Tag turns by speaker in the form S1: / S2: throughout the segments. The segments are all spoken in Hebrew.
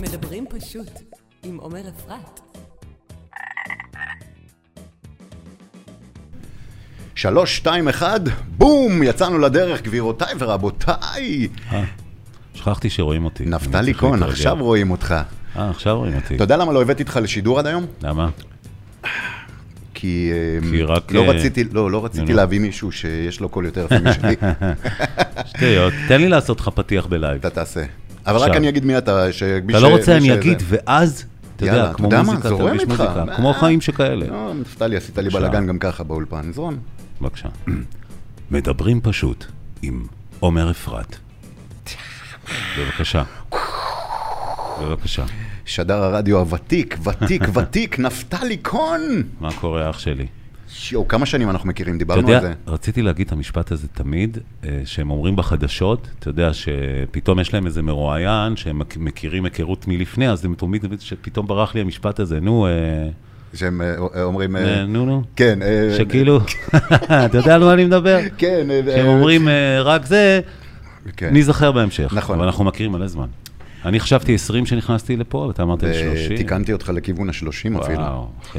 S1: מדברים פשוט עם עומר אפרת.
S2: שלוש, שתיים, אחד, בום! יצאנו לדרך, גבירותיי ורבותיי!
S3: אה, שכחתי שרואים אותי. אני
S2: נפתלי
S3: צריך
S2: כהן,
S3: להתרגל.
S2: עכשיו רואים אותך.
S3: אה, עכשיו רואים אותי.
S2: אתה יודע למה לא הבאתי אותך לשידור עד היום?
S3: למה?
S2: כי, אמ,
S3: כי רק,
S2: לא
S3: אה,
S2: רציתי, לא, לא רציתי
S3: נו.
S2: להביא מישהו שיש לו קול יותר יפה משלי.
S3: שטויות. תן לי לעשות לך פתיח בלייב.
S2: אתה תעשה. אבל רק
S3: עכשיו.
S2: אני אגיד מי אתה. שמי
S3: אתה
S2: ש-
S3: לא
S2: מי
S3: רוצה, אני
S2: שזה-
S3: אגיד, ואז, אתה
S2: יאללה,
S3: יודע, כמו
S2: אתה יודע מה?
S3: מוזיקה,
S2: זורם
S3: תרגיש
S2: איתך. אה.
S3: מוזיקה.
S2: מה?
S3: כמו חיים שכאלה.
S2: לא, נפתלי, עשית לי
S3: עכשיו.
S2: בלאגן גם ככה באולפן, זרום.
S3: בבקשה. מדברים פשוט עם עומר אפרת. בבקשה. בבקשה.
S2: שדר הרדיו הוותיק, ותיק, ותיק, נפתלי כהן!
S3: מה קורה, אח שלי?
S2: יואו, כמה שנים אנחנו מכירים,
S3: אתה
S2: דיברנו על
S3: יודע,
S2: זה.
S3: רציתי להגיד את המשפט הזה תמיד, אה, שהם אומרים בחדשות, אתה יודע, שפתאום יש להם איזה מרואיין, שהם מק- מכירים היכרות מלפני, אז הם תמיד, שפתאום ברח לי המשפט הזה, נו, אה,
S2: שהם אה, אה, אומרים... אה,
S3: אה, נו, נו.
S2: כן, אה,
S3: שכאילו, אתה יודע על מה אני מדבר?
S2: כן, אה,
S3: שהם
S2: אה,
S3: אומרים, אה, רק זה,
S2: כן.
S3: ניזכר בהמשך.
S2: נכון.
S3: אבל אנחנו מכירים מלא זמן. אני חשבתי 20 שנכנסתי לפה, ואתה אמרת לי 30.
S2: תיקנתי אותך לכיוון ה-30 אה, אפילו.
S3: וואו, אחי,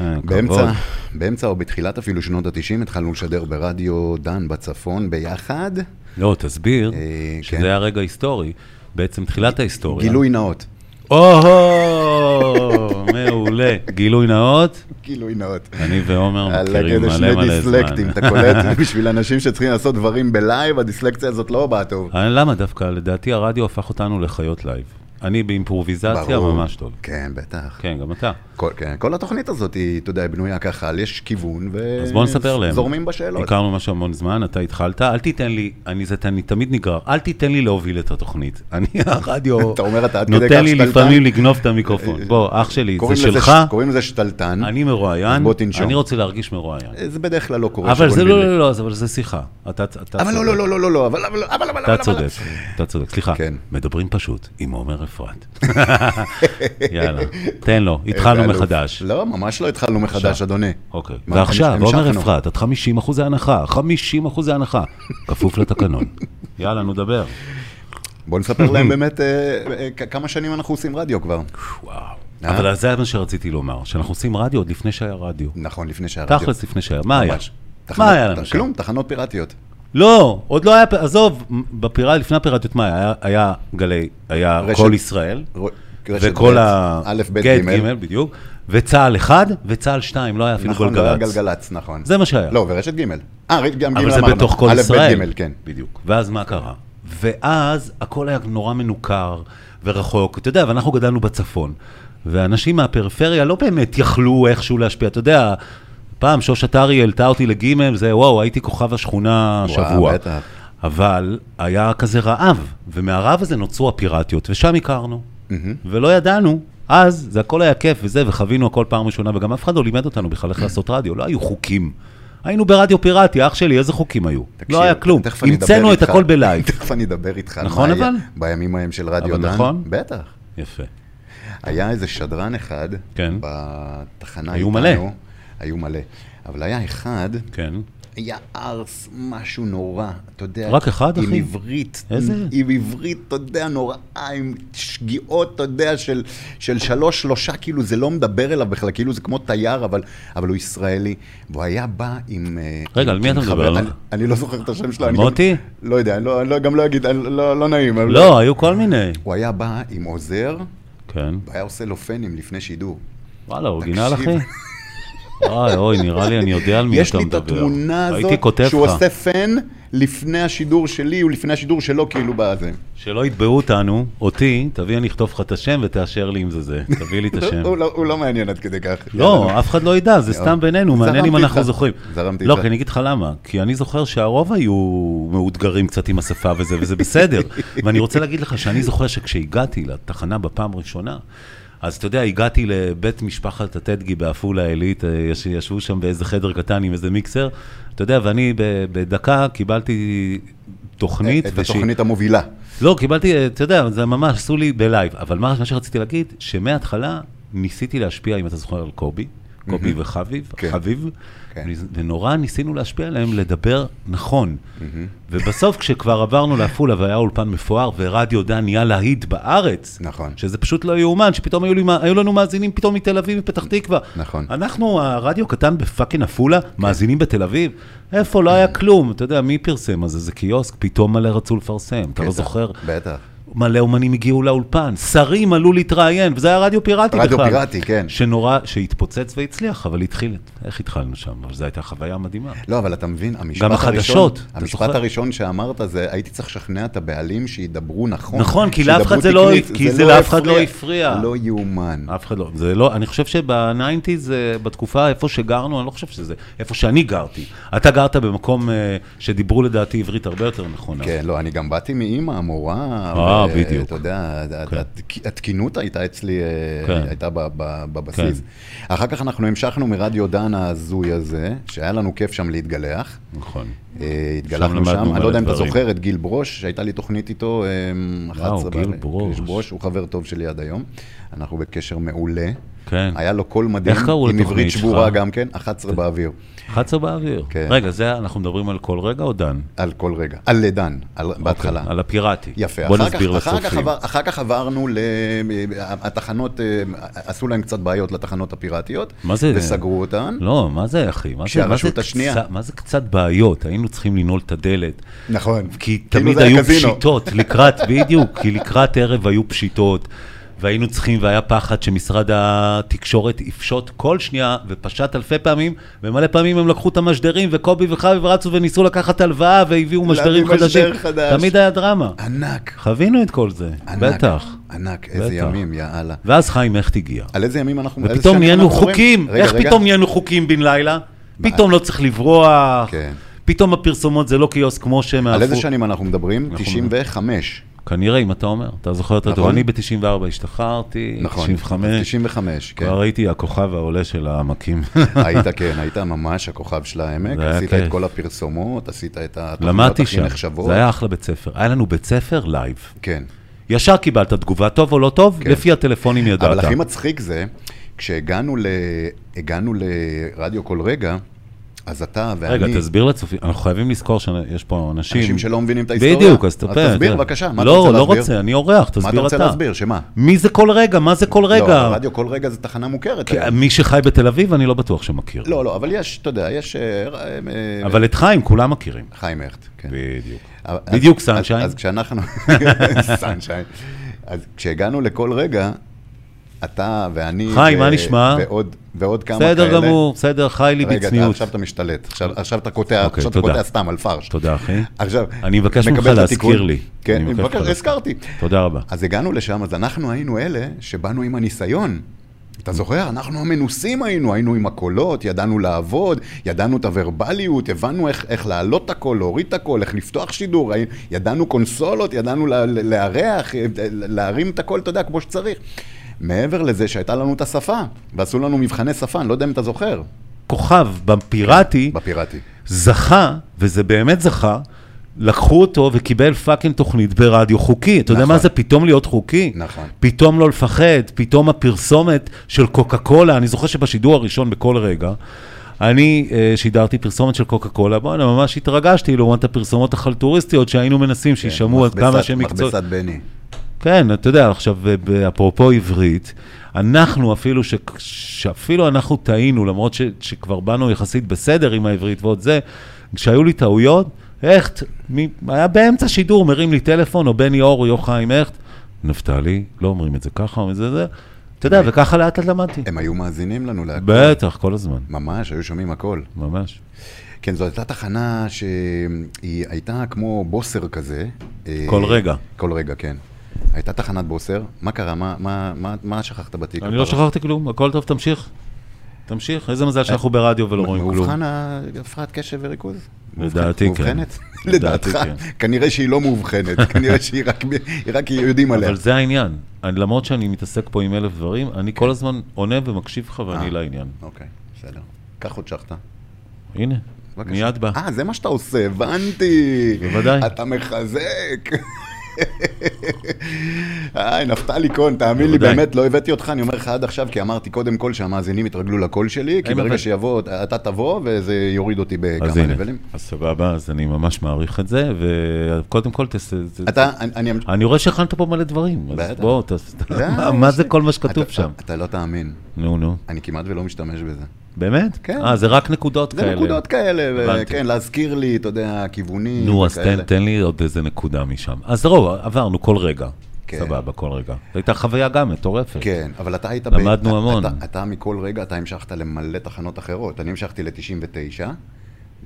S3: אה, כבוד.
S2: באמצע, באמצע או בתחילת אפילו שנות ה-90 התחלנו לשדר ברדיו דן בצפון ביחד.
S3: לא, תסביר,
S2: אה, כן.
S3: שזה היה רגע היסטורי. בעצם תחילת ההיסטוריה.
S2: גילוי נאות.
S3: או-הו, מעולה. גילוי נאות,
S2: גילוי נאות.
S3: אני ועומר
S2: על
S3: אה, מכירים
S2: הגדל
S3: מלא
S2: שני
S3: מלא
S2: דיסלקטים,
S3: זמן.
S2: אתה קולט? בשביל אנשים שצריכים לעשות דברים בלייב, הדיסלקציה הזאת לא באה טוב.
S3: אה, למה דווקא? לדעתי הרדיו הפך אותנו לחיות לייב. אני באימפרוביזציה
S2: ברור.
S3: ממש טוב.
S2: כן, בטח.
S3: כן, גם אתה.
S2: כל- כן, כל התוכנית הזאת, היא, אתה יודע, היא בנויה ככה, על יש כיוון,
S3: אז בוא נספר להם.
S2: וזורמים בשאלות.
S3: הכרנו משהו המון זמן, אתה התחלת, אל תיתן לי, אני זה- אני תמיד נגרר, אל תיתן לי להוביל את התוכנית. אני הרדיו,
S2: אתה אומר, אתה עד כדי כך
S3: נותן לי
S2: שתלטן? אה,
S3: לפעמים לגנוב את המיקרופון. בוא, אח שלי, זה
S2: קוראים לזה
S3: שלך,
S2: ש- קוראים לזה שתלטן.
S3: אני מרואיין,
S2: בוא תנשום.
S3: אני רוצה להרגיש מרואיין.
S2: זה בדרך כלל לא קורה.
S3: אבל זה
S2: שגונבים
S3: לא,
S2: לי.
S3: לא, לא, אז- אבל זה שיחה. אתה, אתה
S2: אבל לא,
S3: צודק.
S2: לא, לא, לא, לא, לא, אבל, אבל, אבל, אבל, אבל,
S3: אתה צודק, אתה צודק, סליחה.
S2: כן.
S3: מדברים פשוט עם עומר אפרת. יאללה, תן לו, התחלנו
S2: ואלוף.
S3: מחדש.
S2: לא, ממש לא התחלנו מחדש,
S3: עכשיו.
S2: אדוני.
S3: אוקיי.
S2: מה,
S3: ועכשיו,
S2: המש-
S3: עומר
S2: המשכנו.
S3: אפרת, עד 50 אחוזי הנחה, 50 אחוזי הנחה, כפוף לתקנון. יאללה, נו, דבר.
S2: בוא נספר להם באמת אה, אה, כ- כמה שנים אנחנו עושים רדיו כבר.
S3: וואו.
S2: אה?
S3: אבל זה מה שרציתי לומר, שאנחנו עושים רדיו עוד לפני שהיה רדיו.
S2: נכון, לפני שהרדיו.
S3: תכלס לפני שהיה, מה היה?
S2: ממש. תחנות-
S3: מה היה לנו שם?
S2: כלום, תחנות פיראטיות.
S3: לא, עוד לא היה, פ- עזוב, בפירה לפני הפיראטיות, מה היה? היה גלי, היה
S2: רשת-
S3: כל ישראל.
S2: ר- רשת
S3: וכל
S2: ב',
S3: ה...
S2: א', ב',
S3: כן,
S2: ג'.
S3: בדיוק. וצה"ל 1 וצה"ל 2, לא היה אפילו
S2: נכון, לא היה
S3: גלגלצ.
S2: גלגלצ, נכון.
S3: זה מה שהיה.
S2: לא, ורשת ג'. אה, ר- גם ג' אמרנו.
S3: אבל זה בתוך כל ישראל.
S2: א', ב', ג', כן.
S3: בדיוק. ואז מה קרה? ואז הכל היה נורא מנוכר ורחוק. אתה יודע, ואנחנו גדלנו בצפון, ואנשים מהפריפריה לא באמת יכלו איכשהו להשפיע. אתה יודע, פעם שושת ארי העלתה אותי לגימל, זה וואו, הייתי כוכב השכונה
S2: וואו,
S3: שבוע.
S2: בטח.
S3: אבל היה כזה רעב, ומהרעב הזה נוצרו הפיראטיות, ושם הכרנו. ולא ידענו, אז זה הכל היה כיף וזה, וחווינו הכל פעם ראשונה, וגם אף אחד לא לימד אותנו בכלל איך לעשות רדיו, לא היו חוקים. היינו ברדיו פיראטי, אח שלי, איזה חוקים היו?
S2: תקשיב,
S3: לא היה כלום,
S2: תכף אני אדבר
S3: המצאנו את
S2: איתך.
S3: הכל בלייב.
S2: תכף אני אדבר איתך. על
S3: נכון,
S2: מה היה
S3: אבל?
S2: בימים ההם של רדיו
S3: אבל
S2: דן.
S3: נכון?
S2: בטח.
S3: יפה.
S2: היה איזה שדרן אחד
S3: כן.
S2: בתחנה
S3: היו
S2: איתנו.
S3: מלא.
S2: היו מלא. אבל היה אחד,
S3: כן,
S2: היה ארס משהו נורא, אתה יודע.
S3: רק אחד,
S2: עם
S3: אחי?
S2: עברית.
S3: איזה?
S2: עם עברית, אתה יודע, נוראה, עם שגיאות, אתה יודע, של, של שלוש, שלושה, כאילו זה לא מדבר אליו בכלל, כאילו זה כמו תייר, אבל, אבל הוא ישראלי. והוא היה בא עם... אה,
S3: רגע,
S2: עם-
S3: על מי
S2: עם
S3: אתה מדבר?
S2: חבר-
S3: על-
S2: אני, אני לא זוכר את השם שלו. אני
S3: מוטי?
S2: גם, לא יודע, אני לא, אני לא, גם לא אגיד, אני, לא, לא נעים. אבל-
S3: לא, היו כל מיני.
S2: הוא היה בא עם עוזר,
S3: כן,
S2: והיה עושה לו פנים לפני שידור.
S3: וואלה, אורגינל אחי.
S2: תקשיב.
S3: אוי, אוי, נראה לי, אני יודע על מי
S2: יש
S3: אתה
S2: לי את
S3: מדבר.
S2: התמונה הזאת,
S3: הייתי כותב
S2: שהוא
S3: לך,
S2: עושה פן לפני השידור שלי ולפני השידור שלו, כאילו בזה.
S3: שלא יתבעו אותנו, אותי, תביא, אני אכתוב לך את השם ותאשר לי אם זה זה. תביא לי את השם.
S2: הוא לא- הוא לא מעניין עד כדי כך. יאללה, נו.
S3: לא, אף אחד לא ידע, זה סתם בינינו, מעניין אם
S2: זרמתי
S3: אנחנו
S2: איתך.
S3: זוכרים.
S2: זרמתי
S3: לא,
S2: איתך.
S3: כי אני אגיד לך למה, כי אני זוכר שהרוב היו מאותגרים קצת עם השפה וזה, וזה בסדר. ואני רוצה להגיד לך שאני זוכר שכשהגעתי לתחנה בפעם הראשונה, אז אתה יודע, הגעתי לבית משפחת הטדגי בעפולה עילית, אה, יש- ישבו שם באיזה חדר קטן עם איזה מיקסר, אתה יודע, ואני ב- בדקה קיבלתי תוכנית.
S2: את
S3: ושהיא-
S2: התוכנית המובילה.
S3: לא, קיבלתי, אה, אתה יודע, זה ממש עשו לי בלייב. אבל מה, מה שרציתי להגיד, שמההתחלה ניסיתי להשפיע, אם אתה זוכר, על קובי. קובי וחביב,
S2: כן.
S3: חביב,
S2: כן.
S3: וניס- ונורא ניסינו להשפיע עליהם לדבר נכון. ובסוף, כשכבר עברנו לעפולה והיה אולפן מפואר, ורדיו דן נהיה להיט בארץ,
S2: נכון.
S3: שזה פשוט לא יאומן, שפתאום היו, לי, מה- היו לנו מאזינים פתאום מתל אביב, מפתח תקווה.
S2: נכון. כן.
S3: אנחנו, הרדיו קטן בפאקינג עפולה, מאזינים בתל אביב, איפה, לא היה כלום. אתה יודע, מי פרסם? אז איזה קיוסק, פתאום מלא רצו לפרסם, אתה לא
S2: בטח,
S3: זוכר?
S2: כן, בטח.
S3: מלא אומנים הגיעו לאולפן, שרים עלו להתראיין, וזה היה רדיו פיראטי
S2: רדיו
S3: בכלל.
S2: פיראטי, כן.
S3: שנורא, שהתפוצץ והצליח, אבל התחיל, איך התחלנו שם? אבל זו הייתה חוויה מדהימה.
S2: לא, אבל אתה מבין, המשפט
S3: גם החדשות,
S2: הראשון,
S3: אתה
S2: המשפט
S3: זוכר?
S2: הראשון שאמרת זה, הייתי צריך לשכנע את הבעלים שידברו נכון.
S3: נכון, כי לאף אחד
S2: שידברו
S3: זה לא-
S2: תקנית.
S3: כי זה לאף אחד לא הפריע.
S2: לא יאומן.
S3: אף אחד לא, זה לא, אני חושב שבניינטיז, אה, בתקופה איפה שגרנו, אני לא חושב שזה, איפה שאני גרתי. אתה גרת במקום אה, שדיברו לדעתי עברית הרבה יותר נכונה.
S2: כן, לא, אני גם באתי מאימא, המורה.
S3: אה,
S2: ו-
S3: בדיוק.
S2: אתה יודע, הת- התק- התקינות הייתה אצלי, אה,
S3: כן.
S2: הייתה ב- ב- בבסיס. אחר כך אנחנו המשכנו מרדיו דן ההזוי הזה, שהיה לנו כיף שם להתגלח.
S3: נכון.
S2: אה, התגלחנו
S3: למדנו
S2: שם, אני
S3: מלא
S2: לא יודע אם אתה
S3: דברים.
S2: זוכר את גיל ברוש, שהייתה לי תוכנית איתו, אמ, 11
S3: וואו, גיל
S2: בעלי-
S3: ברוש.
S2: הוא חבר טוב שלי עד היום, אנחנו בקשר מעולה.
S3: כן.
S2: היה לו קול מדהים,
S3: איך קראו
S2: עם
S3: לתוכנית
S2: עברית
S3: שלך?
S2: שבורה גם כן, 11 באוויר,
S3: 11 באוויר.
S2: כן.
S3: רגע, זה, אנחנו מדברים על כל רגע או דן?
S2: על כל רגע, על לדן, על-
S3: אוקיי,
S2: בהתחלה.
S3: על הפיראטי.
S2: יפה,
S3: בוא
S2: אחר
S3: נסביר
S2: כך- אחר כך
S3: לצופים.
S2: עבר- אחר כך עברנו ל... התחנות, אה, עשו להם קצת בעיות לתחנות הפיראטיות,
S3: מה זה?
S2: וסגרו אותן.
S3: לא, מה זה, אחי? מה זה, מה זה,
S2: כשהרשות השנייה.
S3: קצת- מה זה קצת בעיות? היינו צריכים לנעול את הדלת.
S2: נכון.
S3: כי
S2: כאילו
S3: תמיד
S2: זה היה
S3: היו
S2: קזינו.
S3: פשיטות, לקראת, בדיוק, כי לקראת ערב היו פשיטות, והיינו צריכים, והיה פחד שמשרד התקשורת יפשוט כל שנייה, ופשט אלפי פעמים, ומלא פעמים הם לקחו את המשדרים, וקובי וחביב רצו וניסו לקחת הלוואה, והביאו משדרים
S2: משדר
S3: חדשים.
S2: חדש.
S3: תמיד היה דרמה.
S2: ענק,
S3: חבינו את כל זה,
S2: ענק.
S3: בטח.
S2: ענק, איזה
S3: בטח.
S2: ימים, יא אללה.
S3: ואז חיים הכט הגיע.
S2: על איזה ימים אנחנו... על איזה
S3: ופתאום
S2: שנים
S3: נהיינו
S2: אנחנו מדברים?
S3: חוקים,
S2: רגע,
S3: איך
S2: רגע.
S3: פתאום נהיינו חוקים בן לילה? פתאום לא צריך לברוח,
S2: כן.
S3: פתאום הפרסומות זה לא קיוסק כמו שהם
S2: על איזה
S3: מהפו-
S2: שנים אנחנו מדברים?
S3: אנחנו
S2: 95.
S3: כנראה, אם אתה אומר, אתה זוכר יותר טוב.
S2: נכון.
S3: אני ב-94 השתחררתי,
S2: נכון.
S3: 95,
S2: 95, כן.
S3: כבר הייתי הכוכב העולה של העמקים.
S2: היית, כן, היית ממש הכוכב של העמק,
S3: זה היה
S2: עשית את
S3: כיף.
S2: כל הפרסומות, עשית את התוכניות
S3: למדתי
S2: הכי
S3: שם,
S2: נחשבות.
S3: זה היה אחלה בית ספר. היה לנו בית ספר לייב.
S2: כן.
S3: ישר קיבלת תגובה, טוב או לא טוב,
S2: כן.
S3: לפי הטלפונים
S2: אבל
S3: ידעת.
S2: הכי מצחיק זה, כשהגענו ל... הגענו לרדיו כל רגע, אז אתה ואני...
S3: רגע, תסביר לצופים, אנחנו חייבים לזכור שיש פה אנשים...
S2: אנשים שלא מבינים את ההיסטוריה.
S3: בדיוק, אז
S2: אז
S3: תספיר.
S2: תסביר, בבקשה, מה אתה
S3: לא,
S2: רוצה
S3: לא
S2: להסביר?
S3: רוצה, אני אורח, תסביר אתה.
S2: מה אתה רוצה להסביר? שמה?
S3: מי זה כל רגע? מה זה כל רגע? כן,
S2: לא, רדיו כל רגע זו תחנה מוכרת.
S3: כי
S2: היום.
S3: מי שחי בתל אביב, אני לא בטוח שמכיר.
S2: לא, לא, אבל יש, אתה יודע, יש... אה, אה,
S3: אבל את חיים כולם מכירים.
S2: חיים הכט, כן.
S3: בדיוק.
S2: אבל-
S3: בדיוק
S2: אז-
S3: סנשיין.
S2: אז, אז כשאנחנו... סנשיין. אז כשהגענו לכל רגע, אתה ואני...
S3: חיים, מה נשמע?
S2: ועוד, ועוד כמה כאלה.
S3: בסדר גמור, בסדר, חי לי
S2: רגע, אתה,
S3: בצניעות.
S2: עכשיו אתה משתלט. עכשיו, עכשיו אתה קוטע,
S3: אוקיי,
S2: עכשיו אתה
S3: תודה.
S2: קוטע סתם על פרש.
S3: תודה, אחי.
S2: עכשיו,
S3: אני מבקש
S2: מקבל
S3: ממך
S2: את
S3: להזכיר
S2: התיקון.
S3: לי.
S2: כן,
S3: אני
S2: אני
S3: מבקש
S2: מבקש,
S3: ממך להזכיר.
S2: הזכרתי.
S3: תודה רבה.
S2: אז הגענו לשם, אז אנחנו היינו אלה שבאנו עם הניסיון. אתה זוכר? אנחנו המנוסים היינו, היינו עם הקולות, ידענו לעבוד, ידענו את הוורבליות, הבנו איך, איך להעלות את הקול, להוריד את הקול, איך לפתוח שידור, הי- ידענו קונסולות, ידענו לה- לארח, אה, להרים את הקול, אתה יודע, כמו שצריך. מעבר לזה שהייתה לנו את השפה, ועשו לנו מבחני שפה, אני לא יודע אם אתה זוכר,
S3: כוכב בפיראטי
S2: בפיראטי.
S3: זכה, וזה באמת זכה, לקחו אותו וקיבל פאקינג תוכנית ברדיו חוקי. אתה יודע
S2: נכון.
S3: מה זה פתאום להיות חוקי?
S2: נכון.
S3: פתאום לא לפחד, פתאום הפרסומת של קוקה קולה, אני זוכר שבשידור הראשון בכל רגע, אני אה, שידרתי פרסומת של קוקה קולה, בואנה, ממש התרגשתי לעומת הפרסומות החלטוריסטיות שהיינו מנסים שישמעו כן, עד כמה
S2: כן, מכבסת-
S3: שהם מקצועות.
S2: מכבסת בני.
S3: כן, אתה יודע, עכשיו, ב- אפרופו עברית, אנחנו אפילו, ש... שאפילו אנחנו טעינו, למרות ש... שכבר באנו יחסית בסדר עם העברית ועוד זה, כשהיו לי טעויות, הכט, מ... היה באמצע שידור, מרים לי טלפון, או בני אור, או יוחיים הכט, נפתלי, לא אומרים את זה ככה, אומרים את זה זה, אתה יודע, וככה לאט לאט למדתי.
S2: הם היו מאזינים לנו להכל.
S3: בטח, כל הזמן,
S2: ממש, היו שומעים הכל.
S3: ממש.
S2: כן, זו הייתה תחנה שהיא הייתה כמו בוסר כזה. אה,
S3: כל רגע.
S2: כל רגע, כן. הייתה תחנת בוסר, מה קרה? מה, מה, מה, מה שכחת בתיק?
S3: אני לא שכחתי כלום, הכל טוב, תמשיך. תמשיך, איזה מזל שאנחנו ברדיו ולא לא רואים כלום.
S2: מאובחן הפרעת קשב וריכוז?
S3: לדעתי,
S2: מאובחן-
S3: כן.
S2: מאובחנת?
S3: לדעתי,
S2: לדעתך,
S3: כן.
S2: כנראה שהיא לא מאובחנת, כנראה שהיא רק, היא רק יודעים עליה.
S3: אבל זה העניין. אני, למרות שאני מתעסק פה עם אלף דברים, אני כל הזמן עונה ומקשיב לך
S2: כן. אה.
S3: ואני לעניין.
S2: אוקיי, בסדר. קח עוד שחטה.
S3: הנה,
S2: בבקשה.
S3: מיד בא.
S2: אה, זה מה שאתה עושה, הבנתי.
S3: בוודאי.
S2: אתה מחזק. היי, נפתלי כהן, תאמין לי,
S3: בוודאי.
S2: באמת, לא הבאתי אותך, אני אומר לך עד עכשיו, כי אמרתי קודם כל שהמאזינים יתרגלו לקול שלי, כי
S3: אין
S2: ברגע
S3: בעיה.
S2: שיבוא, אתה תבוא, וזה יוריד אותי
S3: אז
S2: בכמה
S3: הנה,
S2: נבלים.
S3: אז סבבה, אז אני ממש מעריך את זה, וקודם כל תס... זה-
S2: אתה, אני- אני... אמש-
S3: אני רואה שהכנת פה מלא דברים, אז
S2: בטח.
S3: בוא, תס...
S2: די,
S3: מה- מה זה כל מה שכתוב
S2: אתה-
S3: שם?
S2: אתה לא תאמין,
S3: נו, נו.
S2: אני כמעט ולא משתמש בזה.
S3: באמת?
S2: כן.
S3: אה, זה רק נקודות
S2: זה
S3: כאלה.
S2: נקודות כאלה, ו-
S3: הבנתי.
S2: כן, להזכיר לי, אתה יודע, כיוונים
S3: נו, אז
S2: וכאלה.
S3: תן, תן לי עוד איזה נקודה משם. אז רוב, עברנו כל רגע.
S2: כן.
S3: סבבה, כל רגע. זו הייתה חוויה גם מטורפת.
S2: כן, אבל אתה היית... ב-
S3: למדנו
S2: אתה-
S3: המון.
S2: אתה, אתה מכל רגע, אתה המשכת למלא תחנות אחרות. אני המשכתי ל-99,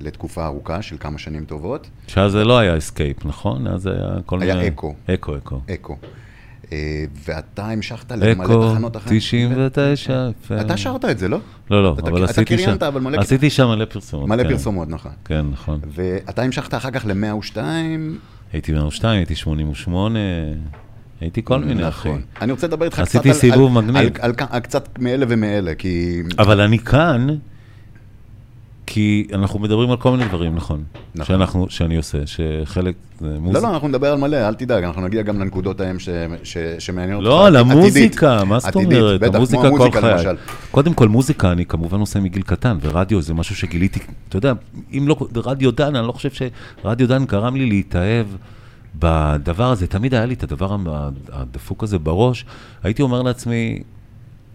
S2: לתקופה ארוכה של כמה שנים טובות,
S3: שאז זה לא היה אסקייפ, נכון? אז זה היה כל
S2: היה
S3: מיני...
S2: אקו.
S3: אקו, אקו.
S2: אקו. אה, ואתה המשכת למלא
S3: אקו,
S2: תחנות אחרות.
S3: 99. יפה.
S2: אתה שרת את זה, לא?
S3: לא, לא,
S2: אתה-
S3: אבל
S2: אתה
S3: עשיתי שם...
S2: קריינת, אבל מלא-
S3: עשיתי שם מלא פרסומות.
S2: מלא
S3: כן.
S2: פרסומות, נכון.
S3: כן, נכון.
S2: ואתה המשכת אחר כך ל-102,
S3: הייתי 102, הייתי 88, הייתי כל מיני, אחי.
S2: נכון. אני רוצה לדבר איתך
S3: עשיתי
S2: קצת על-
S3: סיבוב
S2: על-
S3: מגניב.
S2: על- על כ- על קצת מאלה ומאלה, כי...
S3: אבל אני כאן, כי אנחנו מדברים על כל מיני דברים, נכון?
S2: נכון.
S3: שאנחנו, שאני עושה, שחלק זה
S2: לא,
S3: מוזיקה.
S2: לא, אנחנו נדבר על מלא, אל תדאג, אנחנו נגיע גם לנקודות ההם ש- ש- שמעניינות אותך.
S3: לא, על
S2: עתידית.
S3: המוזיקה, מה זאת
S2: עתידית,
S3: אומרת?
S2: בטח, כמו
S3: המוזיקה כל
S2: המוזיקה,
S3: חיי.
S2: למשל.
S3: קודם כל, מוזיקה אני כמובן עושה מגיל קטן, ורדיו זה משהו שגיליתי, אתה יודע, אם לא, רדיו דן, אני לא חושב שרדיו דן גרם לי להתאהב בדבר הזה. תמיד היה לי את הדבר המ- הדפוק הזה בראש. הייתי אומר לעצמי,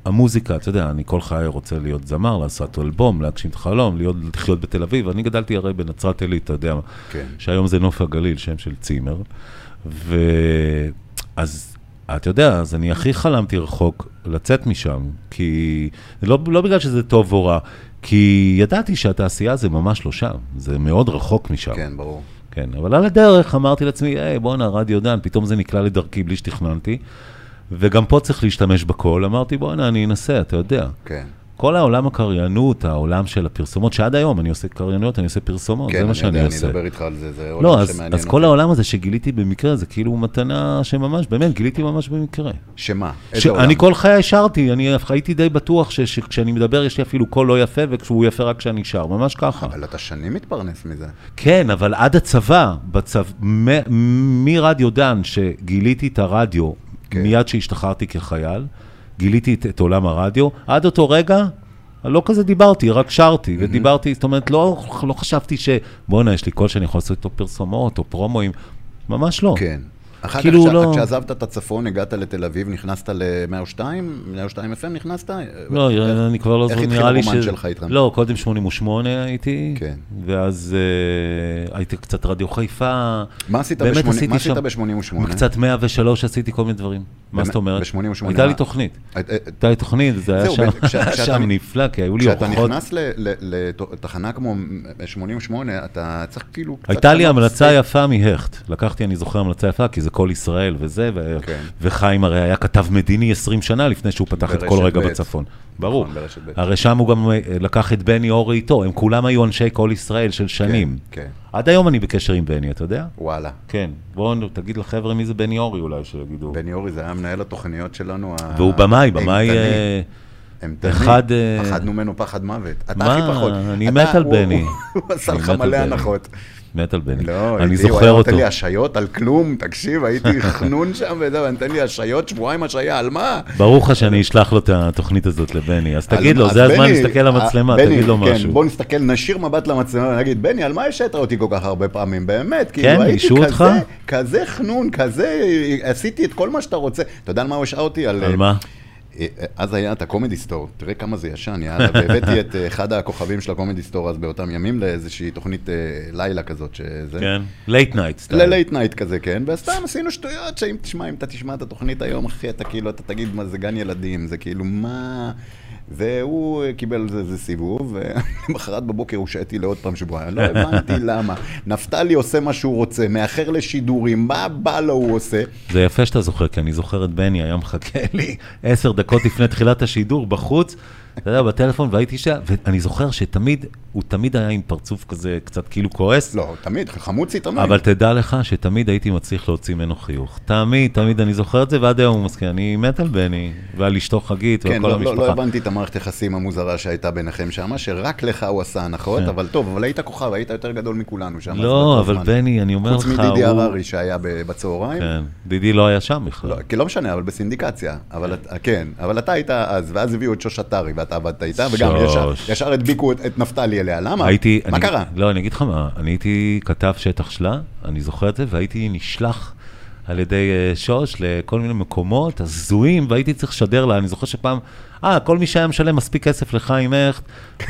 S3: המוזיקה, אתה יודע, אני כל חיי רוצה להיות זמר, לעשות אלבום, להגשים את החלום, להיות, לחיות בתל אביב. אני גדלתי הרי בנצרת עילית, אתה יודע,
S2: כן.
S3: שהיום זה נוף הגליל, שם של צימר. ואז, אתה יודע, אז אני הכי חלמתי רחוק לצאת משם, כי לא, לא בגלל שזה טוב או רע, כי ידעתי שהתעשייה זה ממש לא שם, זה מאוד רחוק משם.
S2: כן, ברור.
S3: כן, אבל על הדרך אמרתי לעצמי, היי, בואנה, רדיו דן, פתאום זה נקלע לדרכי בלי שתכננתי, וגם פה צריך להשתמש בקול, אמרתי, בואנה, אני אנסה, אתה יודע.
S2: כן.
S3: כל העולם הקריינות, העולם של הפרסומות, שעד היום אני עושה קריינויות, אני עושה פרסומות,
S2: כן,
S3: לא, זה מה
S2: אני
S3: שאני
S2: יודע,
S3: עושה.
S2: אני אדבר איתך על זה, זה
S3: לא,
S2: עולם
S3: אז,
S2: שמעניין
S3: אז כל העולם הזה שגיליתי במקרה, זה כאילו מתנה שממש, באמת, גיליתי ממש במקרה.
S2: שמה? איזה עולם?
S3: שאני כל חיי שרתי, אני הייתי די בטוח ש- שכשאני מדבר יש לי אפילו קול לא יפה, וכשהוא יפה רק כשאני שר, ממש ככה.
S2: אבל אתה שנים מתפרנס מזה.
S3: כן, אבל עד הצבא, בצו... מ- מרדיו דן, שגיליתי את הרדיו
S2: כן.
S3: כן. מיד שהשתחררתי כחייל, גיליתי את, את עולם הרדיו, עד אותו רגע לא כזה דיברתי, רק שרתי, ודיברתי, זאת אומרת, לא, לא חשבתי ש... בואנה, יש לי קול שאני יכול לעשות איתו פרסומות או פרומואים, ממש לא.
S2: כן. אחר
S3: כאילו
S2: כך,
S3: לא-
S2: כשה- כשעזבת את הצפון, הגעת לתל אביב, נכנסת ל-102, 102 FM נכנסת?
S3: לא, אני כבר לא
S2: איך
S3: זוכר,
S2: התחיל
S3: נראה לי ש...
S2: הרומן שלך איתם?
S3: לא, קודם 88 הייתי,
S2: כן.
S3: ואז אה, הייתי קצת רדיו חיפה.
S2: מה עשית
S3: באמת
S2: ב-שמונים-
S3: עשיתי
S2: מה עשית
S3: שם-
S2: ב-88?
S3: קצת 103 עשיתי כל מיני דברים. מה
S2: באמת?
S3: זאת אומרת?
S2: ב-88
S3: הייתה לי
S2: מה?
S3: תוכנית.
S2: את- את-
S3: הייתה לי תוכנית, זה היה
S2: זהו,
S3: שם-
S2: ב- כש-
S3: היה
S2: כשאתה-
S3: שם נפלא, כי היו לי
S2: אה, כשאתה
S3: אורחות.
S2: נכנס ל- ל- לתחנה כמו 88, אתה צריך כאילו... קצת
S3: הייתה לי
S2: לשנות
S3: המלצה
S2: סטייל.
S3: יפה מהכט. לקחתי, אני זוכר המלצה יפה, כי זה כל ישראל וזה, ו-
S2: כן.
S3: וחיים הרי היה כתב מדיני 20 שנה לפני שהוא פתח את
S2: ברשת
S3: כל רגע
S2: ב'. נכון,
S3: בצפון. ברור.
S2: ברשת ב'.
S3: הרי שם הוא גם אה, לקח את בני אורי איתו, הם כולם היו אנשי כל ישראל של שנים.
S2: כן, כן.
S3: עד היום אני בקשר עם בני, אתה יודע?
S2: וואלה.
S3: כן. בואו תגיד לחבר'ה מי זה בני אורי אולי, שיגידו.
S2: בני אורי זה היה מנהל התוכניות שלנו. ה-
S3: והוא במאי, במאי...
S2: האימתני.
S3: אה,
S2: אימתני.
S3: אחד, אה,
S2: פחדנו ממנו פחד מוות. אתה
S3: מה?
S2: הכי פחות.
S3: אני
S2: אתה-
S3: מת על
S2: הוא-
S3: בני.
S2: הוא עשה
S3: אני
S2: לך
S3: מת על
S2: מלא
S3: בני.
S2: הנחות.
S3: מת על בני.
S2: לא,
S3: אני
S2: איתי,
S3: זוכר
S2: הוא היה
S3: אותו.
S2: נותן לי השעיות על כלום, תקשיב, הייתי חנון שם וזהו, היה נותן לי השעיות, שבועיים השעיה, על מה?
S3: ברור לך שאני אשלח לו את התוכנית הזאת לבני, אז תגיד
S2: על-
S3: לו,
S2: אז
S3: זה הזמן
S2: בני,
S3: להסתכל למצלמה,
S2: בני,
S3: תגיד לו
S2: כן, בוא
S3: משהו.
S2: נסתכל, נשאיר מבט למצלמה ונגיד, בני, על מה השעת אותי כל כך הרבה פעמים? באמת, כאילו, הייתי
S3: השעו כן, אותך?
S2: כזה, כזה חנון, כזה, עשיתי את כל מה שאתה רוצה. אתה יודע על מה הוא השעה אותי?
S3: על מה?
S2: אה, אז היה את הקומדי סטור, תראה כמה זה ישן, יאללה, והבאתי את אה, אחד הכוכבים של הקומדי סטור אז באותם ימים לאיזושהי תוכנית אה, לילה כזאת, שזה...
S3: כן, לייט נייט.
S2: ללייט נייט כזה, כן, וסתם עשינו שטויות, שאם תשמע, אם אתה תשמע את התוכנית היום, אחי, אתה כאילו, אתה תגיד, מה זה גן ילדים, זה כאילו, מה... והוא אה, קיבל על זה איזה סיבוב, ולמחרת בבוקר הושעתי לעוד פעם שבועיים, לא הבנתי למה. נפתלי עושה מה שהוא רוצה, מאחר לשידורים, מה בא לו הוא עושה.
S3: זה יפה שאתה זוכר, כי אני זוכר את בני, היה מחכה לי עשר דקות לפני תחילת השידור בחוץ, אתה יודע, בטלפון, והייתי שם, ואני זוכר שתמיד, הוא תמיד היה עם פרצוף כזה, קצת כאילו כועס.
S2: לא, תמיד, חמוצי תמיד.
S3: אבל תדע לך שתמיד הייתי מצליח להוציא ממנו חיוך. תמיד, תמיד אני זוכר את זה, ועד היום הוא מסכים. אני מת על בני, ועל אשתו חגית, ועל
S2: כן,
S3: כל
S2: לא, לא, לא
S3: המשפחה.
S2: הבנתי את המערכת יחסים המוזרה שהייתה ביניכם שם, שרק לך הוא עשה הנחות, אבל טוב, אבל היית כוכב, היית יותר גדול מכולנו שם. אז
S3: כן. לא,
S2: באותו
S3: אבל
S2: זמן.
S3: בני, אני אומר לך,
S2: חוץ
S3: הוא...
S2: מדידי הררי שהיה ב- בצהריים.
S3: כן, דידי לא היה שם בכלל.
S2: לא, כי לא משנה, אבל בסינדיקציה. אבל את- כן, אבל אתה היית אז, ואז הביאו את שוש עטרי, ואתה עבדת איתה, וגם ישר-
S3: שוש.
S2: ישר הדביקו את- את נפתלי אליה. למה?
S3: הייתי...
S2: מה
S3: אני,
S2: קרה?
S3: לא, אני אגיד לך מה, אני הייתי כתב שטח שלה, אני זוכר את זה, והייתי נשלח על ידי אה, שוש לכל מיני מקומות הזויים, והייתי צריך לשדר לה, אני זוכר שפעם, אה, כל מי שהיה משלם מספיק כסף לחיים הכט,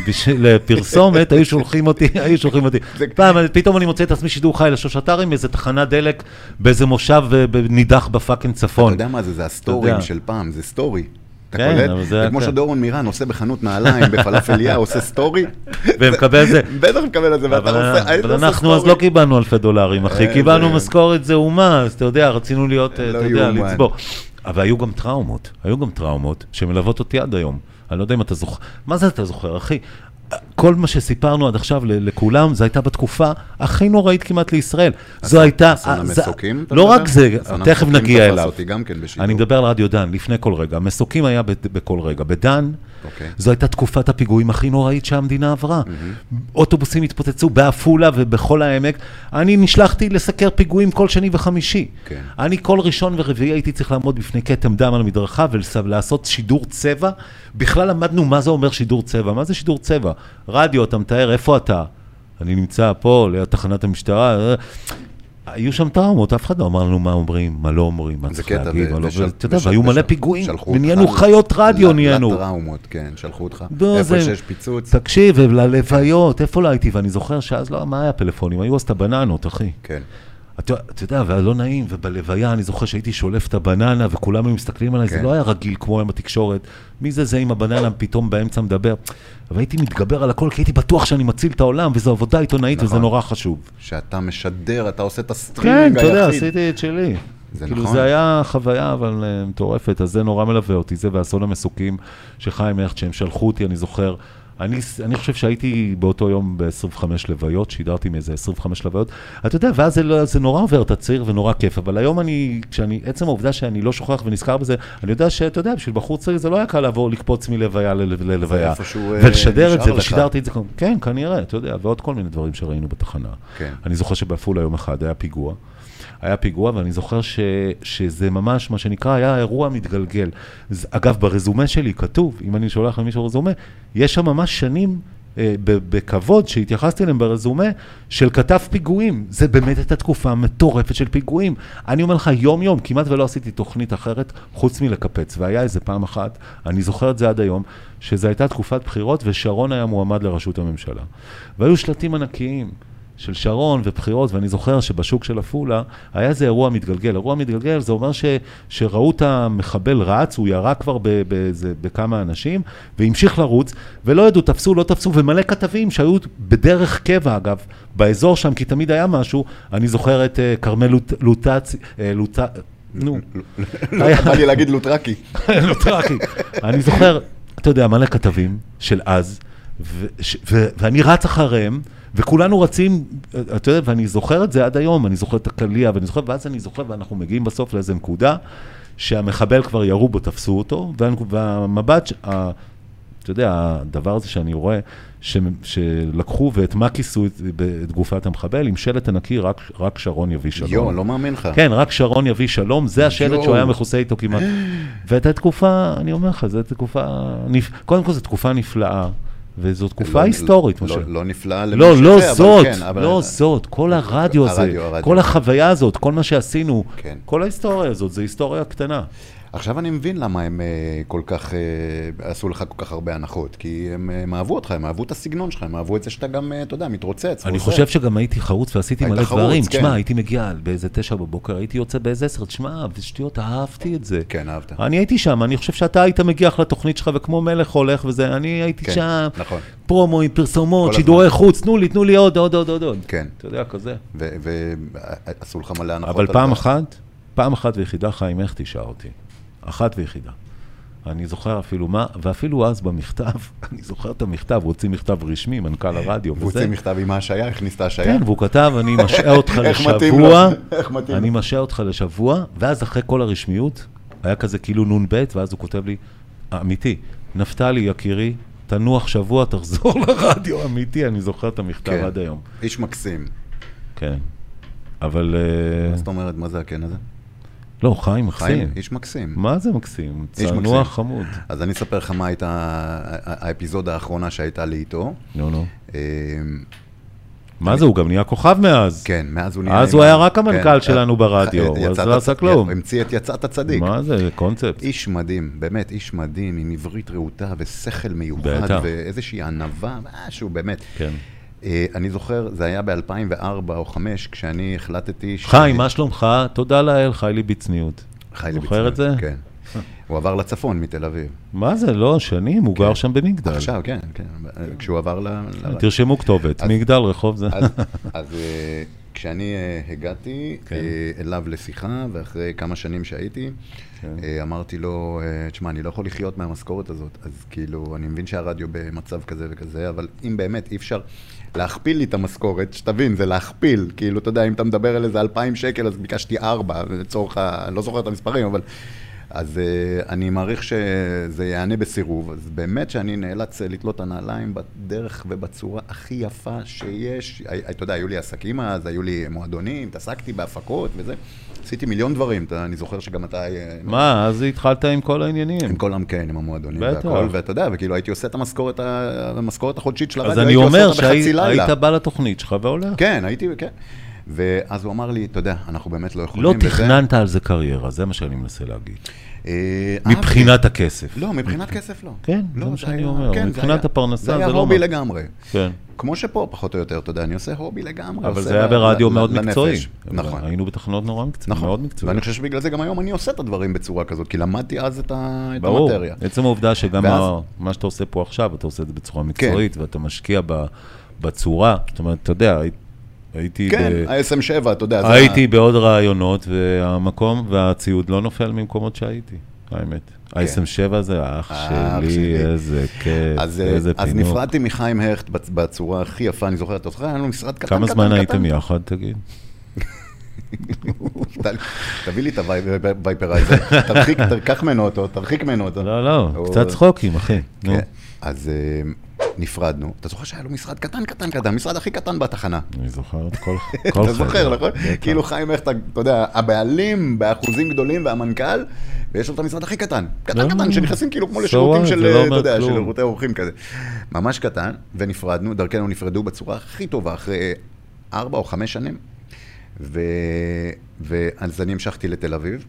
S3: בשביל לפרסומת, היו שולחים אותי, היו שולחים אותי.
S2: זה-
S3: פעם, אני- פתאום אני מוצא את עצמי שידור חי לשוש אתר עם איזה תחנת דלק באיזה מושב אה, ב- נידח בפאקינג
S2: אתה
S3: צפון.
S2: יודע מה זה, זה הסטורים
S3: נכון. יודע.
S2: של פעם, זה סטורי. אתה
S3: כן,
S2: קולט?
S3: אבל זה
S2: זה
S3: היה
S2: כמו
S3: כן.
S2: שדורון מירן עושה בחנות נעליים בפלאפליה, עושה סטורי.
S3: ומקבל זה.
S2: בטח מקבל את זה, ואתה
S3: אבל
S2: עושה, היית
S3: אבל
S2: עושה
S3: אנחנו אז
S2: סטורי.
S3: לא קיבלנו אלפי דולרים, אחי,
S2: אה,
S3: קיבלנו
S2: זה-
S3: משכורת זעומה, אז אתה יודע, רצינו להיות, אה,
S2: לא
S3: אתה יודע,
S2: יאומן.
S3: לצבור. אבל היו גם טראומות, היו גם טראומות שמלוות אותי עד היום. אני לא יודע אם אתה זוכר, מה זה אתה זוכר, אחי? כל מה שסיפרנו עד עכשיו ל- לכולם, זו הייתה בתקופה הכי נוראית כמעט לישראל. זו הייתה...
S2: אסון
S3: אה, זה-
S2: המסוקים? אתה
S3: לא
S2: מדבר?
S3: רק זה,
S2: אסון
S3: תכף
S2: המסוקים
S3: נגיע
S2: תפס
S3: אליו.
S2: אותי גם כן בשידור.
S3: אני מדבר על רדיו דן, לפני כל רגע. מסוקים היה ב- בכל רגע. בדן,
S2: אוקיי.
S3: זו הייתה תקופת הפיגועים הכי נוראית שהמדינה עברה. אוטובוסים התפוצצו בעפולה ובכל העמק. אני נשלחתי לסקר פיגועים כל שני וחמישי.
S2: כן.
S3: אני כל ראשון ורביעי הייתי צריך לעמוד בפני כתם דם על המדרכה ולעשות שידור צבע. בכלל למדנו מה זה אומר שידור צבע. מה זה שידור צבע? רדיו, אתה מתאר, איפה אתה? אני נמצא פה, ליד תחנת המשטרה. אה, היו שם טראומות, אף אחד לא אמר לנו מה אומרים, מה לא אומרים, מה
S2: זה
S3: צריך
S2: קטע,
S3: להגיד, מה לא...
S2: ושל-
S3: אתה יודע,
S2: ושל-
S3: והיו מלא
S2: ושל-
S3: פיגועים,
S2: שלחו אותך
S3: נהיינו
S2: ל-
S3: חיות רדיו,
S2: ל-
S3: נהיינו.
S2: לטראומות, כן, שלחו אותך.
S3: לא,
S2: איפה
S3: זה-
S2: שיש פיצוץ.
S3: תקשיב, וללוויות, איפה לא הייתי? ואני זוכר שאז לא, מה היה פלאפונים? היו אז את הבננות, אחי.
S2: כן.
S3: אתה אתה יודע, והיה לא נעים, ובלוויה אני זוכר שהייתי שולף את הבננה, וכולם היו מסתכלים עליי, זה
S2: כן.
S3: לא היה רגיל כמו היום בתקשורת. מי זה זה עם הבננה פתאום באמצע מדבר? אבל הייתי מתגבר על הכל, כי הייתי בטוח שאני מציל את העולם, וזו עבודה עיתונאית, וזה
S2: נכון.
S3: נורא חשוב.
S2: שאתה משדר, אתה עושה את הסטרינג
S3: כן,
S2: היחיד.
S3: אתה יודע, עשיתי את שלי.
S2: זה
S3: כאילו
S2: נכון.
S3: זה היה חוויה אבל אה, מטורפת, אז זה נורא מלווה אותי, זה ואסון המסוקים שחיים הכט, שהם שלחו אותי, אני זוכר. אני, אני חושב שהייתי באותו יום ב-25 לוויות, שידרתי מאיזה 25 לוויות. אתה יודע, ואז זה, לא- זה נורא עובר, אתה צעיר ונורא כיף, אבל היום אני, כשאני, עצם העובדה שאני לא שוכח ונזכר בזה, אני יודע שאתה יודע, בשביל בחור צעיר זה לא היה קל לעבור, לקפוץ מלוויה ל- ל- ללוויה.
S2: איפשהו, אה,
S3: ולשדר את
S2: נשאר
S3: זה,
S2: לך.
S3: ושידרתי את זה, כמו- כן, כנראה, אתה יודע, ועוד כל מיני דברים שראינו בתחנה.
S2: כן.
S3: אני זוכר שבעפולה יום אחד היה פיגוע. היה פיגוע, ואני זוכר ש, שזה ממש, מה שנקרא, היה אירוע מתגלגל. ז- אגב, ברזומה שלי כתוב, אם אני שולח למישהו רזומה, יש שם ממש שנים, אה, ב- בכבוד, שהתייחסתי אליהם ברזומה, של כתב פיגועים. זה באמת הייתה תקופה מטורפת של פיגועים. אני אומר לך, יום-יום, כמעט ולא עשיתי תוכנית אחרת, חוץ מלקפץ. והיה איזה פעם אחת, אני זוכר את זה עד היום, שזו הייתה תקופת בחירות, ושרון היה מועמד לראשות הממשלה. והיו שלטים ענקיים. של שרון ובחירות, ואני זוכר שבשוק של עפולה היה איזה אירוע מתגלגל. אירוע מתגלגל זה אומר ש, שראו את המחבל רץ, הוא ירה כבר ב, באיזה, בכמה אנשים, והמשיך לרוץ, ולא ידעו, תפסו, לא תפסו, ומלא כתבים שהיו בדרך קבע, אגב, באזור שם, כי תמיד היה משהו, אני זוכר את אה, כרמל לוט, לוטצ... אה, לוט... נו. היה-
S2: בא לי להגיד לוטרקי.
S3: לוטרקי. לא אני זוכר, אתה יודע, מלא כתבים של אז, ו- ש- ו- ואני רץ אחריהם, וכולנו רצים, אתה יודע, ואני זוכר את זה עד היום, אני זוכר את הקליע, ואני זוכר, ואז אני זוכר, ואנחנו מגיעים בסוף לאיזה נקודה, שהמחבל כבר ירו בו, תפסו אותו, וה- והמבט, ש- ה- אתה יודע, הדבר הזה שאני רואה, ש, שלקחו ואת מה כיסו את, את גופת המחבל, עם שלט ענקי, רק, רק שרון יביא שלום.
S2: יואו, לא מאמין לך.
S3: כן, רק שרון יביא שלום, זה השלט שהוא
S2: יואו.
S3: היה מכוסה איתו כמעט. והייתה תקופה, אני אומר לך, זו תקופה, נפ... קודם כל זו תקופה נפלאה, וזו תקופה
S2: לא-
S3: היסטורית,
S2: לא-
S3: משה.
S2: לא נפלאה למי
S3: לא, לא
S2: שזה, אבל
S3: זאת,
S2: כן, אבל-
S3: לא זאת, כל הרדיו הזה,
S2: הרדיו, הרדיו.
S3: כל החוויה הזאת, כל מה שעשינו,
S2: כן.
S3: כל ההיסטוריה הזאת, זו היסטוריה קטנה.
S2: עכשיו אני מבין למה הם אה, כל כך, אה, עשו לך כל כך הרבה הנחות, כי הם אה, הם אהבו אותך, הם אהבו את הסגנון שלך, הם אהבו את זה שאתה גם, אה, אתה יודע, מתרוצץ.
S3: אני
S2: ועושה.
S3: חושב שגם הייתי חרוץ ועשיתי
S2: היית
S3: מלא
S2: חרוץ,
S3: דברים.
S2: כן.
S3: תשמע, הייתי מגיע באיזה תשע בבוקר, הייתי יוצא באיזה עשר, תשמע, ושטויות, אהבתי את זה.
S2: כן, אהבת.
S3: אני הייתי שם, אני חושב שאתה היית מגיח לתוכנית שלך, וכמו מלך הולך וזה, אני הייתי
S2: כן,
S3: שם,
S2: נכון.
S3: פרומואים, פרסומות,
S2: כל
S3: שידורי חוץ, תנו לי, תנו לי עוד, עוד, עוד, עוד, עוד.
S2: כן.
S3: אתה יודע, כזה.
S2: ועשו לך מלא הנחות.
S3: אבל
S2: על
S3: פעם
S2: זה.
S3: אחת, פעם אחת ויחידה, חיים, איך תשאר אותי? אחת ויחידה. אני זוכר אפילו מה, ואפילו אז במכתב, אני זוכר את המכתב, הוא הוציא מכתב רשמי, מנכ"ל הרדיו
S2: והוא
S3: וזה.
S2: הוציא אה, מכתב עם ההשעיה, הכניס את ההשעיה.
S3: כן, והוא כתב, אני משעה אותך
S2: איך מתאים
S3: לשבוע,
S2: לו? איך מתאים
S3: כן, אני
S2: לו?
S3: משעה אותך לשבוע, ואז אחרי כל הרשמיות, היה כזה כאילו נ"ב, ואז הוא כותב לי, אמיתי, נפתלי יקירי, תנוח שבוע, תחזור לרדיו, אמיתי, אני זוכר את המכתב
S2: כן.
S3: עד היום.
S2: איש מקסים.
S3: כן. אבל... אה,
S2: מה זאת אומרת, מה זה הקן הזה?
S3: לא, חיים
S2: חיים,
S3: מקסים.
S2: איש מקסים.
S3: מה זה מקסים?
S2: איש
S3: צנוע
S2: מקסים.
S3: חמוד.
S2: אז אני אספר לך מה הייתה ה- האפיזודה האחרונה שהייתה לי איתו.
S3: נו, נו.
S2: אמ,
S3: מה זה, הוא גם נהיה כוכב מאז.
S2: כן, מאז הוא
S3: אז
S2: עם
S3: הוא
S2: ה-
S3: היה רק המנכ"ל
S2: כן,
S3: שלנו
S2: אה,
S3: ברדיו,
S2: אה,
S3: אז
S2: יצאת
S3: לא עשה
S2: הצ-
S3: כלום.
S2: המציא את יצאת צדיק.
S3: מה זה, קונספט.
S2: איש מדהים, באמת, איש מדהים, עם עברית רהוטה ושכל מיוחד,
S3: בטח.
S2: ואיזושהי ענווה, משהו, באמת.
S3: כן.
S2: אה, אני זוכר, זה היה ב-2004 או 2005, כשאני החלטתי... ש-
S3: חיים, מה שלומך? תודה לאל, חי לי בצניעות.
S2: חי לי
S3: זוכר את
S2: בצפון,
S3: זה? אה.
S2: כן. הוא עבר לצפון מתל אביב.
S3: מה זה, לא, שנים, הוא גר שם במגדל.
S2: כן. עכשיו, כן, כן.
S3: אה.
S2: כשהוא עבר ל... ל-
S3: תרשמו כתובת,
S2: אז-
S3: מגדל רחוב זה.
S2: אז, אז אה, כשאני אה, הגעתי
S3: כן.
S2: אה, אליו לשיחה, ואחרי כמה שנים שהייתי,
S3: כן.
S2: אה, אמרתי לו, אה, תשמע, אני לא יכול לחיות מהמשכורת הזאת. אז כאילו, אני מבין שהרדיו במצב כזה וכזה, אבל אם באמת אי אפשר להכפיל לי את המשכורת, שתבין, זה להכפיל. כאילו, אתה יודע, אם אתה מדבר על איזה 2,000 שקל, אז ביקשתי 4, לצורך ה... אני לא זוכר את המספרים, אבל... אז אה, אני מעריך שזה יענה בסירוב, אז באמת שאני נאלץ אה, לתלות את הנעליים בדרך ובצורה הכי יפה שיש. הי- אתה יודע, היו לי עסקים אז, היו לי מועדונים, התעסקתי בהפקות וזה. עשיתי מיליון דברים, אתה- אני זוכר שגם אתה... אה,
S3: מה, אז התחלת עם כל העניינים.
S2: עם כל עם כן, עם המועדונים
S3: בטח.
S2: והכל, ואתה יודע, וכאילו הייתי עושה את המשכורת, ה- המשכורת החודשית של
S3: אז
S2: הרדיו,
S3: אני
S2: הייתי עושה
S3: אומר
S2: אותה בחצי לילה.
S3: שהיית בא לתוכנית שלך והולך.
S2: כן, הייתי, כן. ואז הוא אמר לי, אתה יודע, אנחנו באמת לא יכולים.
S3: לא
S2: וזה-
S3: תכננת על זה קריירה, זה מה שאני מנסה להגיד.
S2: אה, אהבתי.
S3: מבחינת הכסף.
S2: לא, מבחינת כסף לא.
S3: כן,
S2: לא,
S3: זה מה שאני
S2: היה-
S3: אומר,
S2: כן, זה
S3: מבחינת
S2: היה-
S3: הפרנסה
S2: זה היה
S3: זה לא
S2: הובי
S3: מה-
S2: לגמרי.
S3: כן.
S2: כמו שפה, פחות או יותר, אתה יודע, אני עושה הובי לגמרי.
S3: אבל
S2: עושה
S3: זה היה
S2: ל-
S3: ברדיו
S2: ל-
S3: מאוד
S2: לנפש.
S3: מקצועי.
S2: נכון.
S3: היינו בתחנות נורא מקצועיות.
S2: נכון.
S3: מאוד מקצועיות.
S2: ואני חושב שבגלל זה גם היום אני עושה את הדברים בצורה כזאת, כי למדתי אז את ה- את
S3: ברור,
S2: המטריה.
S3: עצם העובדה שגם
S2: ואז- כן.
S3: ה- מה שאתה עושה פה עכשיו, אתה עושה את זה בצורה מקצועית, ואתה משקיע ב- בצורה, זאת אומרת, אתה יודע, הי- הייתי...
S2: כן,
S3: ב-
S2: ה-SM7, אתה יודע. זה
S3: הייתי בעוד רעיונות, והמקום והציוד לא נופל ממקומות שהייתי, האמת. ה-SM7 זה האח
S2: האח
S3: שלי,
S2: כן. שלי.
S3: איזה כיף,
S2: אז, אה,
S3: איזה
S2: אז
S3: פינוק.
S2: נפרדתי מחיים הכט בצ- בצורה הכי יפה, אני זוכר, אתה זוכר, היה לנו משרד קטן, קטן,
S3: כמה זמן
S2: קטן.
S3: הייתם יחד, תגיד?
S2: ת- תביא לי את הווייפרייזר, תרחיק, ת- קח ממנו אותו, תרחיק ממנו אותו.
S3: לא, לא,
S2: הוא-
S3: קצת צחוקים, אחי. נו.
S2: כן, אז אה, נפרדנו, אתה זוכר שהיה לו משרד קטן, קטן, קטן, המשרד הכי קטן בתחנה.
S3: אני זוכר את כל כל
S2: אתה זוכר,
S3: חדר.
S2: נכון?
S3: בטח.
S2: כאילו חיים הכט, אתה יודע, הבעלים באחוזים גדולים והמנכ"ל, ויש לו את המשרד הכי קטן.
S3: לא,
S2: קטן קטן, שנכנסים כאילו כמו
S3: so
S2: לשירותים
S3: what?
S2: של,
S3: זה לא
S2: אה, אתה
S3: אומר
S2: יודע, של
S3: כלום.
S2: שירותי אורחים כזה. ממש קטן, ונפרדנו, דרכנו נפרדו בצורה הכי טובה, אחרי ארבע או חמש שנים. ו... ואז אני המשכתי לתל אביב,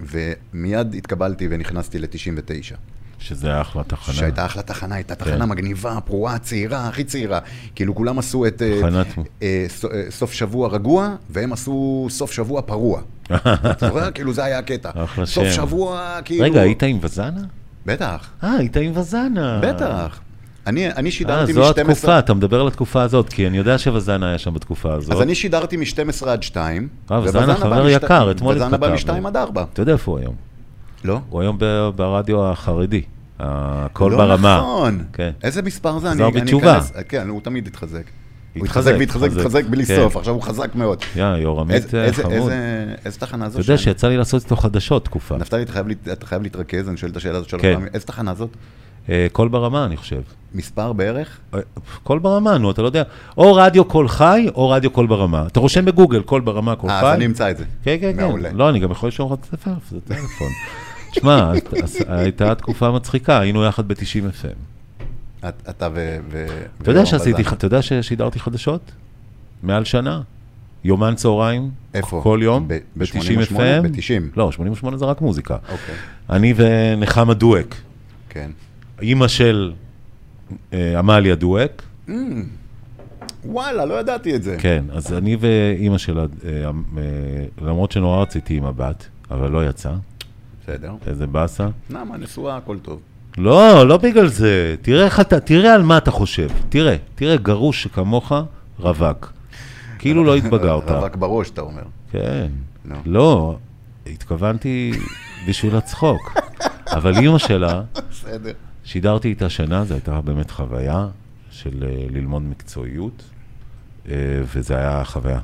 S2: ומיד התקבלתי ונכנסתי ל-99.
S3: שזה היה אחלה תחנה.
S2: שהייתה אחלה תחנה, הייתה תחנה
S3: כן.
S2: מגניבה, פרועה, צעירה, הכי צעירה. כאילו כולם עשו את אה,
S3: תחנת-
S2: אה, ס- אה, סוף שבוע רגוע, והם עשו סוף שבוע פרוע. אתה זוכר? כאילו זה היה הקטע.
S3: אחלה
S2: סוף
S3: שם.
S2: שבוע, כאילו...
S3: רגע, היית עם וזנה?
S2: בטח,
S3: אה, היית עם וזנה.
S2: בטח. אני אני
S3: אה,
S2: שידרתי מ-12...
S3: זו התקופה, אתה מדבר על התקופה הזאת, כי אני יודע שווזנה היה שם בתקופה הזאת.
S2: אז אני שידרתי מ-12 עד 2.
S3: אה, וזנה חבר יקר, אתמול
S2: וזן הבא
S3: התכתבנו.
S2: מ-2 עד 4.
S3: אתה יודע איפה הוא היום?
S2: לא?
S3: הוא היום ב- ברדיו החרדי, הקול
S2: לא
S3: ברמה.
S2: נכון.
S3: כן.
S2: איזה מספר זה? אני-
S3: חזר
S2: אני
S3: בתשובה.
S2: אכנס- כן, הוא תמיד התחזק. הוא
S3: התחזק,
S2: התחזק והתחזק
S3: התחזק,
S2: והתחזק בלי
S3: כן.
S2: סוף, עכשיו הוא חזק מאוד.
S3: יא, יורמית
S2: איזה-
S3: אה,
S2: איזה-
S3: חמוד.
S2: איזה- נכון. איזה תחנה זו?
S3: אתה יודע
S2: שאני-
S3: שיצא לי לעשות איתו חדשות תקופה.
S2: נפתלי, אתה חייב להת- אתה חייב להתרכז, אני שואל את השאלה הזאת שלוש
S3: כן.
S2: פעמים. איזה תחנה זאת?
S3: אה, קול ברמה, אני חושב.
S2: מספר בערך?
S3: אה, קול ברמה, נו, אתה לא יודע. או רדיו קול חי, או רדיו קול ברמה. אתה רושם בגוגל, קול ברמה, קול חי.
S2: אה, אז אני אמצא את זה.
S3: כן, כן,
S2: מעולה.
S3: כן. לא, אני גם יכול לשאול לך את הספר, זה טלפון. שמע, אז- אז הייתה תקופה מצחיקה, היינו יחד ב-90 FM.
S2: את- אתה ו... ו-
S3: אתה יודע
S2: ואור
S3: שעשיתי,
S2: בזן.
S3: אתה יודע ששידרתי חדשות? מעל שנה. יומן צהריים,
S2: איפה?
S3: כל יום,
S2: ב- ב-
S3: ב-90 FM.
S2: 88? ב-90.
S3: לא, 88 זה רק מוזיקה.
S2: אוקיי.
S3: אני ונחמה דואק,
S2: כן.
S3: אימא של אה, עמליה דואק,
S2: וואלה, לא ידעתי את זה.
S3: כן, אז אני ואימא שלה, אה, אה, למרות שנורא רציתי עם הבת, אבל לא יצא,
S2: בסדר.
S3: איזה באסה.
S2: נעמה, נשואה, הכל טוב.
S3: לא, לא בגלל זה. תראה איך אתה, תראה על מה אתה חושב. תראה, תראה גרוש שכמוך, רווק. כאילו לא התבגרת.
S2: רווק בראש, אתה אומר.
S3: כן.
S2: נו.
S3: לא, התכוונתי בשביל הצחוק. אבל אימא שלה,
S2: בסדר.
S3: שידרתי איתה שנה, זו הייתה באמת חוויה של אה, ללמוד מקצועיות, אה, וזו הייתה חוויה.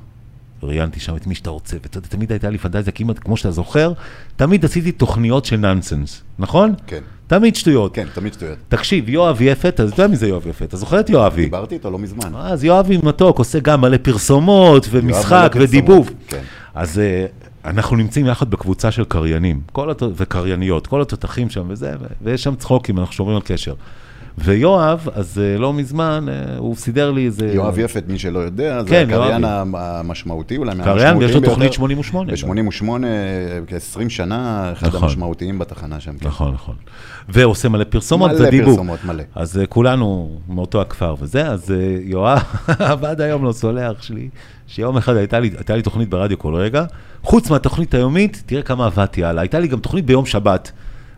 S3: ראיינתי שם את מי שאתה רוצה, ואתה יודע, תמיד הייתה לי פנטזיה, כמעט כמו שאתה זוכר, תמיד עשיתי תוכניות של נונסנס, נכון?
S2: כן.
S3: תמיד שטויות.
S2: כן, תמיד שטויות.
S3: תקשיב, יואב יפת, אז אתה יודע מי זה יואב יפת, אתה זוכר את יואבי?
S2: דיברתי איתו לא מזמן.
S3: אז יואבי מתוק עושה גם מלא פרסומות ומשחק
S2: מלא
S3: ודיבוב.
S2: פרסומות, כן.
S3: אז אה, אנחנו נמצאים יחד בקבוצה של קריינים כל הת... וקרייניות, כל התותחים שם וזה, ו... ויש שם צחוקים, אנחנו שומרים על קשר. ויואב, אז אה, לא מזמן, אה, הוא סידר לי איזה...
S2: יואב יפת, מי שלא יודע, זה
S3: אה. כן,
S2: הקריין
S3: יואבי.
S2: המשמעותי, אולי
S3: קריין, ויש לו
S2: ביותר.
S3: תוכנית 88.
S2: ב-88, כ-20 שנה, אחד
S3: נכון.
S2: המשמעותיים בתחנה שם. כן.
S3: נכון, נכון. ועושה מלא פרסומות
S2: מלא
S3: ודיבוב.
S2: פרסומות, מלא.
S3: אז אה, כולנו מאותו הכפר וזה, אז אה, יואב עד היום לא סולח שלי, שיום אחד הייתה לי, הייתה לי תוכנית ברדיו כל רגע, חוץ מהתוכנית היומית, תראה כמה עבדתי הלאה. הייתה לי גם תוכנית ביום שבת.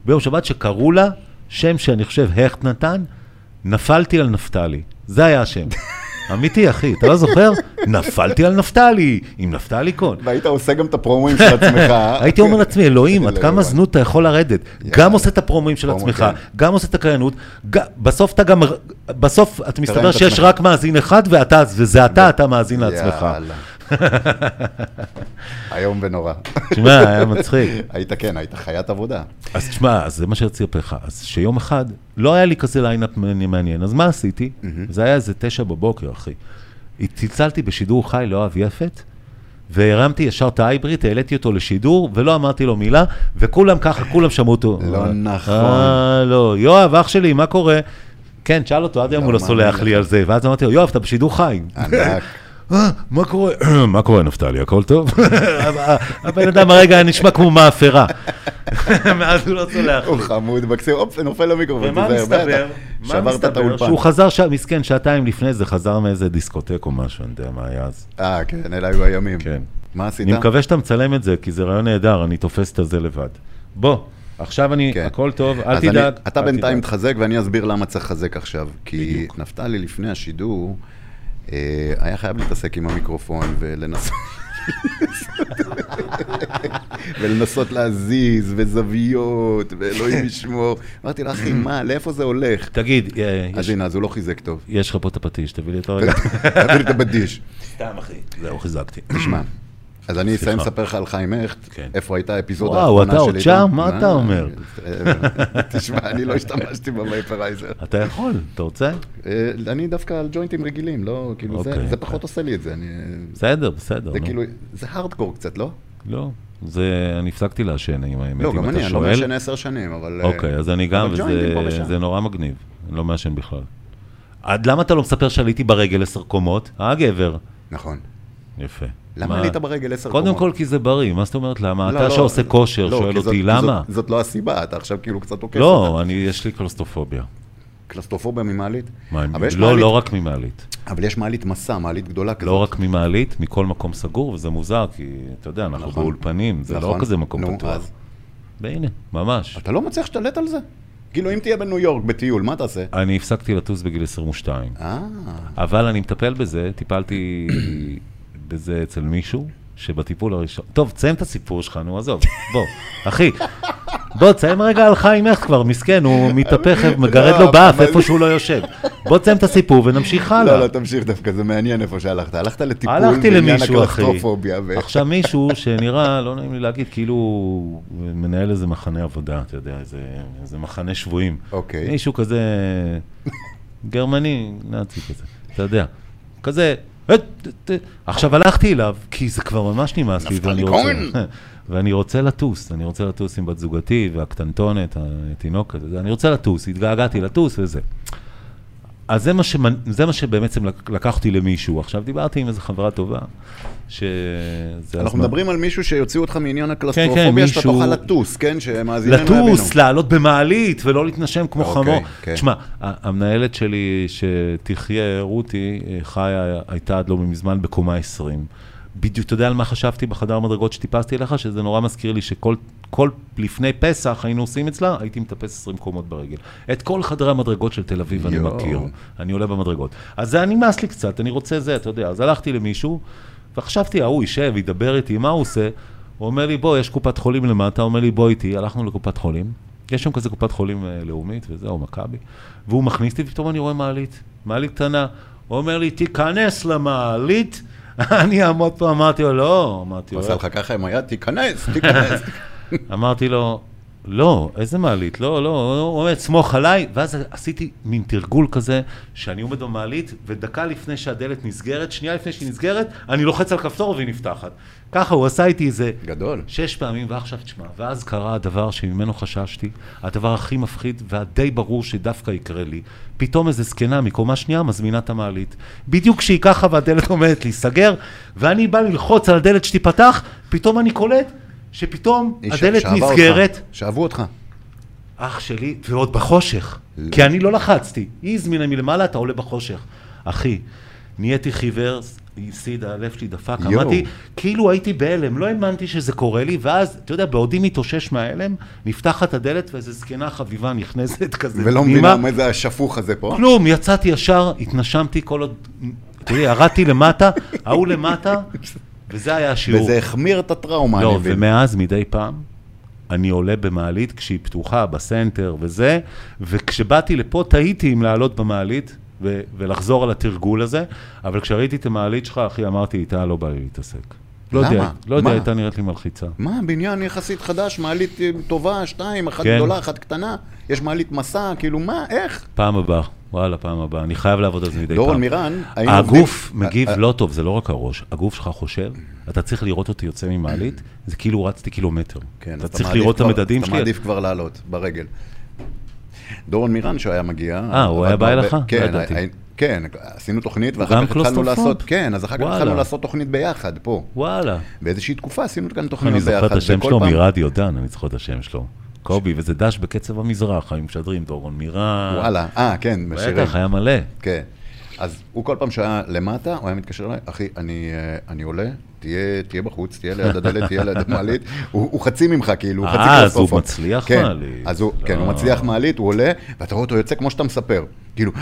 S3: ביום שבת שקראו לה, שם שאני חושב הכט נתן, נפלתי על נפתלי. זה היה השם. אמיתי, אחי, אתה לא זוכר? נפלתי על נפתלי, עם נפתלי קול.
S2: והיית עושה גם את הפרומואים של עצמך.
S3: הייתי אומר לעצמי, אלוהים, עד
S2: לא
S3: כמה
S2: יאומן.
S3: זנות אתה יכול לרדת. גם עושה את הפרומואים של
S2: פרומו,
S3: עצמך,
S2: כן.
S3: גם עושה את הקריינות, ג- בסוף אתה גם, בסוף אתה מסתבר
S2: את
S3: שיש
S2: עצמך.
S3: רק מאזין אחד, ואתה, וזה אתה, אתה מאזין לעצמך.
S2: יאללה. איום ונורא.
S3: תשמע, היה מצחיק.
S2: היית, כן, היית חיית עבודה.
S3: אז תשמע, אז זה מה שרציתי לספר לך. אז שיום אחד, לא היה לי כזה ליינאפ מעניין- מעניין, אז מה עשיתי? זה היה איזה תשע בבוקר, אחי. צלצלתי בשידור חי לאוהב יפת, והרמתי ישר את ההייברית, העליתי אותו לשידור, ולא אמרתי לו מילה, וכולם ככה, כולם שמעו אותו.
S2: לא
S3: אה,
S2: נכון.
S3: אה, לא. יואב, אח שלי, מה קורה? כן, תשאל אותו, עד היום
S2: לא
S3: הוא לא
S2: מאמין
S3: סולח
S2: לך.
S3: לי על זה. ואז אמרתי לו, יואב, אתה בשידור חי.
S2: ענק.
S3: "אה, מה קורה? מה קורה, נפתלי, הכל טוב? אה, הבן אדם הרגע נשמע כמו מאפרה. מאז הוא לא סולח
S2: הוא
S3: לי.
S2: חמוד מקסים, הופ, נופל למיקרופון.
S3: ומה
S2: תיזהר,
S3: מסתבר?
S2: בטח.
S3: מה
S2: שברת את
S3: מסתבר?
S2: האולפן.
S3: שהוא חזר, ש- מסכן, שעתיים לפני זה, חזר מאיזה דיסקוטק או משהו, אני יודע מה היה אז.
S2: אה, כן, אלה היו הימים.
S3: כן.
S2: מה עשית?
S3: אני מקווה שאתה מצלם את זה, כי זה רעיון נהדר, אני תופס את הזה לבד. בוא, עכשיו אני,
S2: כן.
S3: הכל טוב, אל
S2: אז אני-
S3: תדאג.
S2: אתה
S3: אל
S2: בינתיים
S3: תדאג.
S2: תחזק ואני אסביר למה צריך לחזק עכשיו. כי
S3: בדיוק.
S2: נפתלי לפני השידור אה, היה חייב להתעסק עם המיקרופון ולנסות... ולנסות להזיז, וזוויות, ואלוהים ישמור. אמרתי לו, אחי, מה, לאיפה זה הולך?
S3: תגיד, אה, יש-
S2: אז הנה, אז הוא לא חיזק טוב.
S3: יש לך פה את הפטיש, תביא לי אותו רגע.
S2: תביא לי את הבדיש.
S3: סתם, אחי. זהו, חיזקתי.
S2: תשמע, אז אני אסיים
S3: סליחה.
S2: לספר לך על חיים הכט,
S3: כן.
S2: איפה הייתה האפיזודה
S3: וואו,
S2: האחרונה
S3: אתה
S2: שלי.
S3: עוד
S2: איתו.
S3: שם? מה אתה אומר?
S2: אה, תשמע, אני לא השתמשתי בווייפרייזר.
S3: אתה יכול, אתה רוצה?
S2: אה, אני דווקא על ג'וינטים רגילים, לא, כאילו, זה-
S3: אוקיי.
S2: זה פחות עושה לי את זה. אני-
S3: בסדר, בסדר.
S2: זה
S3: נו.
S2: כאילו, זה הארדקור קצת, לא?
S3: לא, זה... אני הפסקתי לעשן, אם האמת,
S2: לא,
S3: אם
S2: גם
S3: אתה
S2: אני, אני לא
S3: שואל.
S2: מעשן עשר שנים, אבל... אה,
S3: אוקיי, אז אני גם,
S2: אבל ג'וינטים פה
S3: וזה
S2: ושם.
S3: זה נורא מגניב. אני לא מעשן בכלל. עד למה אתה לא מספר שעליתי ברגל עשר קומות? אה, גבר.
S2: נכון.
S3: יפה.
S2: למה
S3: מה-
S2: עלית ברגל עשר קומות?
S3: קודם כל כי זה בריא, מה זאת אומרת למה?
S2: לא,
S3: אתה
S2: לא,
S3: שעושה כושר
S2: לא,
S3: שואל
S2: כי זאת-
S3: אותי
S2: זאת-
S3: למה?
S2: זאת לא הסיבה, אתה עכשיו כאילו קצת עוקף. אותה.
S3: לא, אני, יש לי קלסטרופוביה.
S2: קלסטרופוביה ממעלית?
S3: מה,
S2: אבל יש
S3: לא,
S2: מעלית-
S3: לא רק ממעלית.
S2: אבל יש מעלית מסע, מעלית גדולה כזאת.
S3: לא רק ממעלית, מכל מקום סגור, וזה מוזר, כי אתה יודע, אנחנו
S2: נכון.
S3: באולפנים, זה לא
S2: נכון.
S3: כזה מקום
S2: נו,
S3: פתוח.
S2: אז.
S3: והנה, ממש.
S2: אתה לא מצליח להשתלט על זה? כאילו, אם תהיה בניו יורק בטיול, מה תעשה?
S3: אני הפסקתי לטוס בגיל 22.
S2: אה,
S3: אבל אני מטפל בזה, טיפלתי בזה אצל מישהו, שבטיפול הראשון... טוב, תסיים את הסיפור שלך, נו, עזוב, בוא, אחי. בוא, תסיים רגע על חיים הכט כבר, מסכן, הוא מתהפך, מגרד
S2: לא,
S3: לו באף
S2: אבל-
S3: איפה שהוא לא יושב. בוא תסיים את הסיפור ונמשיך
S2: לא,
S3: הלאה.
S2: לא, תמשיך דווקא, זה מעניין איפה שהלכת. הלכת לטיפול
S3: הלכתי למישהו, אחי.
S2: הקלסטרופוביה. ו-
S3: עכשיו מישהו שנראה, לא נעים לי להגיד, כאילו הוא מנהל איזה מחנה עבודה, אתה יודע, איזה, איזה מחנה שבויים.
S2: אוקיי.
S3: מישהו כזה גרמני, נאצי כזה, אתה יודע. כזה, "אה, ת- ת-". עכשיו הלכתי אליו, כי זה כבר ממש נמאס לי,
S2: נפתלי
S3: ואני רוצה,
S2: כהן.
S3: ואני רוצה לטוס, אני רוצה לטוס עם בת זוגתי והקטנטונת, התינוקת, וזה. אני רוצה לטוס, התגעגעתי לטוס וזה. אז זה מה, שמנ... זה מה שבעצם לק- לקחתי למישהו. עכשיו דיברתי עם איזו חברה טובה, שזה
S2: אנחנו
S3: הזמן.
S2: מדברים על מישהו שיוציאו אותך מעניין הקלסטרופוביה,
S3: כן, כן,
S2: שאתה
S3: מישהו-
S2: תוכל לטוס, כן? שמאזיננו יבינו.
S3: לטוס, לעלות במעלית ולא להתנשם כמו
S2: אוקיי,
S3: חמור.
S2: כן.
S3: תשמע, ה- המנהלת שלי שתחיה, רותי, אה, חיה, הייתה עד לא מזמן בקומה 20. בדיוק, אתה יודע על מה חשבתי בחדר המדרגות שטיפסתי אליך? שזה נורא מזכיר לי שכל כל לפני פסח היינו עושים אצלה, הייתי מטפס 20 קומות ברגל. את כל חדרי המדרגות של תל אביב אני
S2: יואו.
S3: מכיר. אני עולה במדרגות. אז זה היה נמאס לי קצת, אני רוצה זה, אתה יודע. אז הלכתי למישהו, וחשבתי, ההוא יישב, ידבר איתי, מה הוא עושה? הוא אומר לי, בוא, יש קופת חולים למטה, הוא אומר לי, בוא איתי, הלכנו לקופת חולים. יש שם כזה קופת חולים אה, לאומית וזה, או מכבי, והוא מכניס אותי, ופתאום אני רואה מעלית, מעלית קטנה. הוא אומר לי, תיכנס למעלית. אני אעמוד פה, אמרתי לו, לא, אמרתי
S2: הוא
S3: לו,
S2: עשה לך ככה עם היד, תיכנס, תיכנס.
S3: אמרתי לו, לא, איזה מעלית, לא, לא, הוא אומר, סמוך עליי, ואז עשיתי מין תרגול כזה, שאני עומד במעלית, ודקה לפני שהדלת נסגרת, שנייה לפני שהיא נסגרת, אני לוחץ על כפתור והיא נפתחת. ככה הוא עשה איתי איזה
S2: גדול.
S3: שש פעמים, ועכשיו תשמע, ואז קרה הדבר שממנו חששתי, הדבר הכי מפחיד והדי ברור שדווקא יקרה לי, פתאום איזה זקנה מקומה שנייה מזמינה את המעלית. בדיוק כשהיא ככה והדלת עומדת להיסגר, ואני בא ללחוץ על הדלת שתיפתח, פתאום אני קולט שפתאום
S2: איש
S3: הדלת
S2: שאהבה אותך.
S3: נסגרת,
S2: שאהבו אותך.
S3: אח שלי, ועוד בחושך,
S2: לא.
S3: כי אני לא לחצתי, היא הזמינה מלמעלה, אתה עולה בחושך. אחי, נהייתי חיוור, הפסיד, הלב שלי דפק,
S2: יואו.
S3: אמרתי, כאילו הייתי בהלם, לא האמנתי שזה קורה לי, ואז, אתה יודע, בעודי מתאושש מההלם, נפתחת הדלת ואיזו זקנה חביבה נכנסת כזה.
S2: ולא
S3: פנימה.
S2: מבינה מה זה השפוך הזה פה.
S3: כלום, יצאתי ישר, התנשמתי כל עוד, אתה יודע, ירדתי למטה, ההוא למטה, וזה היה השיעור.
S2: וזה החמיר את הטראומה, אני
S3: לא,
S2: מבין.
S3: ומאז מדי פעם אני עולה במעלית כשהיא פתוחה, בסנטר וזה, וכשבאתי לפה תהיתי אם לעלות במעלית ו- ולחזור על התרגול הזה, אבל כשראיתי את המעלית שלך, אחי, אמרתי, איתה לא בא לי להתעסק. לא יודע,
S2: למה?
S3: לא יודע,
S2: מה?
S3: הייתה נראית לי מלחיצה.
S2: מה, בניין יחסית חדש, מעלית אה, טובה, שתיים, אחת
S3: כן.
S2: גדולה, אחת קטנה, יש מעלית מסע, כאילו מה, איך?
S3: פעם הבאה, וואלה, פעם הבאה, אני חייב לעבוד על זה מדי פעם.
S2: דורון מירן, היינו
S3: הגוף
S2: עובדים-
S3: מגיב
S2: אה, אה,
S3: לא טוב, זה לא רק הראש, הגוף שלך חושב, אתה צריך לראות אותי יוצא ממעלית, זה כאילו רצתי קילומטר.
S2: כן,
S3: אתה
S2: אז
S3: צריך
S2: מעדיף
S3: לראות את
S2: כבר-
S3: המדדים
S2: אתה
S3: שלי,
S2: מעדיף כבר לעלות, ברגל. דורון מירן שהיה מגיע.
S3: אה,
S2: עבד
S3: הוא היה בא
S2: בהרבה-
S3: אליך? לא
S2: כן,
S3: ידעתי.
S2: הי- כן, עשינו תוכנית,
S3: גם
S2: ואחר כך התחלנו
S3: קלוסטרופוב?
S2: לעשות, כן, אז אחר כך
S3: וואלה.
S2: התחלנו לעשות תוכנית ביחד, פה.
S3: וואלה.
S2: באיזושהי תקופה עשינו כאן
S3: אני
S2: תוכניות ביחד.
S3: זוכר את השם
S2: וכל
S3: שלו
S2: פעם-
S3: מרדיו דן, אני זוכר את השם שלו. קובי, וזה דש בקצב המזרח, היו משדרים, דורון מירן.
S2: וואלה, אה, כן, בשירים.
S3: בטח, היה מלא.
S2: כן. אז הוא כל פעם שהיה למטה, הוא היה מתקשר אליי, אחי, אני, אה, אני עולה, תהיה, תהיה בחוץ, תהיה ליד הדלת, תהיה ליד המעלית. הוא, הוא חצי ממך, כאילו, הוא חצי
S3: אה, אז הוא
S2: קלסטרופוב.
S3: מצליח
S2: כן,
S3: מעלית.
S2: אז הוא, כן, הוא
S3: אה.
S2: מצליח מעלית, הוא עולה, ואתה רואה אותו יוצא כמו שאתה מספר. כאילו,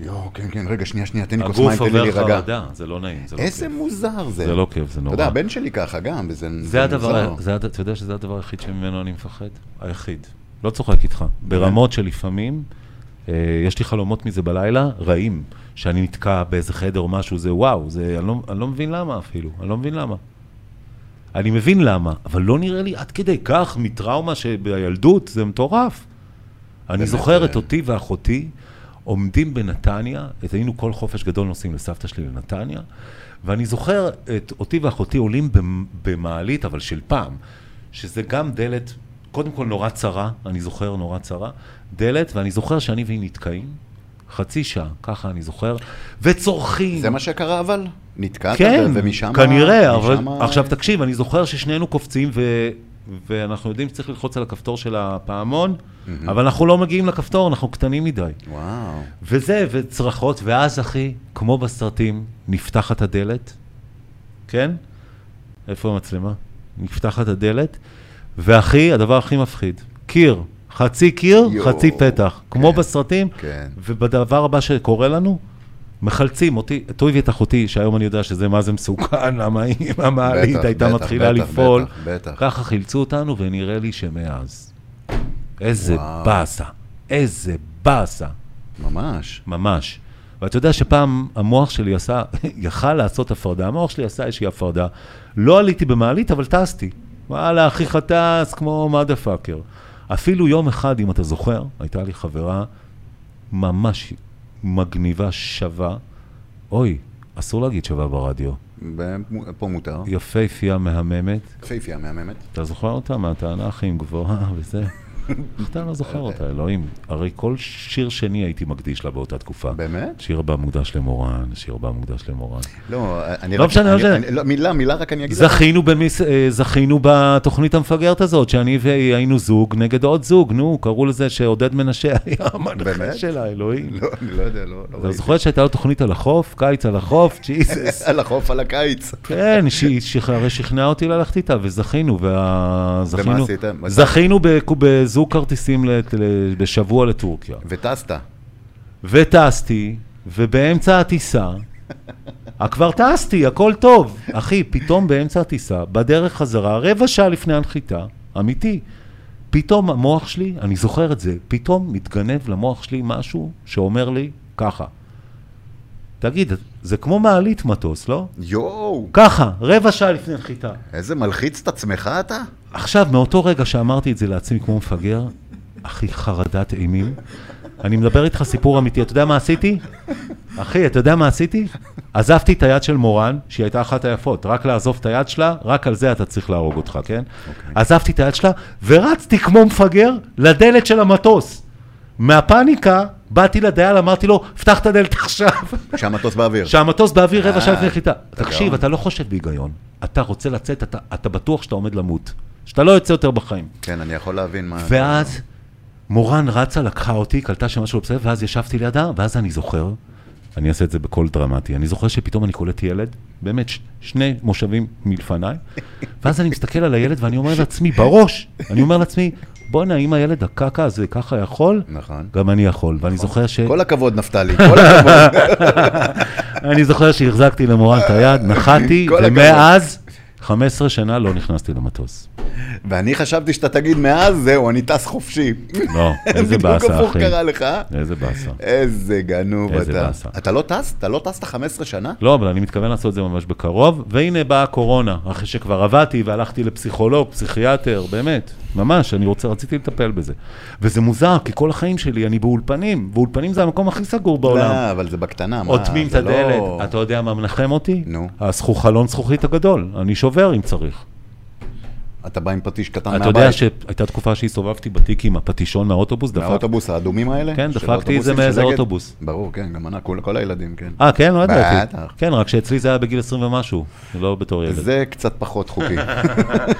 S2: יואו, כן, כן, רגע, שנייה, שנייה, תן לי כוס מים,
S3: הגוף
S2: תן לי
S3: עובר
S2: להירגע.
S3: חרדה, זה לא נעים, זה לא
S2: איזה
S3: כיף.
S2: מוזר זה.
S3: זה לא כיף, זה נורא.
S2: אתה יודע, הבן שלי ככה גם, וזה
S3: זה הדבר,
S2: מוזר.
S3: זה הד- אתה יודע שזה הדבר היחיד שממנו אני מפחד? היחיד. לא צוחק איתך. ברמות שלפעמים, אה, יש לי חלומות מזה בלילה, רעים. שאני נתקע באיזה חדר או משהו, זה וואו, זה, אני, לא, אני לא מבין למה אפילו, אני לא מבין למה. אני מבין למה, אבל לא נראה לי עד כדי כך מטראומה שבילדות, זה מטורף. אני
S2: באמת,
S3: זוכר את
S2: אה.
S3: אותי ואחותי עומדים בנתניה, את היינו כל חופש גדול נוסעים לסבתא שלי לנתניה, ואני זוכר את אותי ואחותי עולים במ- במעלית, אבל של פעם, שזה גם דלת, קודם כל נורא צרה, אני זוכר נורא צרה, דלת, ואני זוכר שאני והיא נתקעים, חצי שעה, ככה אני זוכר, וצורכים.
S2: זה מה שקרה אבל? נתקעת
S3: כן,
S2: ו- ומשם...
S3: כנראה, אבל
S2: משם-
S3: עכשיו תקשיב, אני זוכר ששנינו קופצים ו... ואנחנו יודעים שצריך ללחוץ על הכפתור של הפעמון, אבל אנחנו לא מגיעים לכפתור, אנחנו קטנים מדי.
S2: וואו.
S3: וזה, וצרחות, ואז אחי, כמו בסרטים, נפתחת הדלת, כן? איפה המצלמה? נפתחת הדלת, ואחי, הדבר הכי מפחיד, קיר, חצי קיר,
S2: יואו,
S3: חצי פתח, כמו
S2: כן,
S3: בסרטים,
S2: כן.
S3: ובדבר הבא שקורה לנו, מחלצים אותי, את אוי ואת אחותי, שהיום אני יודע שזה מה זה מסוכן, למה אם המעלית
S2: בטח,
S3: הייתה
S2: בטח,
S3: מתחילה
S2: בטח,
S3: לפעול,
S2: בטח, בטח.
S3: ככה חילצו אותנו, ונראה לי שמאז. איזה
S2: וואו.
S3: באסה, איזה באסה.
S2: ממש.
S3: ממש. ואתה יודע שפעם המוח שלי עשה, יכל לעשות הפרדה, המוח שלי עשה איזושהי הפרדה. לא עליתי במעלית, אבל טסתי. וואלה, אחיך טס כמו מדה פאקר. אפילו יום אחד, אם אתה זוכר, הייתה לי חברה ממש מגניבה, שווה. אוי, אסור להגיד שווה ברדיו.
S2: ב- פה מותר.
S3: יפייפייה מהממת.
S2: יפהפייה מהממת.
S3: אתה זוכר אותה? מהטענה הכי עם גבוהה וזה. איך אתה לא זוכר אותה, אלוהים? הרי כל שיר שני הייתי מקדיש לה באותה תקופה.
S2: באמת?
S3: שיר הבא מוקדש למורן, שיר הבא מוקדש למורן.
S2: לא, אני
S3: לא
S2: רק-
S3: משנה, לא
S2: אני-
S3: משנה.
S2: אני- לא, מילה, מילה רק אני אגיד. לך.
S3: זכינו, במס... אה, זכינו בתוכנית המפגרת הזאת, שאני והיא היינו זוג נגד עוד זוג, נו, קראו לזה שעודד מנשה היה המנחה
S2: באמת?
S3: שלה, אלוהים.
S2: לא, אני לא יודע, לא לא
S3: אתה
S2: ראיתי.
S3: זוכר שהייתה לו תוכנית על החוף, קיץ על החוף, ג'יזוס.
S2: על החוף, על הקיץ.
S3: כן, שהיא שכ- הרי שכנעה אותי ללכת איתה, וזכינו, וה- זכינו-
S2: עשיתם?
S3: זכינו בק- בזוג כרטיסים לת- ל- בשבוע לטורקיה.
S2: וטסת.
S3: וטסתי, ובאמצע הטיסה, אה, כבר טסתי, הכל טוב. אחי, פתאום באמצע הטיסה, בדרך חזרה, רבע שעה לפני הנחיתה, אמיתי, פתאום המוח שלי, אני זוכר את זה, פתאום מתגנב למוח שלי משהו שאומר לי ככה. תגיד, זה כמו מעלית מטוס, לא?
S2: יואו,
S3: ככה, רבע שעה לפני נחיתה.
S2: איזה מלחיץ את עצמך אתה?
S3: עכשיו, מאותו רגע שאמרתי את זה לעצמי כמו מפגר, אחי, חרדת אימים. אני מדבר איתך סיפור אמיתי. אתה יודע מה עשיתי? אחי, אתה יודע מה עשיתי? עזבתי את היד של מורן, שהיא הייתה אחת היפות. רק לעזוב את היד שלה, רק על זה אתה צריך להרוג אותך, כן? עזבתי את היד שלה, ורצתי כמו מפגר לדלת של המטוס. מהפאניקה, באתי לדייל, אמרתי לו, פתח את הדלת עכשיו.
S2: כשהמטוס באוויר.
S3: שהמטוס באוויר רבע
S2: אה,
S3: שעה לפני נחיתה.
S2: אתה
S3: תקשיב,
S2: גאון.
S3: אתה לא חושב בהיגיון. אתה רוצה לצאת, אתה- אתה בטוח שאתה עומד למות. שאתה לא יוצא יותר בחיים.
S2: כן, אני יכול להבין מה...
S3: ואז מורן רצה, לקחה אותי, קלטה שמשהו לא בסדר, ואז ישבתי לידה, ואז אני זוכר, אני אעשה את זה בקול דרמטי, אני זוכר שפתאום אני קולט ילד, באמת ש- שני מושבים מלפניי, ואז אני מסתכל על הילד ואני אומר לעצמי, בראש, אני אומר לעצמי, בואנה, אם הילד הקקה הזה ככה יכול,
S2: נכון.
S3: גם אני יכול. ואני זוכר ש...
S2: כל הכבוד, נפתלי, כל הכבוד.
S3: אני זוכר שהחזקתי למורן את היד, נחתי,
S2: כל הכבוד.
S3: ומאז 15 שנה לא נכנסתי למטוס.
S2: ואני חשבתי שאתה תגיד, מאז זהו, אני טס חופשי.
S3: לא, איזה
S2: בדיוק
S3: באסה,
S2: הפוך
S3: אחי.
S2: קרה לך.
S3: איזה באסה.
S2: איזה גנוב
S3: איזה
S2: אתה.
S3: באסה.
S2: אתה לא טס? אתה לא טסת 15 שנה?
S3: לא, אבל אני מתכוון לעשות את זה ממש בקרוב, והנה באה הקורונה, אחרי שכבר עבדתי והלכתי לפסיכולוג, פסיכיאטר, באמת, ממש, אני רוצה, רציתי לטפל בזה. וזה מוזר, כי כל החיים שלי אני באולפנים, ואולפנים זה המקום הכי סגור בעולם.
S2: לא, אבל זה בקטנה, מה?
S3: אוטמים את
S2: זה לא-
S3: הדלת, אתה יודע מה מנחם אותי?
S2: נו.
S3: הזכו- חלון זכוכית הגדול, אני שובר אם צריך.
S2: אתה בא עם פטיש קטן
S3: אתה
S2: מהבית.
S3: יודע שהייתה תקופה שהסתובבתי בתיק עם הפטישון מהאוטובוס, דפקתי.
S2: מהאוטובוס האדומים האלה?
S3: כן,
S2: של
S3: דפקתי את
S2: האוטובוסים
S3: זה
S2: של
S3: מאיזה
S2: אגד?
S3: אוטובוס.
S2: ברור, כן, גם אנחנו, כל- כל הילדים, כן.
S3: אה, כן? לא ידעתי.
S2: בטח.
S3: כן, רק שאצלי זה היה בגיל 20 ומשהו, לא בתור ילד.
S2: זה קצת פחות חוקי.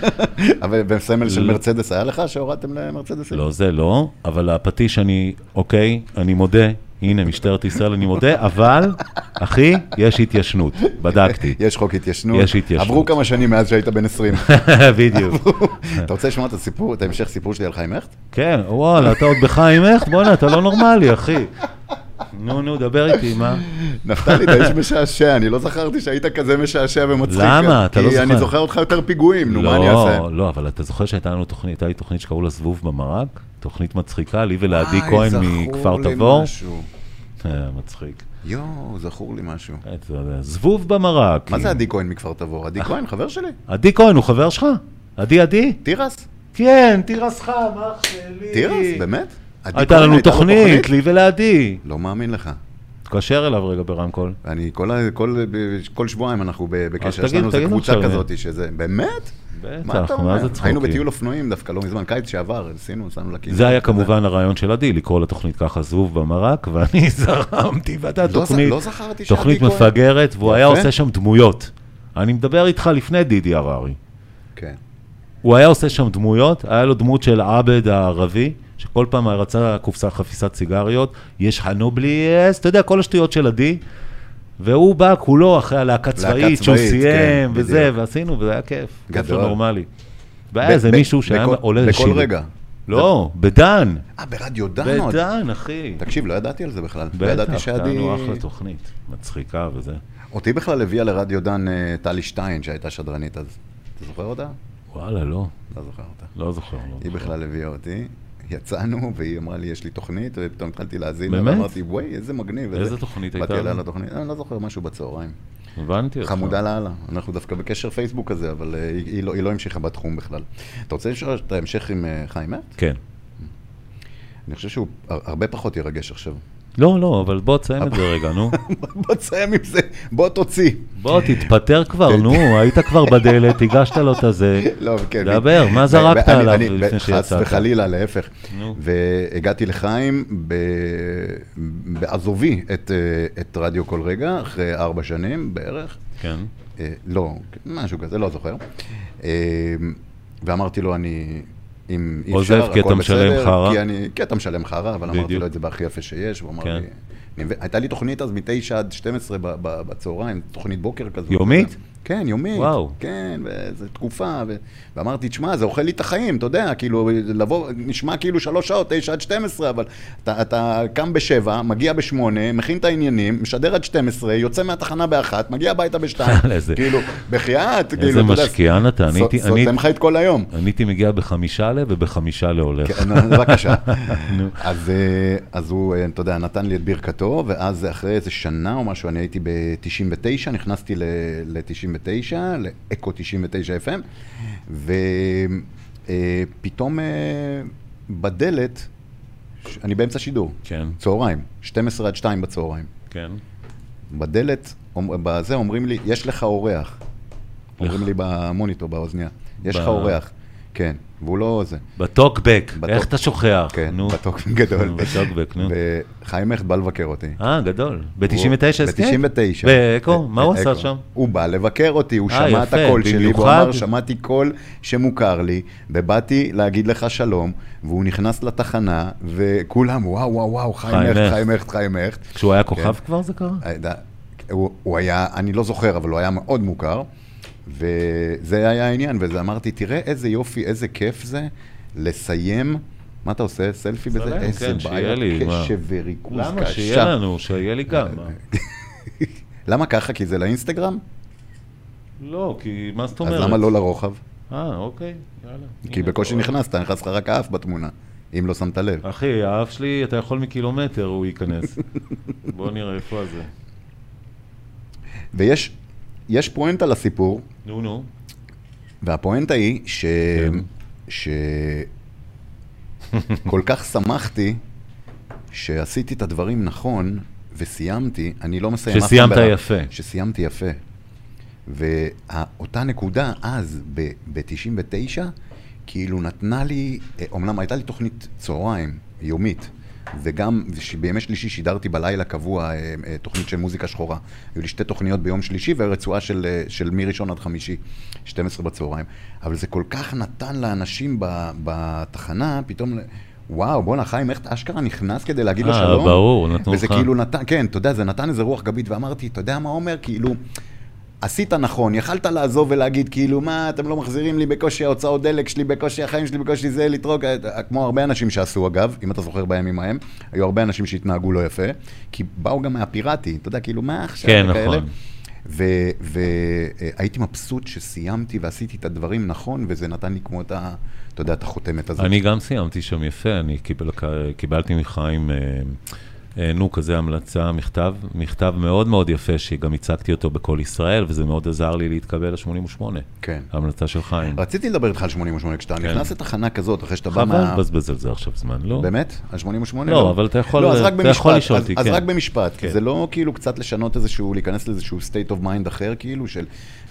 S2: אבל בסמל של
S3: לא.
S2: מרצדס היה לך שהורדתם למרצדסים?
S3: לא, זה לא, אבל הפטיש אני, אוקיי, אני מודה, הנה, משטרת ישראל, אני מודה, אבל, אחי, יש התיישנות, בדקתי.
S2: יש חוק התיישנות.
S3: יש התיישנות.
S2: עברו כמה שנים מאז שהיית בן 20.
S3: בדיוק.
S2: אתה רוצה לשמוע את הסיפור, את ההמשך סיפור שלי על חיים הכט?
S3: כן, וואלה, אתה עוד בחיים איך? בואנה, אתה לא נורמלי, אחי. נו, נו, דבר איתי, מה?
S2: נפתלי, אתה איש משעשע, אני לא זכרתי שהיית כזה משעשע ומצחיק.
S3: למה? אתה לא
S2: כי אני
S3: זוכר.
S2: זוכר אותך יותר פיגועים, נו, מה אני אעשה?
S3: לא, לא, אבל אתה זוכר שהייתה לנו תוכנית, הייתה לי תוכנית שקראו לה זבוב במרק? תוכנית מצחיקה, לי ולעדי
S2: וואי,
S3: כהן
S2: אה, זכור
S3: מכפר
S2: לי
S3: תבור.
S2: משהו.
S3: אה, מצחיק.
S2: יואו, זכור לי משהו.
S3: אה, אתה יודע, זבוב במרק.
S2: מה זה עדי כהן מכפר תבור?
S3: אה.
S2: עדי כהן, חבר שלי.
S3: עדי כהן, הוא חבר שלך? עדי עדי?
S2: תירס?
S3: כן, תירס חם, אח שלי.
S2: תירס, באמת? עדי
S3: הייתה
S2: כהן,
S3: לנו
S2: לו
S3: תוכנית, לי ולעדי.
S2: לא מאמין לך.
S3: תתקשר אליו רגע ברמקול.
S2: אני כל, ה- כל, כל שבועיים אנחנו ב- בקשר, יש
S3: תגיד-
S2: לנו איזה
S3: תגיד
S2: קבוצה
S3: עכשיו.
S2: כזאת שזה, באמת? מה
S3: בטח,
S2: אתה
S3: מה
S2: אומר?
S3: זה צחוקים?
S2: היינו בטיול אופנועים דווקא לא מזמן, קיץ שעבר, עשינו, שמנו לקינה.
S3: זה היה כמובן הרעיון של עדי, לקרוא לתוכנית ככה זבוב במרק, ואני זרמתי, ואתה
S2: לא ז-
S3: תוכנית,
S2: לא זכרתי שעדי
S3: תוכנית
S2: כהן-
S3: מפגרת, והוא היה
S2: יפה.
S3: עושה שם דמויות. אני מדבר איתך לפני דידי הררי.
S2: כן.
S3: הוא היה עושה שם דמויות, היה לו דמות של עבד הערבי, שכל פעם רצה קופסה חפיסת סיגריות, יש חנובליאס, אתה יודע, כל השטויות של עדי, והוא בא כולו אחרי הלהקה צבאית שהוא
S2: צבאית,
S3: סיים,
S2: כן,
S3: וזה,
S2: בדיוק.
S3: ועשינו, וזה היה כיף. כיף
S2: גדול.
S3: לא נורמלי. והיה
S2: ב-
S3: איזה
S2: ב-
S3: מישהו שהיה
S2: בכל-
S3: עולה
S2: בכל
S3: לשידור.
S2: רגע.
S3: לא, בדן,
S2: אה, ברדיו דנות.
S3: בדן, אחי.
S2: תקשיב, לא ידעתי על זה בכלל. לא ידעתי
S3: בטח,
S2: שעדי...
S3: טענו אחלה תוכנית, מצחיקה וזה.
S2: אותי בכלל הביאה לרדיו דן אה, טלי שטיין, שהייתה שדרנית אז. אתה זוכר אותה?
S3: וואלה, לא,
S2: לא זוכר אותה.
S3: לא זוכר. לא
S2: היא
S3: זוכר.
S2: בכלל הביאה אותי. יצאנו, והיא אמרה לי, יש לי תוכנית, ופתאום התחלתי להאזין. לה,
S3: באמת?
S2: ואמרתי, וואי, איזה מגניב.
S3: איזה
S2: וזה.
S3: תוכנית
S2: באתי
S3: הייתה?
S2: אליה לתוכנית, אני לא זוכר, משהו בצהריים.
S3: הבנתי אותך.
S2: חמודה לאללה. אנחנו דווקא בקשר פייסבוק כזה, אבל אה, היא היא לא- היא לא המשיכה בתחום בכלל. אתה רוצה לשאול את ההמשך עם אה, חיים מת?
S3: כן.
S2: אני חושב שהוא הר- הרבה פחות ירגש עכשיו.
S3: לא, לא, אבל בוא תסיים את זה רגע, נו.
S2: בוא תסיים עם זה, בוא תוציא.
S3: בוא, תתפטר כבר, נו, היית כבר בדלת, הגשת לו את הזה.
S2: לא, כן.
S3: דבר, מה
S2: ו-
S3: זרקת
S2: ואני-
S3: עליו
S2: אני-
S3: לפני
S2: ו- חס
S3: שיצאת?
S2: וחלילה, להפך.
S3: נו.
S2: והגעתי לחיים ב- בעזובי את, אה, את רדיו כל רגע, אחרי ארבע שנים בערך.
S3: כן.
S2: אה, לא, משהו כזה, לא זוכר. אה, ואמרתי לו, אני... אם אי
S3: עוזב,
S2: אפשר,
S3: כי אתה
S2: הכל
S3: משלם
S2: בסדר,
S3: חרא.
S2: כי, אני, כי אתה משלם חרא, אבל אמרתי
S3: בדיוק.
S2: לו את זה בהכי יפה שיש, והוא אמר
S3: כן.
S2: לי... אני, הייתה לי תוכנית אז מתשע עד 12 ב- ב- בצהריים, תוכנית בוקר כזו.
S3: יומית?
S2: כן, יומית.
S3: וואו.
S2: כן, וזו תקופה. ו... ואמרתי, תשמע, זה אוכל לי את החיים, אתה יודע, כאילו, לבוא, נשמע כאילו שלוש שעות, תשע עד שתים עשרה, אבל אתה, אתה קם בשבע, מגיע בשמונה, מכין את העניינים, משדר עד שתים עשרה, יוצא מהתחנה באחת, מגיע הביתה בשתיים.
S3: יאללה, זה-
S2: כאילו, בחייאת, כאילו,
S3: איזה
S2: אתה יודע,
S3: משקיען אתה, אני
S2: סו-
S3: הייתי- אני-
S2: סותם לך את כל היום.
S3: אני הייתי מגיע בחמישה ל ובחמישה להולך.
S2: כן, נו, בבקשה. אז, אה, אז הוא, אה, אתה יודע, נתן לי את ברכתו, ואז אחרי איזה שנה או משהו, אני הייתי ב-99, נכנסתי ל-99, לאקו 99 FM, ופתאום אה, בדלת, ש- אני באמצע שידור,
S3: כן,
S2: צהריים, 12 עד 2 בצהריים.
S3: כן.
S2: בדלת, אומ- בזה אומרים לי, יש לך אורח. אומרים לי במוניטור, באוזנייה. יש
S3: ב-
S2: לך אורח. כן, והוא לא זה.
S3: בטוקבק,
S2: בטוק-
S3: איך אתה שוכח?
S2: כן,
S3: נו.
S2: בטוקבק גדול.
S3: נו, בטוקבק, נו.
S2: וחיים הכט בא לבקר אותי.
S3: אה, גדול. ב-99 הסכם?
S2: ב-99.
S3: באקו? מה הוא
S2: באקו.
S3: עשה שם?
S2: הוא בא לבקר אותי, הוא
S3: אה,
S2: שמע את
S3: יפה,
S2: הקול שלי, והוא
S3: במיוחד.
S2: אמר, שמעתי קול שמוכר לי, ובאתי להגיד לך שלום, והוא נכנס לתחנה, וכולם, וואו, וואו, וואו, חיים
S3: חיים
S2: הכט,
S3: הכט.
S2: חיים הכט, חיים הכט.
S3: כשהוא היה כוכב
S2: כן.
S3: כבר זה קרה?
S2: הוא, הוא היה, אני לא זוכר, אבל הוא היה מאוד מוכר, וזה היה העניין, וזה אמרתי, תראה איזה יופי, איזה כיף זה לסיים, מה אתה עושה? סלפי בזה?
S3: צלם,
S2: איזה
S3: כן, שיהיה
S2: בעיה,
S3: לי, מה.
S2: קשב וריכוז
S3: למה? שיהיה
S2: קשה.
S3: לנו, שיהיה לי גם.
S2: אה,
S3: מה?
S2: למה ככה? כי זה לאינסטגרם?
S3: לא, כי מה זאת
S2: אז
S3: אומרת?
S2: למה לא לרוחב?
S3: אה, אוקיי, יאללה.
S2: כי
S3: הנה,
S2: בקושי
S3: אתה רואה.
S2: נכנסת, נכנס לך רק האף בתמונה, אם לא שמת לב.
S3: אחי, האף שלי, אתה יכול מקילומטר, הוא ייכנס. בוא נראה איפה הזה.
S2: ויש יש פואנטה לסיפור,
S3: נו, נו.
S2: והפואנטה היא ש...
S3: כן.
S2: ש... כל כך שמחתי שעשיתי את הדברים נכון וסיימתי, אני לא מסיים אף פעם
S3: שסיימת
S2: ברע.
S3: יפה.
S2: שסיימתי יפה. ואותה נקודה אז, ב-99, כאילו נתנה לי, אה, אומנם הייתה לי תוכנית צהריים, יומית, וגם וש- בימי שלישי שידרתי בלילה קבוע אה, אה, תוכנית של מוזיקה שחורה. היו לי שתי תוכניות ביום שלישי ורצועה של, אה, של מראשון עד חמישי, 12 בצהריים. אבל זה כל כך נתן לאנשים ב- בתחנה, פתאום... ל- וואו, בואנה, חיים, איך אתה אשכרה נכנס כדי להגיד לו
S3: אה,
S2: שלום?
S3: ברור, נתנו
S2: וזה
S3: לך.
S2: כאילו נתן, כן, אתה יודע, זה נתן איזה רוח גבית, ואמרתי, אתה יודע מה אומר? כאילו, עשית נכון, יכלת לעזוב ולהגיד, כאילו, מה, אתם לא מחזירים לי בקושי ההוצאות דלק שלי, בקושי החיים שלי, בקושי זה, לתרוק, אה, כמו הרבה אנשים שעשו, אגב, אם אתה זוכר בימים ההם, היו הרבה אנשים שהתנהגו לא יפה, כי באו גם מהפיראטי, אתה יודע, כאילו, מה עכשיו?
S3: כן,
S2: וכאלה.
S3: נכון.
S2: והייתי מבסוט שסיימתי ועשיתי את הדברים נכון, וזה נתן לי כמו את ה... אתה יודע, את החותמת הזאת.
S3: אני גם סיימתי שם יפה, אני קיבל, קיבלתי מחיים, אה, אה, נו, כזה המלצה, מכתב, מכתב מאוד מאוד יפה, שגם הצגתי אותו בכל ישראל, וזה מאוד עזר לי להתקבל ל-88,
S2: כן.
S3: ההמלצה של חיים.
S2: רציתי לדבר איתך על 88, כשאתה נכנס לתחנה כזאת, אחרי שאתה בא
S3: כן. חבל
S2: מה...
S3: לבזבז על זה עכשיו זמן, לא?
S2: באמת? על 88?
S3: לא, אבל אתה יכול-
S2: לא, אז רק
S3: אתה יכול
S2: במשפט,
S3: לשאול
S2: אז-
S3: אותי,
S2: אז
S3: כן.
S2: רק במשפט.
S3: כן.
S2: זה לא כאילו קצת לשנות איזשהו, להיכנס לאיזשהו state of mind אחר, כאילו, של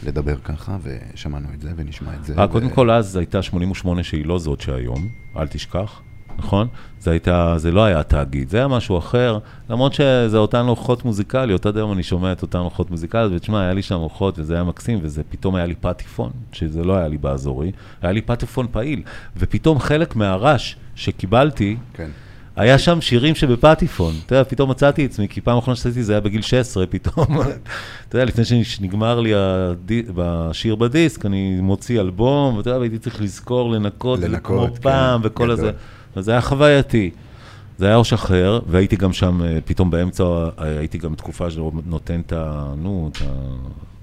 S2: לדבר ככה, ושמענו את זה, ונשמע את זה.
S3: אה,
S2: ו-
S3: קודם כל, אז הייתה 88 שהיא לא זאת שהיום, אל תשכח, נכון? זה הייתה, זה לא היה תאגיד, זה היה משהו אחר, למרות שזה אותן אורחות מוזיקליות, עד היום אני שומע את אותן אורחות מוזיקליות, ותשמע, היה לי שם אורחות וזה היה מקסים, וזה פתאום היה לי פטיפון, שזה לא היה לי באזורי, היה לי פטיפון פעיל, ופתאום חלק מהרעש שקיבלתי,
S2: כן.
S3: היה שם שירים שבפטיפון, אתה יודע, פתאום מצאתי עצמי, כי פעם אחרונה שעשיתי זה היה בגיל 16, פתאום, אתה יודע, לפני שנגמר לי הדי- השיר בדיסק, אני מוציא אלבום, ואתה יודע, והייתי צריך לזכור, לנקות, וזה
S2: לנקות,
S3: כמו פעם,
S2: כן,
S3: וכל
S2: גדול.
S3: הזה, אז זה היה חווייתי. זה היה ראש אחר, והייתי גם שם, אה, פתאום באמצע, אה, הייתי גם תקופה שנותן את ה... נו, את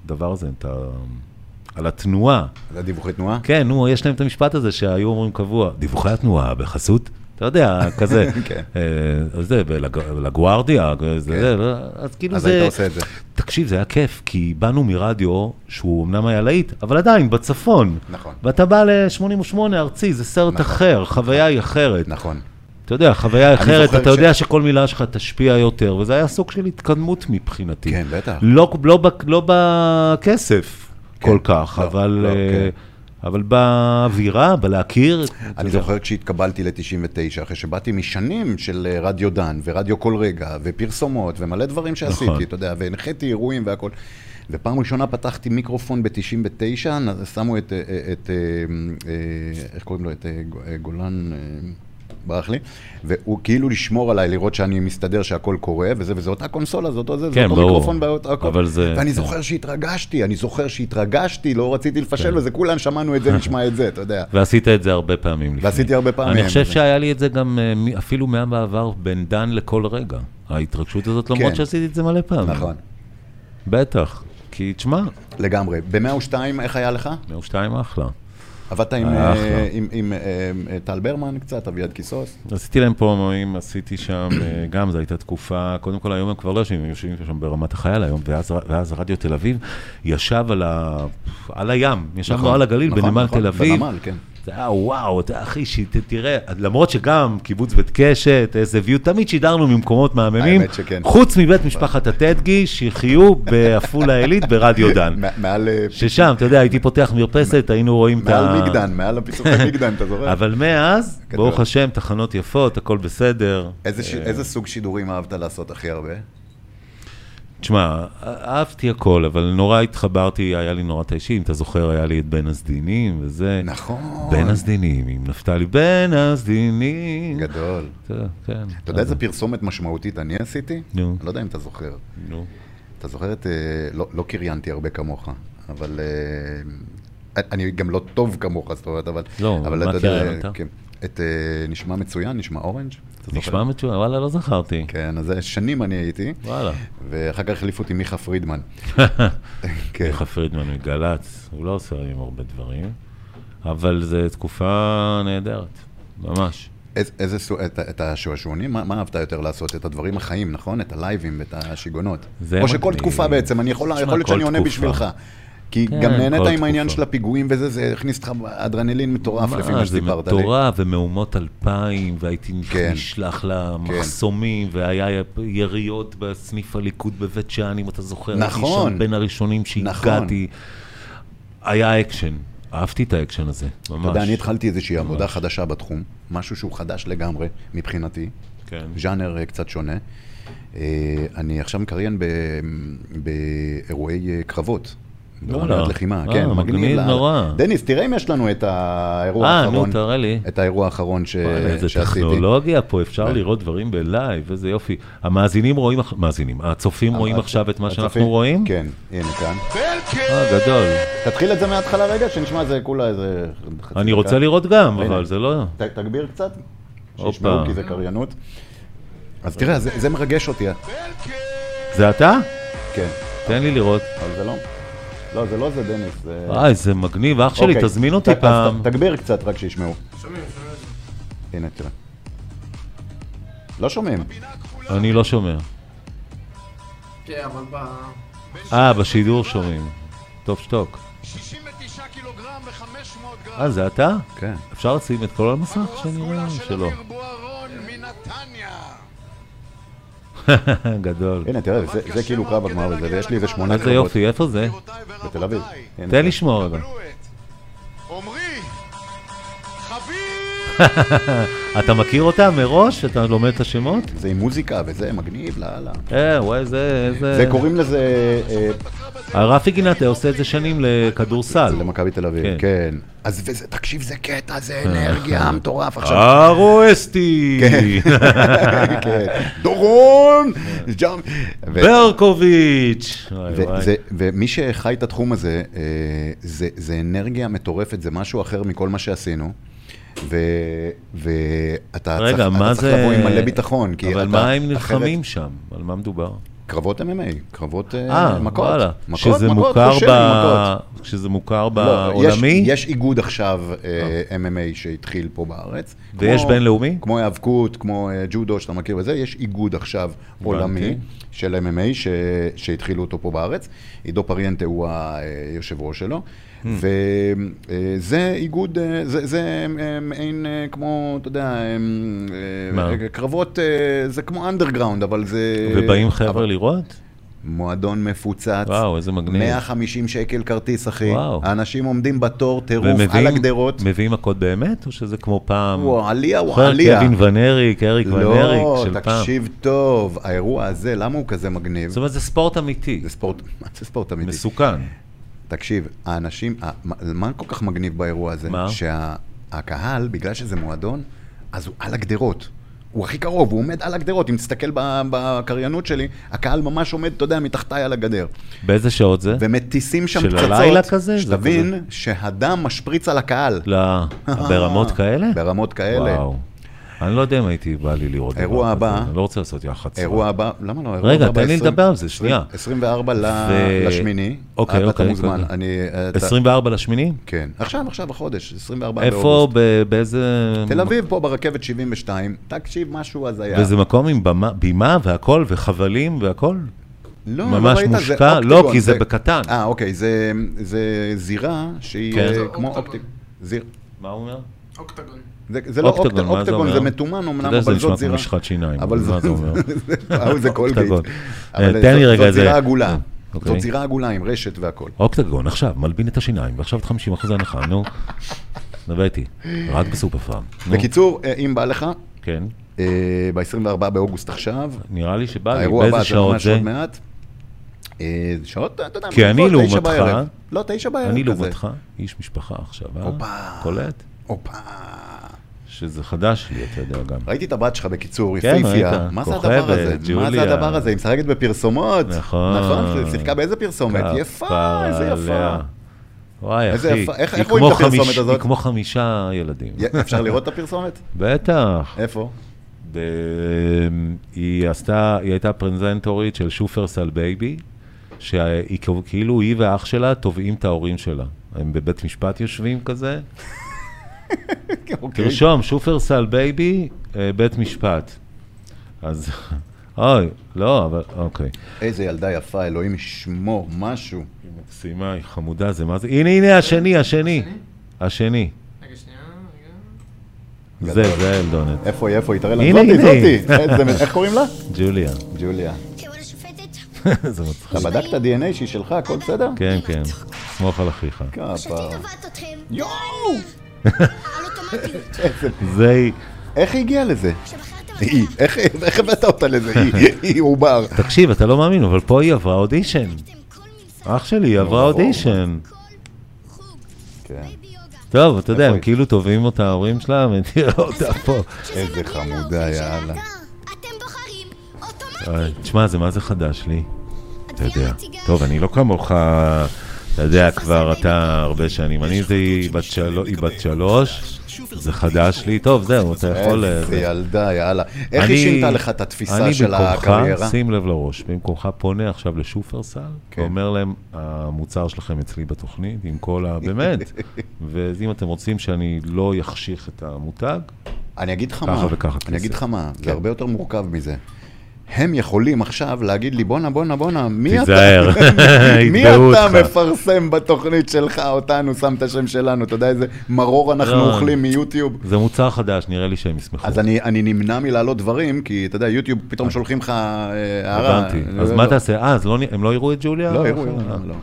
S3: הדבר הזה, את ה... על התנועה.
S2: זה דיווחי תנועה?
S3: כן, נו, יש להם את המשפט הזה שהיו אומרים קבוע, דיווחי התנועה בחסות, אתה יודע, כזה.
S2: כן.
S3: אה, זה, בלג- לגוארדיה, זה, זה, אז כאילו
S2: אז
S3: זה...
S2: היית עושה את זה.
S3: תקשיב, זה היה כיף, כי באנו מרדיו, שהוא אמנם היה להיט, אבל עדיין, בצפון.
S2: נכון.
S3: ואתה בא ל-88 ארצי, זה סרט
S2: נכון.
S3: אחר, חוויה היא אחרת.
S2: נכון.
S3: אתה יודע, חוויה
S2: אני
S3: אחרת,
S2: זוכר
S3: אתה
S2: ש-
S3: יודע שכל מילה שלך תשפיע יותר, וזה היה סוג של התקדמות מבחינתי.
S2: כן, בטח.
S3: לא, לא, בק- לא בכסף
S2: כן,
S3: כל כך,
S2: לא,
S3: אבל,
S2: לא,
S3: אה,
S2: כן.
S3: אבל באווירה, בלהכיר. אתה
S2: אני
S3: יודע.
S2: זוכר כשהתקבלתי ל-99, אחרי שבאתי משנים של אה, רדיו דן, ורדיו כל רגע, ופרסומות, ומלא דברים
S3: נכון.
S2: שעשיתי, אתה יודע, והנחיתי אירועים והכל. ופעם ראשונה פתחתי מיקרופון ב-99, שמו את, אה, אה, את, אה, אה, איך קוראים לו? את אה, גו- אה, גולן... אה, ברח לי, והוא כאילו לשמור עליי, לראות שאני מסתדר שהכל קורה, וזה, וזה אותה קונסולה, זה אותו זה, זה
S3: כן,
S2: אותו
S3: ברור.
S2: מיקרופון, באותו הכל.
S3: אבל זה-
S2: ואני
S3: כן.
S2: זוכר שהתרגשתי, אני זוכר שהתרגשתי, לא רציתי
S3: כן.
S2: לפשל בזה, כולם שמענו את זה, נשמע את זה, אתה יודע.
S3: ועשית את זה הרבה פעמים לפני.
S2: ועשיתי הרבה פעמים.
S3: אני חושב
S2: זה-
S3: שהיה לי את זה גם אה, מ- אפילו מהמעבר בין דן לכל רגע. ההתרגשות הזאת, למרות
S2: כן.
S3: שעשיתי את זה מלא פעמים.
S2: נכון,
S3: בטח. כי תשמע,
S2: לגמרי. ב-102, איך היה לך?
S3: 102 אחלה.
S2: עבדת עם,
S3: היה
S2: אה,
S3: אחלה.
S2: עם, עם, אה, אה, טל ברמן קצת, אביעד כיסוס?
S3: עשיתי להם פה מואים, עשיתי שם, אה, גם זו הייתה תקופה, קודם כל היום הם כבר לא יושבים, הם יושבים שם ברמת החייל היום, ואז, ואז רדיו תל אביב ישב על, ה, על הים, ישבנו
S2: נכון,
S3: על הגליל
S2: נכון,
S3: בנמל
S2: נכון,
S3: תל אביב.
S2: בנמל, כן.
S3: זה היה וואו, אתה אחי, ש- ת- תראה, למרות שגם קיבוץ בית קשת, איזה view, תמיד שידרנו ממקומות מהממים,
S2: האמת שכן.
S3: חוץ מבית משפחת הטדגי, שיחיו בעפולה עילית ברדיו דן.
S2: מע- מעל... אה,
S3: ששם, אתה יודע, הייתי פותח מרפסת, היינו רואים את ה...
S2: מעל מגדן, מעל הפיסוחי מגדן, אתה זוכר?
S3: אבל מאז,
S2: גדול.
S3: ברוך השם, תחנות יפות, הכל בסדר.
S2: איזה, ש... איזה סוג שידורים אהבת לעשות הכי הרבה?
S3: תשמע, א- אהבתי הכל, אבל נורא התחברתי, היה לי נורא את האישי, אם אתה זוכר, היה לי את בין הסדינים וזה.
S2: נכון.
S3: בין הסדינים, עם נפתלי בין הסדינים.
S2: גדול.
S3: אתה יודע, כן.
S2: אתה יודע איזה פרסומת משמעותית אני עשיתי?
S3: נו.
S2: אני לא יודע אם אתה זוכר.
S3: נו.
S2: אתה זוכר את... אה, לא, לא קריינתי הרבה כמוך, אבל... אה, אני גם לא טוב כמוך, זאת אומרת, אבל...
S3: לא,
S2: אבל
S3: מה
S2: אתה יודע,
S3: קריינת?
S2: כן. את אה, נשמע מצוין, נשמע אורנג'. אתה זוכר?
S3: נשמע מצוין, וואלה, לא זכרתי.
S2: כן, אז זה שנים אני הייתי,
S3: וואלה.
S2: ואחר כך החליף אותי מיכה פרידמן. כן.
S3: מיכה פרידמן מגל"צ, הוא לא עושה היום הרבה דברים, אבל זו תקופה נהדרת, ממש.
S2: איז- איזה סוג, את, ה- את השעשועונים, מה, מה אהבת יותר לעשות? את הדברים החיים, נכון? את הלייבים ואת השיגעונות.
S3: זה
S2: או שכל
S3: מגניב.
S2: תקופה בעצם, אני יכול,
S3: תשמע,
S2: יכול להיות
S3: כל
S2: שאני עונה
S3: תקופה.
S2: בשבילך. כי
S3: כן,
S2: גם
S3: כל
S2: נהנית עם העניין
S3: תקופה.
S2: של הפיגועים וזה, זה הכניס לך אדרנלין מטורף לפי מה שסיפרת
S3: זה
S2: לי.
S3: מטורף, ומהומות אלפיים, והייתי
S2: כן.
S3: נשלח למחסומים, והיה יריות בסניף הליכוד בבית שאן, אם אתה זוכר. הייתי
S2: נכון.
S3: שם בין הראשונים שהגעתי. היה אקשן, אהבתי את האקשן הזה, ממש.
S2: אתה יודע, אני התחלתי איזושהי עבודה חדשה בתחום, משהו שהוא חדש לגמרי מבחינתי,
S3: כן.
S2: ז'אנר אה, קצת שונה. אה, אני עכשיו מקריין ב- באירועי אה, קרבות.
S3: וואלה.
S2: באומנות לחימה,
S3: אה,
S2: כן,
S3: מגניב
S2: לאללה.
S3: נורא.
S2: דניס, תראה אם יש לנו את האירוע
S3: אה,
S2: האחרון.
S3: נו, תראה לי.
S2: את האירוע האחרון ש...
S3: וואלה, איזה
S2: שעשיתי.
S3: טכנולוגיה פה, אפשר
S2: כן.
S3: לראות דברים בלייב, איזה יופי. המאזינים רואים, אח- מאזינים, הצופים רואים
S2: אה,
S3: עכשיו את מה
S2: הצופים?
S3: שאנחנו רואים?
S2: כן, הנה כאן.
S3: אה, גדול.
S2: תתחיל את זה מההתחלה רגע, שנשמע איזה כולה איזה... חצי
S3: אני
S2: דקה.
S3: רוצה לראות גם,
S2: הנה.
S3: אבל זה לא...
S2: ת- תגביר קצת,
S3: הופה.
S2: שישמעו כי זה קריינות. אז תראה, זה זה מרגש אותי,
S3: זה אתה?
S2: כן.
S3: תן לי לראות.
S2: אבל זה לא... לא, זה לא זה דניס. זה-
S3: אה, איזה מגניב, אח שלי,
S2: אוקיי.
S3: תזמין
S2: ת-
S3: אותי
S2: אז ת-
S3: פעם.
S2: תגביר קצת, רק שישמעו. שומעים, שומעים. הנה, תראה. לא שומעים.
S3: אני לא שומע.
S4: כן, אבל ב...
S3: אה, בשידור שומעים. טוב שתוק.
S5: 69 קילוגרם ו-500 גרם.
S3: אה, זה אתה?
S2: כן.
S3: אפשר לשים את כל המסך? שאני רואה
S5: הסגולה של
S3: שלא. אה,
S5: אמיר בוארון מנתניה.
S3: גדול.
S2: הנה, תראה, זה זה כאילו קרב הגמר וזה, ויש לי איזה שמונה
S3: איזה
S2: קרבות
S3: יופי, איפה זה?
S5: גבירותיי ורבותיי,
S2: בתל אביב. הנה,
S3: תן לשמוע רגע.
S5: קבלו את עמרי חביב
S3: אתה מכיר אותה מראש? אתה לומד את השמות?
S2: זה עם מוזיקה וזה, מגניב, לאללה.
S3: אה, וואי, זה... איזה-
S2: זה קוראים לזה אה,
S3: רפי גינת עושה את זה שנים לכדורסל.
S2: למכבי תל
S3: כן. אה.
S2: אביב, כן. אז וזה, תקשיב, זה קטע, זה אנרגיה מטורף עכשיו.
S3: ארואסטי,
S2: כן. דורון!
S3: אה.
S2: ג'אם! ו-
S3: ברקוביץ'. וואי,
S2: ו-
S3: וואי.
S2: זה- ומי שחי את התחום הזה, אה, זה זה אנרגיה מטורפת, זה משהו אחר מכל מה שעשינו. ו- ואתה צריך
S3: רגע,
S2: אתה
S3: מה
S2: צריך לבוא
S3: זה...
S2: עם מלא ביטחון, כי
S3: אבל
S2: אתה-
S3: מה הם
S2: אחרת-
S3: נלחמים שם? על מה מדובר?
S2: קרבות MMA, קרבות אה,
S3: אה,
S2: מכות.
S3: וואלה.
S2: מכות,
S3: שזה
S2: מכות,
S3: מוכר
S2: חושב,
S3: ב...
S2: מכות.
S3: שזה מוכר
S2: לא,
S3: בעולמי?
S2: יש, יש איגוד עכשיו אה, MMA שהתחיל פה בארץ.
S3: ויש
S2: כמו-
S3: בינלאומי?
S2: כמו היאבקות, כמו אה, ג'ודו שאתה מכיר וזה, יש איגוד עכשיו עולמי של MMA ש, שהתחילו אותו פה בארץ. עידו פריאנטה הוא היושב ראש שלו.
S3: Hmm.
S2: וזה איגוד, אה, זה, זה אה, מעין אה, כמו, אתה יודע, אה,
S3: מה?
S2: אה, קרבות, אה, זה כמו אנדרגראונד, אבל זה...
S3: ובאים
S2: אה, אבל-
S3: חבר'ה לראות?
S2: מועדון מפוצץ.
S3: וואו, איזה מגניב.
S2: 150 שקל כרטיס, אחי.
S3: וואו.
S2: האנשים עומדים בתור, טירוף, על הגדרות.
S3: מביאים מכות באמת, או שזה כמו פעם?
S2: וואו, עלייה, וואו,
S3: זוכר
S2: עלייה.
S3: קווין ונריק, אריק ונריק
S2: לא,
S3: של פעם.
S2: תקשיב טוב, האירוע הזה, למה הוא כזה מגניב?
S3: זאת אומרת, זה ספורט אמיתי,
S2: זה ספורט, מה זה ספורט אמיתי?
S3: מסוכן.
S2: תקשיב, האנשים, ה- מה- מה כל כך מגניב באירוע הזה?
S3: מה?
S2: שהקהל, בגלל שזה מועדון, אז הוא על הגדרות. הוא הכי קרוב, הוא עומד על הגדרות. אם תסתכל ב- בקריינות שלי, הקהל ממש עומד, אתה יודע, מתחתיי על הגדר.
S3: באיזה שעות זה?
S2: ומטיסים שם
S3: של
S2: פצצות.
S3: הלילה כזה? זה כזה.
S2: שתבין שהדם משפריץ על הקהל.
S3: ל- ברמות כאלה?
S2: ברמות כאלה.
S3: אה. וואו. אני לא יודע אם הייתי בא לי לראות דבר
S2: אירוע
S3: כזה,
S2: הבא-
S3: אני לא רוצה לעשות יח"צ.
S2: אירוע הבא, למה לא? אירוע
S3: רגע,
S2: הבא
S3: תן לי
S2: ב- עשרים-
S3: לדבר על זה, שנייה.
S2: 24 ל-
S3: ו-
S2: לשמיני.
S3: אוקיי,
S2: אתה-
S3: אוקיי,
S2: אתה מוזמן.
S3: אוקיי.
S2: אני... אתה-
S3: 24 לשמיני?
S2: כן. עכשיו, עכשיו, החודש, 24
S3: איפה?
S2: באוגוסט.
S3: ב- באיזה...
S2: תל אביב, פה ברכבת 72. תקשיב, משהו הזיה.
S3: וזה מקום עם במה- בימה והכל, וחבלים והכל?
S2: לא,
S3: ממש
S2: ראית? זה
S3: מושקע? לא,
S2: אוקטגון,
S3: כי זה בקטן.
S2: אה, אוקיי, זה- זה זירה שהיא
S3: כן.
S2: אה,
S3: זה
S2: כמו
S4: אוקטגון.
S2: אופטיק. זיר-
S3: מה הוא אומר?
S4: אוקטגון.
S2: זה זה לא
S3: אוקטגון,
S2: אוקט-
S3: מה זה
S2: אוקטגון,
S3: אומר?
S2: זה מתומן
S3: אתה
S2: אמנם,
S3: יודע שזה
S2: אבל זאת
S3: נשמע כמו
S2: זירה.
S3: משחת שיניים,
S2: אבל
S3: מה
S2: זאת-
S3: זה אומר?
S2: אה, זה קולגייט.
S3: אוקטגון.
S2: אבל
S3: אה, תן לי
S2: זאת-
S3: רגע
S2: זאת
S3: איזה-
S2: זירה עגולה.
S3: אוקיי.
S2: זאת זירה עגולה עם רשת והכל.
S3: אוקטגון, עכשיו, מלבין את השיניים, ועכשיו את 50% הנחה, נו. דבר איתי, רק בסופר פארם. נו,
S2: בקיצור, אה, אם בא לך, אה,
S3: כן,
S2: ב-24 באוגוסט עכשיו,
S3: נראה לי שבא לי,
S2: האירוע הבא
S3: אה, באיזה
S2: זה
S3: שעות
S2: ממש
S3: זה?
S2: עוד מעט. אה, שעות, אתה יודע,
S3: כי אני
S2: מגניבות, תשע
S3: לעומתך-
S2: בערב. לא, תשע בערב כזה.
S3: אני לעומתך, איש משפחה עכשיו, אה?
S2: הופה.
S3: קולט?
S2: הופה.
S3: שזה חדש לי, אתה יודע גם.
S2: ראיתי את הבת שלך בקיצור,
S3: כן,
S2: יפהפייה.
S3: ראית,
S2: מה זה
S3: כוכבת,
S2: הדבר הזה? מה
S3: ג'וליה.
S2: זה הדבר הזה? היא משחקת בפרסומות.
S3: נכון.
S2: נכון, היא שיחקה באיזה פרסומת? יפה,
S3: כפרה
S2: איזה יפה.
S3: אה, עליה. וואי,
S2: איזה
S3: אחי,
S2: יפה, איך-
S3: היא
S2: איך רואים
S3: כמו
S2: את הפרסומת
S3: חמיש-
S2: הזאת?
S3: היא כמו חמישה ילדים.
S2: י- אפשר לראות את הפרסומת?
S3: בטח.
S2: איפה?
S3: ב- היא עשתה, היא הייתה פרזנטורית של שופרסל בייבי, שהיא כאילו- כאילו היא ואח שלה תובעים את ההורים שלה. הם בבית משפט יושבים כזה.
S2: אוקיי.
S3: תרשום, שופרסל בייבי, אה, בית משפט. אז, אוי, לא, אבל, אוקיי.
S2: איזה ילדה יפה, אלוהים ישמור, משהו.
S3: היא מקסימה, היא חמודה, זה מה זה? הנה, הנה, השני, השני. השני.
S4: רגע, שנייה, רגע.
S3: זה, זה אלדונט.
S2: איפה היא, איפה היא? תראה
S3: הנה,
S2: לה, זאתי,
S3: הנה היא.
S2: זאתי. איזה- איך קוראים לה?
S3: ג'וליה.
S2: ג'וליה.
S6: כבוד השופטת,
S3: זה מצחיק.
S2: אתה בדקת DNA שהיא שלך, הכל בסדר?
S3: כן, כן. סמוך על אחיך.
S6: כשאני
S2: כפה.
S6: תובעת אתכם,
S2: יואו!
S6: על אוטומטיות,
S3: זה היא.
S2: איך היא הגיעה לזה?
S6: שבחרתם
S2: היא.
S6: אותה,
S2: איך- איך הבאת אותה לזה? היא, היא עובר.
S3: תקשיב, אתה לא מאמין, אבל פה היא עברה אודישן.
S6: אתם כל מלסה,
S3: אח שלי, היא עברה
S2: ברור.
S3: אודישן.
S2: לא.
S6: כל חוג,
S2: כן.
S6: בייבי יוגה.
S3: טוב, אתה יודע,
S2: איפה
S3: הם
S2: היא?
S3: כאילו תובעים אותה, ההורים שלה, ותראה אותה פה.
S6: כשזה
S2: איזה
S6: מגיע
S2: חמודה,
S6: לאוכל של
S2: יאללה.
S6: ההגה, אתם בוחרים
S3: אה,
S6: אוטומטית.
S3: תשמע, זה מה זה חדש לי? אתה יודע.
S6: התביעה מציגה-
S3: טוב, אני לא כמוך, אתה יודע, כבר אתה הרבה שנים. אני זה, היא בת שלו- היא בת שלוש, זה חדש לי. טוב, זהו, אתה יכול... אה,
S2: איזה
S3: זה.
S2: ילדה, יאללה. איך
S3: אני-
S2: היא שינתה לך את התפיסה של
S3: אני
S2: הקריירה?
S3: במקומך, שים לב לראש, במקומך פונה עכשיו לשופרסל,
S2: כן.
S3: ואומר להם, המוצר שלכם אצלי בתוכנית, עם כל ה... באמת. ואם אתם רוצים שאני לא יחשיך את המותג,
S2: אני אגיד לך
S3: ככה
S2: מה,
S3: וככה כן.
S2: אני
S3: כסף.
S2: אגיד לך מה, זה הרבה יותר מורכב מזה. הם יכולים עכשיו להגיד לי, בואנה, בואנה, בואנה, מי אתה?
S3: תיזהר,
S2: מי
S3: יתבעו
S2: אתה
S3: אותך.
S2: מפרסם בתוכנית שלך אותנו, שם את השם שלנו, אתה יודע איזה מרור אנחנו
S3: לא.
S2: אוכלים מיוטיוב?
S3: זה מוצר חדש, נראה לי שהם ישמחו.
S2: אז אני, אני נמנע מלהעלות דברים, כי אתה יודע, יוטיוב פתאום שולחים לך אה, הערה.
S3: הבנתי.
S2: לא,
S3: אז
S2: לא,
S3: מה
S2: לא.
S3: תעשה? אה, אז לא נ- הם לא יראו את ג'וליה?
S2: לא, יראו,
S3: אה,
S2: יראו, לא.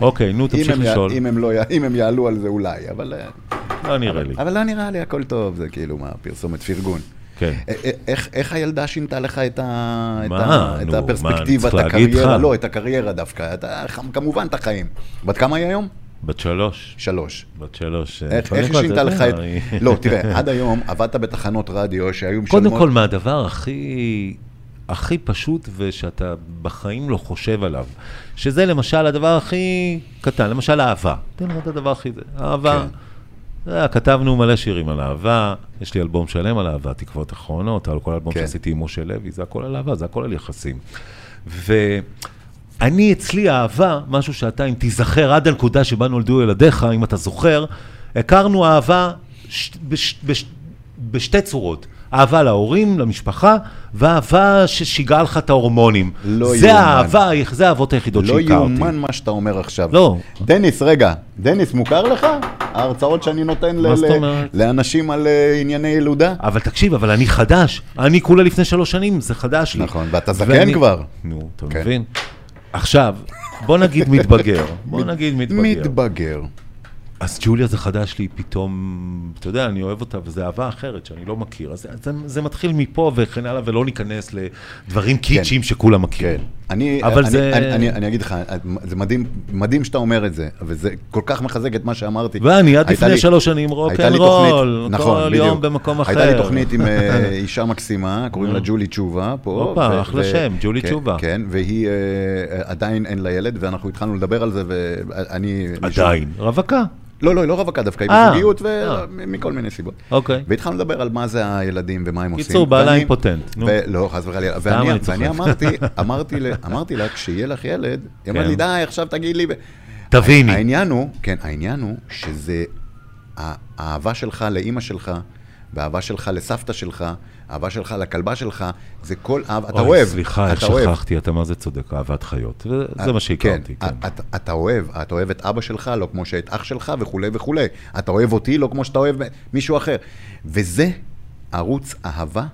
S3: אוקיי, נו,
S2: אם
S3: תמשיך
S2: הם יע-
S3: לשאול.
S2: אם הם לא יע- אם הם יעלו על זה אולי, אבל אה,
S3: לא נראה לי.
S2: אבל לא נראה לי הכל טוב, זה כאילו מה, פרסומת פרגון.
S3: כן.
S2: א- א- איך, איך הילדה שינתה לך את, ה, את,
S3: מה?
S2: ה,
S3: נו,
S2: את
S3: מה, אני
S2: הפרספקטיבה,
S3: צריך
S2: את
S3: להגיד לך?
S2: הקריירה, לא, את הקריירה דווקא, אתה, כמובן את החיים. בת כמה היא היום?
S3: בת שלוש.
S2: שלוש.
S3: בת שלוש. אה,
S2: איך
S3: קודם
S2: איך
S3: כל,
S2: היא שינתה
S3: אתה
S2: לך את...
S3: יודע, היא-
S2: לא, תראה, עד היום עבדת בתחנות רדיו שהיו משלמות...
S3: קודם כל, מהדבר הכי... הכי פשוט ושאתה בחיים לא חושב עליו, שזה למשל הדבר הכי קטן, למשל אהבה. תן לך את הדבר הכי זה, אהבה. אתה יודע, כתבנו מלא שירים על אהבה, יש לי אלבום שלם על אהבה, תקוות אחרונות, על כל אלבום
S2: כן.
S3: שעשיתי עם משה לוי, זה הכל על אהבה, זה הכל על יחסים. ואני, אצלי אהבה, משהו שאתה, אם תיזכר עד הנקודה שבה נולדו ילדיך, אם אתה זוכר, הכרנו אהבה ש... בש... בש... בשתי צורות. אהבה להורים, למשפחה, ואהבה ששיגעה לך את ההורמונים.
S2: לא
S3: זה
S2: יאומן.
S3: האהבה, זה האהבות היחידות
S2: לא
S3: שהכרתי.
S2: יאומן מה שאתה אומר עכשיו.
S3: לא.
S2: דניס, רגע, דניס, מוכר לך? ההרצאות שאני נותן ל-
S3: מה זאת
S2: ל-
S3: אומרת?
S2: לאנשים על אה, ענייני ילודה?
S3: אבל תקשיב, אבל אני חדש. אני כולה לפני שלוש שנים, זה חדש לי.
S2: נכון, ואתה זקן
S3: ואני-
S2: כבר.
S3: נו, אתה
S2: כן.
S3: מבין? עכשיו, בוא נגיד מתבגר. בוא נגיד מתבגר.
S2: מתבגר.
S3: אז ג'וליה זה חדש לי פתאום, אתה יודע, אני אוהב אותה, וזו אהבה אחרת שאני לא
S2: כן.
S3: מכיר. אז זה- זה- זה מתחיל מפה וכן הלאה, ולא ניכנס לדברים קיצ'יים שכולם מכירים.
S2: אני,
S3: אבל
S2: אני,
S3: זה-
S2: אני, אני, אני אגיד לך, זה מדהים, מדהים שאתה אומר את זה, וזה כל כך מחזק את מה שאמרתי.
S3: ואני עד
S2: הייתה
S3: לפני
S2: לי-
S3: שלוש שנים
S2: הייתה לי
S3: רוקנרול,
S2: תוכנית-
S3: כל
S2: נכון,
S3: יום
S2: בדיוק.
S3: במקום אחר.
S2: הייתה לי תוכנית עם אה, אישה מקסימה, קוראים לה ג'ולי תשובה, פה.
S3: הופה,
S2: ו-
S3: אחלה
S2: ו-
S3: שם, ג'ולי
S2: כן,
S3: תשובה.
S2: כן, והיא אה, עדיין אין לה ילד, ואנחנו התחלנו לדבר על זה, ואני...
S3: עדיין. רווקה.
S2: לא, לא, היא לא רווקה דווקא, היא
S3: אה,
S2: בזוגיות,
S3: אה.
S2: ומכל מיני סיבות.
S3: אוקיי.
S2: והתחלנו לדבר על מה זה הילדים ומה הם עושים.
S3: קיצור, בעלה
S2: ואני-
S3: אימפוטנט, נו.
S2: ו- לא, חס וחלילה. ואני-
S3: אני צוחק.
S2: ואני אמרתי, אמרתי ל- אמרתי לה, כשיהיה לך ילד, היא אמרה
S3: כן.
S2: לי, די, עכשיו תגיד לי... ו-
S3: תביני.
S2: העניין הוא, כן, העניין הוא שזה הא- האהבה שלך לאימא שלך, והאהבה שלך לסבתא שלך, האהבה שלך לכלבה שלך, זה כל אהבה, אתה
S3: אוי,
S2: אוהב,
S3: סליחה, איך
S2: אתה אוהב.
S3: שכחתי, אתה מה זה צודק, אהבת חיות. זה- זה מה שהכרתי, כן.
S2: כן. אתה- אתה אוהב, אתה אוהב את אבא שלך, לא כמו שאת אח שלך וכולי וכולי. אתה אוהב אותי, לא כמו שאתה אוהב מישהו אחר. וזה ערוץ אהבה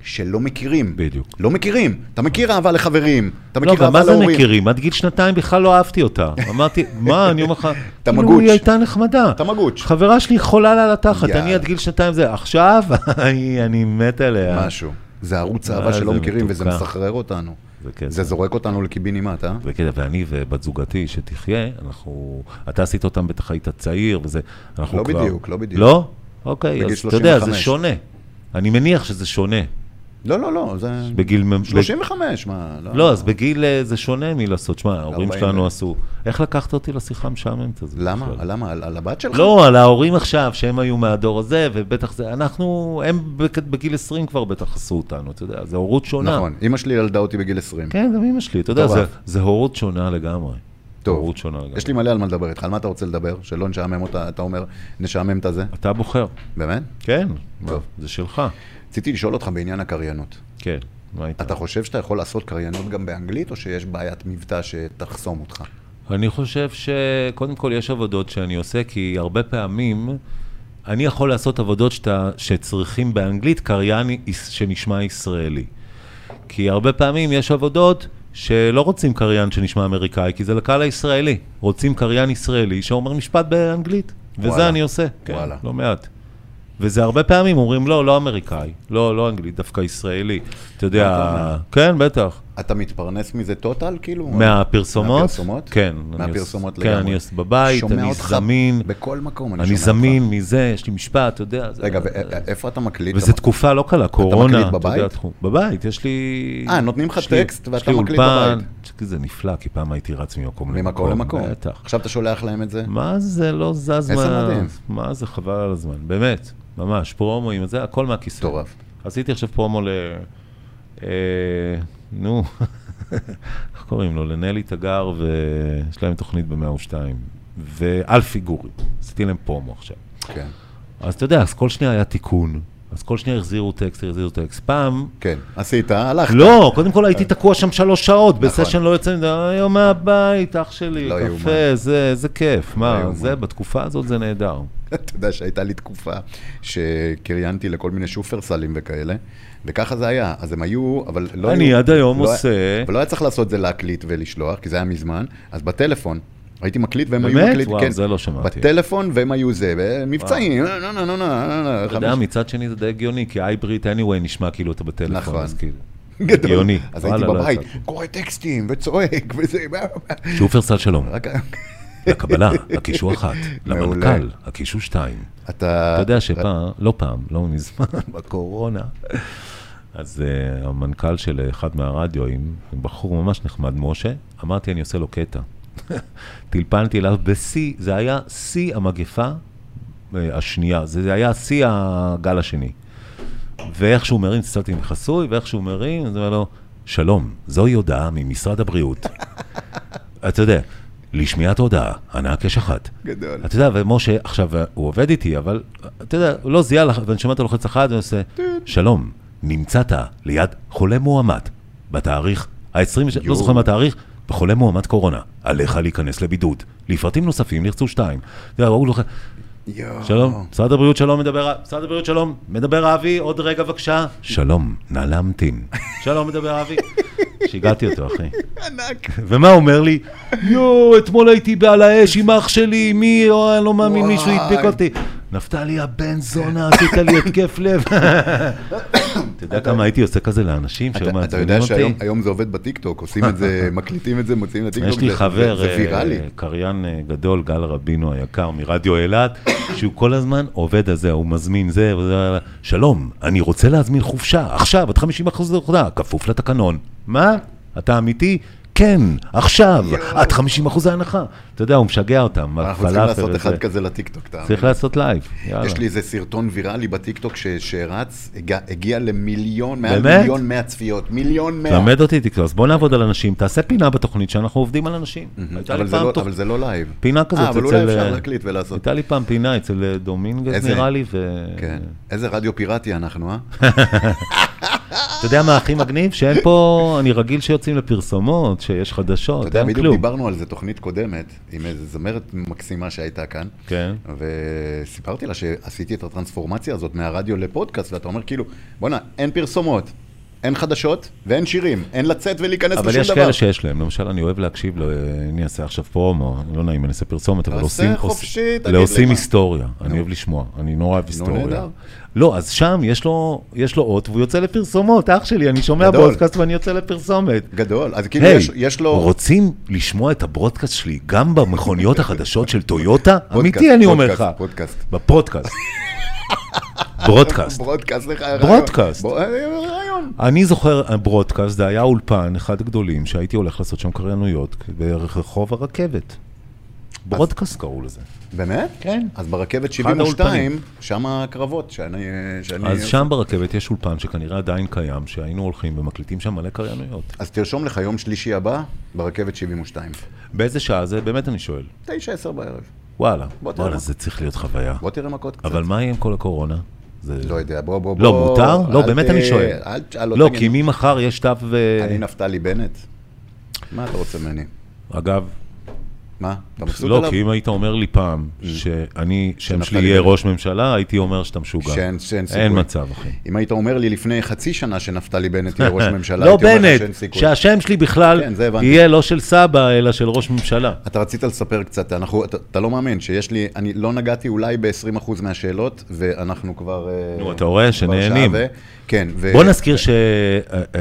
S2: שלא מכירים.
S3: בדיוק.
S2: לא מכירים. אתה מכיר אהבה לחברים, אתה
S3: לא,
S2: מכיר
S3: אבל
S2: אהבה
S3: מה זה
S2: להורים.
S3: מכירים? עד גיל שנתיים בכלל לא אהבתי אותה. אמרתי, מה, אני אומר לך,
S2: אתה
S3: כאילו
S2: מגוץ'.
S3: היא הייתה נחמדה.
S2: אתה מגוץ'.
S3: חברה שלי חולה לה על התחת,
S2: יאללה.
S3: אני עד גיל שנתיים זה, עכשיו, היא- אני מת עליה.
S2: משהו. זה ערוץ
S3: אה,
S2: אהבה שלא
S3: זה
S2: מכירים, וזה
S3: מתוקה. כן.
S2: מסחרר אותנו.
S3: זה קטע.
S2: זה זורק אותנו לקיבינימט, אה?
S3: וכן, ואני ובת זוגתי שתחיה, אנחנו, אתה עשית אותם בטח היית צעיר וזה, אנחנו
S2: לא
S3: כבר...
S2: בדיוק, לא בדיוק.
S3: לא? אוקיי,
S2: בגיל
S3: אז אתה יודע, זה
S2: 35.
S3: שונה. אני מניח שזה שונה.
S2: לא, לא, לא, זה...
S3: בגיל... מ-
S2: 35, מה?
S3: לא, אז בגיל אה, זה שונה מלעשות, שמע, ההורים
S2: 40.
S3: שלנו עשו. איך לקחת אותי לשיחה המשעממת הזאת?
S2: למה?
S3: בכלל?
S2: למה? על על הבת שלך?
S3: לא, על ההורים עכשיו, שהם היו מהדור הזה, ובטח זה, אנחנו, הם בק- בגיל 20 כבר בטח עשו אותנו, אתה יודע, זה הורות שונה.
S2: נכון. אימא שלי ילדה אותי בגיל 20.
S3: כן, גם אמא שלי, אתה יודע,
S2: מטורף.
S3: זה- זה הורות שונה לגמרי.
S2: טוב,
S3: הורות שונה לגמרי.
S2: לא. יש לי מלא על מה לדבר איתך, על מה אתה רוצה לדבר? שלא נשעמם אותה, אתה אומר, נשעמם את הזה?
S3: אתה בוחר.
S2: באמת?
S3: כן,
S2: טוב.
S3: מה, זה שלך.
S2: רציתי לשאול אותך בעניין הקריינות.
S3: כן, מה איתה?
S2: אתה חושב שאתה יכול לעשות קריינות גם באנגלית, או שיש בעיית מבטא שתחסום אותך?
S3: אני חושב שקודם כל יש עבודות שאני עושה, כי הרבה פעמים אני יכול לעשות עבודות שאתה, שצריכים באנגלית קריין יש- שנשמע ישראלי. כי הרבה פעמים יש עבודות שלא רוצים קריין שנשמע אמריקאי, כי זה לקהל הישראלי. רוצים קריין ישראלי שאומר משפט באנגלית, וזה
S2: וואלה.
S3: אני עושה. כן,
S2: וואלה.
S3: לא מעט. וזה הרבה פעמים אומרים, לא, לא אמריקאי, לא, לא אנגלית, דווקא ישראלי. אתה יודע, כן, בטח.
S2: אתה מתפרנס מזה טוטל, כאילו?
S3: מהפרסומות?
S2: מהפרסומות?
S3: כן. אני
S2: מהפרסומות
S3: עוש- כן,
S2: לגמרי.
S3: אני עוש- בבית,
S2: שומע
S3: אני
S2: אותך
S3: זמין.
S2: בכל מקום, אני שומע
S3: אני
S2: אותך.
S3: זמין מזה, יש לי משפט, אתה יודע. זה-
S2: רגע, ואיפה אתה מקליט?
S3: וזו
S2: אתה-
S3: תקופה לא קלה, קורונה.
S2: מקליט
S3: אתה
S2: בבית?
S3: יודע, תחום- בבית, יש לי...
S2: אה, נותנים לך
S3: יש לי-
S2: טקסט ואתה מקליט
S3: יש לי
S2: בבית.
S3: אולפן, זה נפלא, כי פעם הייתי רץ ממקום למקום.
S2: ממקום למקום.
S3: בטח.
S2: עכשיו אתה שולח להם את זה?
S3: מה זה לא זז
S2: איזה
S3: מה...
S2: מדהים.
S3: מה זה חבל על הזמן, באמת, ממש, פרומואים, זה הכל מהכיסא.
S2: מטורף.
S3: עשיתי עכשיו פרומו ל... אה, נו, איך קוראים לו? לנלי תגר, ויש להם תוכנית ב-102. ואלפי גורי, עשיתי להם פרומו עכשיו.
S2: כן.
S3: אז אתה יודע, אז כל שנייה היה תיקון. אז כל שנייה החזירו טקסט, החזירו טקסט. פעם
S2: כן. עשית, הלכת.
S3: לא, קודם כל הייתי תקוע שם שלוש שעות, בסשן
S2: אה. נכון.
S3: לא יוצא מזה, היום מהבית, אח שלי,
S2: לא
S3: קפה,
S2: יאומן. לא
S3: זה, זה כיף, מה,
S2: יאומן.
S3: זה, בתקופה הזאת זה נהדר.
S2: אתה יודע שהייתה לי תקופה שקריינתי לכל מיני שופרסלים וכאלה, וככה זה היה. אז הם היו, אבל לא
S3: אני
S2: היו...
S3: עד היום
S2: לא היה-
S3: עושה-
S2: אבל לא היה צריך לעשות את זה להקליט ולשלוח, כי זה היה מזמן. אז בטלפון, הייתי מקליט והם היו
S3: באמת?
S2: מקליט...
S3: וואו,
S2: כן.
S3: זה לא שמעתי.
S2: בטלפון והם היו זה, מבצעים, נה, נה, נה, נה, נה, נה,
S3: אתה יודע,
S2: חמש-
S3: מצד שני זה די הגיוני, כי הייבריד anyway נשמע כאילו אתה בטלפון,
S2: נכון.
S3: אז כאילו.
S2: גדול.
S3: הגיוני.
S2: אז הייתי
S3: וואלה, לא
S2: בבית,
S3: יצא.
S2: קורא טקסטים וצועק וזה...
S3: שופרסל שלום,
S2: רק-
S3: לקבלה, הקישור אחת,
S2: מעולה.
S3: למנכ"ל, הקישור שתיים.
S2: אתה...
S3: אתה יודע שפעם, לא פעם, לא מזמן, בקורונה, אז אה, המנכ"ל של אחד מהרדיואים, בחור ממש נחמד, משה, אמרתי, אני עושה לו קטע. טלפנתי אליו בשיא, זה היה שיא המגפה אה, השנייה, זה זה היה שיא הגל השני. ואיך שהוא מרים, צלצלתי עם חסוי, ואיך שהוא מרים, אז הוא אומר לו, שלום, זוהי הודעה ממשרד הבריאות. אתה יודע, לשמיעת הודעה, ענה הקש אחת.
S2: גדול.
S3: אתה יודע, ומשה, עכשיו, הוא עובד איתי, אבל, אתה יודע, הוא לא זיהה, לח- ואני שומע אותו לוחץ אחת, ואני עושה,
S2: כן.
S3: שלום, נמצאת ליד חולה מועמד, בתאריך ה-20, לא
S2: יואו.
S3: זוכר מה התאריך, בחולה מועמד קורונה, עליך להיכנס לבידוד. לפרטים נוספים נרצו שתיים. אתה יודע, הוא לוחץ...
S2: יואו.
S3: שלום, משרד הבריאות שלום מדבר, משרד הבריאות שלום, מדבר אבי, עוד רגע בבקשה. שלום, נא להמתין. שלום, מדבר אבי. שיגעתי אותו, אחי.
S2: ענק.
S3: ומה הוא אומר לי? יואו, אתמול הייתי בעל האש עם אח שלי, מי, או, אני לא מאמין, מישהו
S2: וואי.
S3: הדביק אותי. נפתלי הבן זונה, עשית לי התקף לב. אתה יודע כמה הייתי עושה כזה לאנשים שהיו
S2: אתה, אתה
S3: מעצבנים
S2: יודע
S3: אותי?
S2: שהיום היום זה עובד בטיקטוק, עושים את זה, מקליטים את זה, מוציאים לטיקטוק,
S3: יש לי
S2: זה-
S3: חבר,
S2: זה, זה ויראלי.
S3: אה, קריין אה, גדול, גל רבינו היקר מרדיו אילת, שהוא כל הזמן עובד על זה, הוא מזמין זה, וזה, שלום, אני רוצה להזמין חופשה, עכשיו, עד 50 אחוז הנחה, כפוף לתקנון. מה? אתה אמיתי? כן, עכשיו, עד 50 אחוז ההנחה. אתה יודע, הוא משגע אותם,
S2: אנחנו צריכים
S3: הפלאפל
S2: לעשות אחד
S3: וזה.
S2: כזה לטיקטוק, אתה
S3: צריך לעשות לייב, יאללה.
S2: יש לי איזה סרטון ויראלי בטיקטוק ש- שרץ, הגע- הגיע למיליון, מעל
S3: באמת?
S2: מיליון מאה צפיות, מיליון מאה.
S3: תלמד אותי תקרוא, אז בוא נעבוד על אנשים, תעשה פינה בתוכנית שאנחנו עובדים על אנשים. הייתה לי
S2: אבל זה
S3: פעם
S2: לא-
S3: תוכ-
S2: אבל זה לא לייב.
S3: פינה כזאת
S2: אה, אבל אולי
S3: אצל...
S2: אפשר
S3: אה,
S2: להקליט ולעשות.
S3: הייתה לי פעם פינה אצל אה, דומינגז
S2: איזה-
S3: נראה לי, ו...
S2: כן. איזה רדיו פיראטי אנחנו, אה?
S3: אתה יודע מה הכי מגניב? שאין פה, אני רגיל שיוצאים לפרסומות, שיש חדשות,
S2: אתה יודע,
S3: אין
S2: בדיוק
S3: כלום.
S2: דיברנו על זה תוכנית קודמת, עם איזו זמרת מקסימה שהייתה כאן,
S3: כן.
S2: וסיפרתי לה שעשיתי את הטרנספורמציה הזאת מהרדיו לפודקאסט, ואתה אומר כאילו, בואנה, אין פרסומות, אין חדשות ואין שירים, אין לצאת ולהיכנס לשום
S3: אבל
S2: דבר.
S3: יש כאלה שיש להם, למשל אני אוהב להקשיב, לו, אה, אני אעשה עכשיו פרומו, לא נעים, אני אעשה פרסומת, אבל
S2: תעשה
S3: עושים...
S2: חופשי,
S3: עוש-
S2: תגיד
S3: לא, עושים
S2: למה.
S3: היסטוריה, אני אוהב לשמוע, אני נורא אוהב היסטוריה.
S2: נהדר.
S3: לא, אז שם יש לו יש לו אות והוא יוצא לפרסומות, אח שלי, אני שומע
S2: גדול.
S3: ברודקאסט ואני יוצא לפרסומת.
S2: גדול, אז כאילו
S3: היי,
S2: יש- יש לו...
S3: רוצים לשמוע את הברודקאסט שלי גם במכוניות החדשות של טויוטה?
S2: פודקאסט,
S3: אמיתי, אני אומר לך.
S2: פודקאסט, פודקאסט.
S3: בפודקאסט. ברודקאסט.
S2: ברודקאסט לך רעיון.
S3: ברודקאסט.
S2: בוא- אה, רעיון.
S3: אני זוכר, ברודקאסט, זה היה אולפן, אחד הגדולים, שהייתי הולך לעשות שם קריינויות, ברחוב הרכבת. ברודקאסט קראו לזה.
S2: באמת?
S3: כן.
S2: אז ברכבת
S3: האולפנים.
S2: 72, שם הקרבות שאני... אה, שאני
S3: אז שם ברכבת יש אולפן שכנראה עדיין קיים, שהיינו הולכים ומקליטים שם מלא קריינויות.
S2: אז תרשום לך יום שלישי הבא, ברכבת 72.
S3: באיזה שעה זה? באמת אני שואל.
S2: 9, 10 בערב.
S3: וואלה,
S2: בוא תראה.
S3: וואלה, זה צריך להיות חוויה.
S2: בוא תראה מכות קצת.
S3: אבל מה יהיה עם כל הקורונה? זה...
S2: לא יודע, בוא, בוא, בוא.
S3: לא, מותר? לא,
S2: אל
S3: באמת
S2: ת-
S3: אני שואל.
S2: אל תשאל אותי.
S3: לא, כי ממחר יש תו... אה, ו-
S2: אני נפתלי בנט. מה אתה רוצה ממני?
S3: אגב,
S2: מה? אתה מבסוט
S3: לא,
S2: עליו? Mm.
S3: כי אם היית אומר לי פעם שאני, שם
S2: שנפתלי
S3: שלי יהיה
S2: בנט.
S3: ראש ממשלה, הייתי אומר שאתה משוגע.
S2: שאין- שאין סיכוי.
S3: אין מצב, אחי.
S2: אם היית אומר לי לפני חצי שנה שנפתלי בנט יהיה ראש ממשלה,
S3: לא
S2: הייתי אומר לך
S3: בנט,
S2: שאין סיכוי.
S3: שהשם שלי בכלל
S2: כן, זה הבנתי. אה,
S3: יהיה לא של סבא, אלא של ראש ממשלה.
S2: אתה רצית לספר קצת, אנחנו, אתה, אתה לא מאמין שיש לי, אני לא נגעתי אולי ב-20% מהשאלות, ואנחנו כבר... אה,
S3: נו, אתה רואה
S2: כבר
S3: שנהנים.
S2: שעה ו- כן, ו...
S3: בוא נזכיר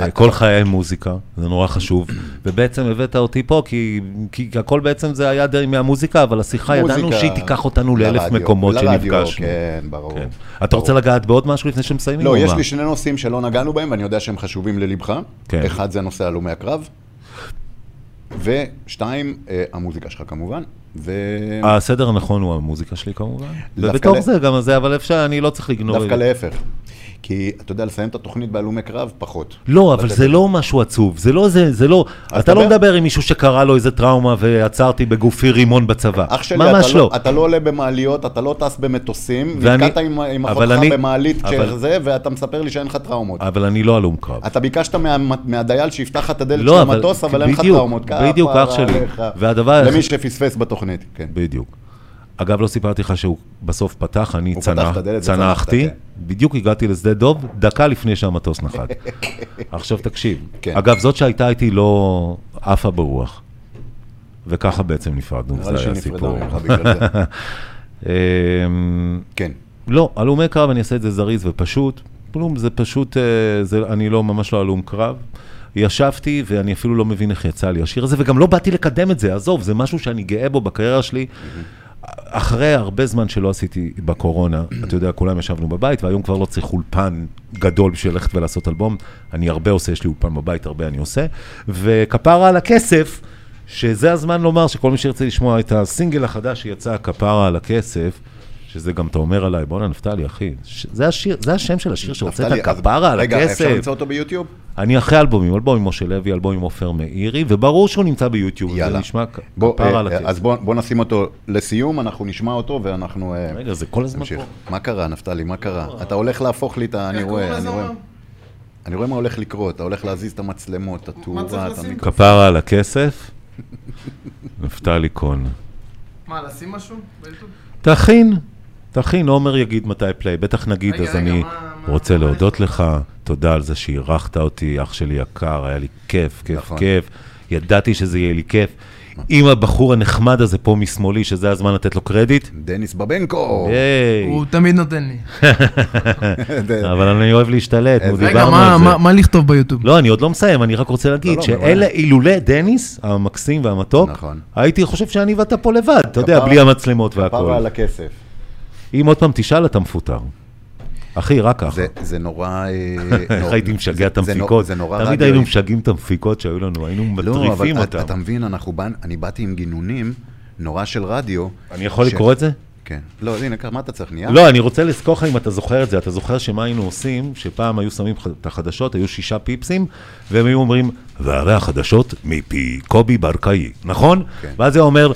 S3: שכל חיי מוזיקה, זה נורא חשוב, ובעצם הבאת אותי פה, כי כי הכל בעצם זה היה די מהמוזיקה, אבל השיחה, ידענו
S2: מוזיקה
S3: שהיא תיקח אותנו לאלף
S2: לרדיו,
S3: מקומות
S2: לרדיו,
S3: שנפגשנו.
S2: כן, ברור.
S3: כן. אתה
S2: ברור.
S3: רוצה לגעת בעוד משהו לפני שמסיימים?
S2: לא,
S3: או
S2: יש
S3: מה?
S2: לי שני נושאים שלא נגענו בהם, ואני יודע שהם חשובים ללבך.
S3: כן.
S2: אחד זה הנושא הלומי הקרב, ושתיים, אה, המוזיקה שלך כמובן, ו...
S3: הסדר הנכון הוא המוזיקה שלי כמובן,
S2: דווקא
S3: ובתוך
S2: ל-
S3: זה גם זה, אבל אפשר, אני לא צריך לגנוב.
S2: דווקא
S3: את זה.
S2: להפך. כי, אתה יודע, לסיים את התוכנית בהלומי קרב, פחות.
S3: לא, אבל
S2: לתת-
S3: זה לא משהו עצוב, זה לא זה, זה לא,
S2: אז
S3: אתה לא
S2: דבר.
S3: מדבר עם מישהו שקרה לו איזה טראומה ועצרתי בגופי רימון בצבא,
S2: אח שלי,
S3: ממש
S2: אתה,
S3: לא.
S2: לא. אתה לא עולה במעליות, אתה לא טס במטוסים,
S3: ואני-
S2: נתקעת עם, עם
S3: אבל
S2: אחותך
S3: אני-
S2: במעלית
S3: אבל-
S2: כשזה, ואתה מספר לי שאין לך טראומות.
S3: אבל אני לא הלום קרב.
S2: אתה ביקשת מה, מהדייל שיפתח לך את הדלת
S3: לא,
S2: של
S3: אבל-
S2: המטוס, אבל אין לך
S3: בדיוק,
S2: טראומות.
S3: בדיוק,
S2: כפרה
S3: אח שלי.
S2: עליך.
S3: והדבר-
S2: למי שפספס בתוכנית, כן.
S3: בדיוק. אגב, לא סיפרתי לך שהוא בסוף פתח, אני
S2: הוא פתח
S3: צנח,
S2: את הדלת
S3: צנחתי,
S2: וצנחת,
S3: בדיוק הגעתי לשדה דוב, דקה לפני שהמטוס נחת. עכשיו תקשיב,
S2: כן.
S3: אגב, זאת שהייתה איתי לא עפה ברוח, וככה בעצם נפרדנו,
S2: נראה לי
S3: זה היה
S2: שנפרדה
S3: סיפור.
S2: ממך בגלל זה.
S3: אמ,
S2: כן.
S3: לא, הלומי קרב, אני אעשה את זה זריז ופשוט. כלום, זה פשוט, אה, זה, אני לא, ממש לא הלום קרב. ישבתי, ואני אפילו לא מבין איך יצא לי השיר הזה, וגם לא באתי לקדם את זה, עזוב, זה משהו שאני גאה בו בקריירה שלי. אחרי הרבה זמן שלא עשיתי בקורונה, אתה יודע, כולם ישבנו בבית, והיום כבר לא צריך אולפן גדול בשביל ללכת ולעשות אלבום. אני הרבה עושה, יש לי אולפן בבית, הרבה אני עושה. וכפרה על הכסף, שזה הזמן לומר שכל מי שירצה לשמוע את הסינגל החדש שיצא, כפרה על הכסף, שזה גם אתה אומר עליי, בואנה נפתלי, אחי, ש- זה, השיר, זה השם של השיר שהוצאת,
S2: נפתלי, אז-
S3: כפרה על
S2: רגע, אפשר
S3: הכסף.
S2: למצוא אותו ביוטיוב?
S3: אני אחרי אלבומים, אלבום עם משה לוי, אלבום עם עופר מאירי, וברור שהוא נמצא ביוטיוב, זה
S2: יאללה.
S3: נשמע כ-
S2: בוא,
S3: כפרה
S2: אה,
S3: על הכסף.
S2: אז בוא בוא נשים אותו לסיום, אנחנו נשמע אותו ואנחנו... אה,
S3: רגע, זה כל הזמן
S2: נמשיך.
S3: פה.
S2: מה קרה, נפתלי, מה קרה? אתה הולך להפוך לי את ה... אני
S4: אה. איך קוראים
S2: רואה, אני
S4: לזה
S2: רואה.
S4: אמנם?
S2: אני רואה מה הולך לקרות, אתה הולך להזיז את המצלמות, את התאורה,
S4: צריך
S2: את
S4: לשים?
S2: המיקרופון.
S3: כפרה על הכסף, נפתלי קון.
S4: מה, לשים משהו? ביוטיוב?
S3: תכין, תכין, עומר יגיד מתי פליי, בטח נגיד,
S4: רגע,
S3: אז
S4: רגע,
S3: אני
S4: מה- מה-
S3: רוצה
S4: מה יש
S3: להודות
S4: לך?
S3: לך, תודה על זה שאירחת אותי, אח שלי יקר, היה לי כיף, כיף,
S2: נכון.
S3: כיף, ידעתי שזה יהיה לי כיף.
S2: נשמע.
S3: עם הבחור הנחמד הזה פה משמאלי, שזה הזמן לתת לו קרדיט.
S2: דניס בבנקו!
S3: היי,
S4: הוא תמיד נותן לי.
S3: כן,
S2: זה-
S3: אבל אני אוהב להשתלט, נו,
S2: רגע,
S3: דיברנו
S4: רגע, מה-
S3: על זה.
S4: מה- מה לכתוב ביוטיוב?
S3: לא, אני עוד לא מסיים, אני רק רוצה
S2: לא,
S3: להגיד
S2: לא,
S3: שאלה אילולא דניס, המקסים והמתוק,
S2: נכון.
S3: הייתי חושב שאני ואתה פה לבד, אתה יודע,
S2: כפרה-
S3: בלי המצלמות והכול.
S2: כפרה על הכסף.
S3: אם עוד פעם תשאל, אתה מפוטר. אחי, רק ככה.
S2: זה- זה נורא... אה,
S3: נכון. איך
S2: נורא-
S3: הייתי משגע את
S2: זה- זה נורא-
S3: המפיקות?
S2: זה נורא
S3: תמיד
S2: רדיו.
S3: היינו משגעים את המפיקות שהיו לנו, היינו
S2: לא, אבל
S3: מטריפים
S2: אתה- אתה
S3: אותם.
S2: מבין, אנחנו באנו, אני באתי עם גינונים נורא של רדיו.
S3: אני יכול
S2: ש-
S3: לקרוא את זה?
S2: כן. לא, הנה, מה אתה צריך, נייר?
S3: לא, אני רוצה לזכור לך אם אתה זוכר את זה. אתה זוכר שמה היינו עושים? שפעם היו שמים ח- את החדשות, היו שישה פיפסים, והם היו אומרים, והרי החדשות מפי קובי ברקאי, נכון?
S2: כן.
S3: ואז היה אומר,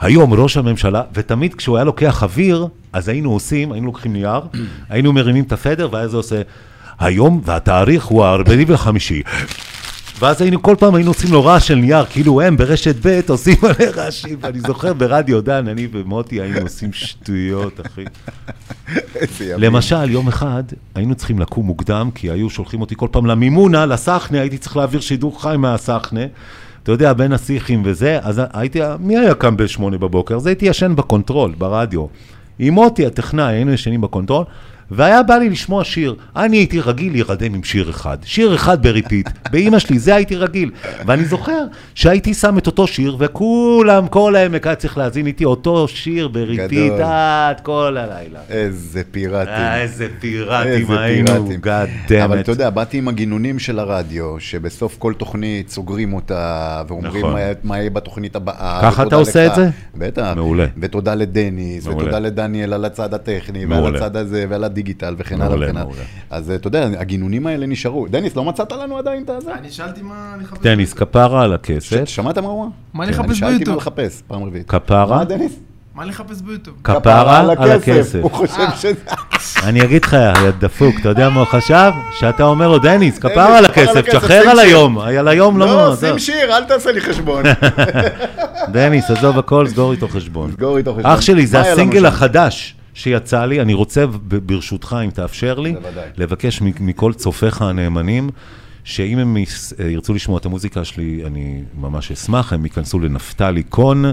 S3: היום ראש הממשלה, ותמיד כשהוא היה לוקח אוויר, אז היינו עושים, היינו לוקחים נייר, היינו מרימים את הפדר, ואז זה עושה, היום, והתאריך הוא הרביעי וחמישי. ואז היינו, כל פעם היינו עושים לו רעש של נייר, כאילו הם ברשת ב' עושים מלא רעשים, ואני זוכר ברדיו דן, אני ומוטי היינו עושים שטויות, אחי.
S2: איזה ימים.
S3: למשל, יום אחד היינו צריכים לקום מוקדם, כי היו שולחים אותי כל פעם למימונה, לסחנה, הייתי צריך להעביר שידור חי מהסחנה. אתה יודע, בין הסיחים וזה, אז הייתי, מי היה קם בשמונה בבוקר? אז הייתי ישן בקונטרול, ברדיו. עם מוטי הטכנאי, היינו ישנים בקונטרול, והיה בא לי לשמוע שיר. אני הייתי רגיל להירדם עם שיר אחד. שיר אחד בריפיט. באימא שלי, זה הייתי רגיל. ואני זוכר שהייתי שם את אותו שיר, וכולם, כל העמק היה צריך להאזין איתי אותו שיר בריפיט
S2: גדול.
S3: עד כל הלילה.
S2: איזה פיראטים.
S3: אה, איזה פיראטים
S2: איזה
S3: היינו,
S2: פיראטים.
S3: God
S2: אבל
S3: damn
S2: אתה
S3: it.
S2: יודע, באתי עם הגינונים של הרדיו, שבסוף כל תוכנית סוגרים אותה, ואומרים
S3: נכון.
S2: מה, מה יהיה בתוכנית הבאה.
S3: ככה אתה
S2: ותודה
S3: עושה
S2: לך.
S3: את זה?
S2: בטח.
S3: מעולה.
S2: ותודה לדניס,
S3: מעולה.
S2: ותודה לדניאל על הצד הטכני, ועל
S3: מעולה.
S2: הצד הזה, ועל הדיגיטל, וכן הלאה
S3: מעולה,
S2: וכן הלאה.
S3: מעולה.
S2: אז אה, אתה יודע, הגינונים האלה נשארו. דניס, לא מצאת לנו עדיין את הזה?
S4: אני שאלתי מה לחפש.
S3: דניס, כפרה על
S2: ש-
S3: הכסף,
S2: שמעת מה הוא אמר?
S4: מה
S2: כן,
S4: לחפש
S2: אני שאלתי מה
S4: ביוטיוב?
S2: לחפש, פעם רביעית.
S3: כפרה,
S2: מה, דניס?
S4: מה לחפש ביוטיוב?
S3: כפרה על הכסף.
S2: הוא חושב
S4: אה.
S2: שזה...
S3: אני אגיד לך, יא דפוק, אתה יודע מה הוא חשב? שאתה אומר לו, דניס,
S2: כפרה
S3: כפרה על הכסף,
S2: הכסף,
S3: שחרר
S2: שים
S3: על
S2: שיר."
S3: היום, על היום
S2: לא,
S3: לא,
S2: שים
S3: עזוב.
S2: שיר, אל תעשה לי חשבון.
S3: דניס, עזוב הכל, סגור איתו חשבון.
S2: סגור איתו חשבון.
S3: אח שלי, זה
S2: מה היה לנו
S3: הסינגל
S2: שם?
S3: החדש שיצא לי, אני רוצה ב- ברשותך, אם תאפשר לי,
S2: בוודאי.
S3: לבקש מ- מכל צופיך הנאמנים, שאם הם יס- אה, ירצו לשמוע את המוזיקה שלי, אני ממש אשמח, הם ייכנסו לנפתלי קון.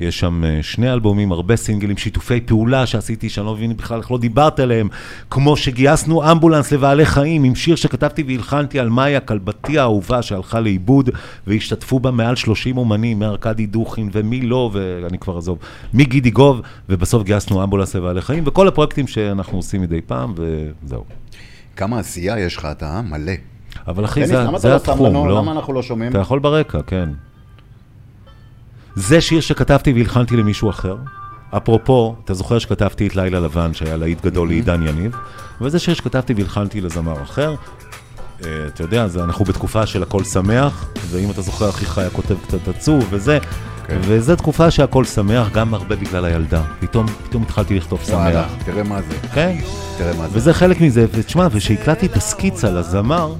S3: יש שם אה, שני אלבומים, הרבה סינגלים, שיתופי פעולה שעשיתי, שאני לא מבין בכלל איך לא דיברת עליהם. כמו שגייסנו אמבולנס לבעלי חיים עם שיר שכתבתי והלחנתי על מאיה, כלבתי האהובה שהלכה לאיבוד, והשתתפו בה מעל 30 אומנים, מארקדי דוכין ומי לא, ואני כבר עזוב, מגידי גוב, ובסוף גייסנו אמבולנס לבעלי חיים, וכל הפרויקטים שאנחנו עושים מדי פעם, וזהו.
S2: כמה עשייה יש לך אתה, אה? מלא.
S3: אבל אחי,
S2: דניס,
S3: זה,
S2: למה אתה
S3: זה
S2: לא שם
S3: התחום,
S2: לנו?
S3: לא?
S2: למה אנחנו לא שומעים?
S3: אתה יכול ברקע, כן. זה שיר שכתבתי והלחנתי למישהו אחר. אפרופו, אתה זוכר שכתבתי את לילה לבן, שהיה להיט גדול לעידן יניב, וזה שיר שכתבתי והלחנתי לזמר אחר. אה, אתה יודע, זה, אנחנו בתקופה של הכל שמח, ואם אתה זוכר, אחיך היה כותב קצת עצוב וזה, וזו תקופה שהכל שמח, גם הרבה בגלל הילדה. פתאום, פתאום התחלתי לכתוב
S2: וואלה,
S3: שמח,
S2: תראה מה זה,
S3: כן?
S2: תראה מה זה.
S3: וזה חלק מזה, ותשמע, וכשהקלטתי את הסקיצה לזמר,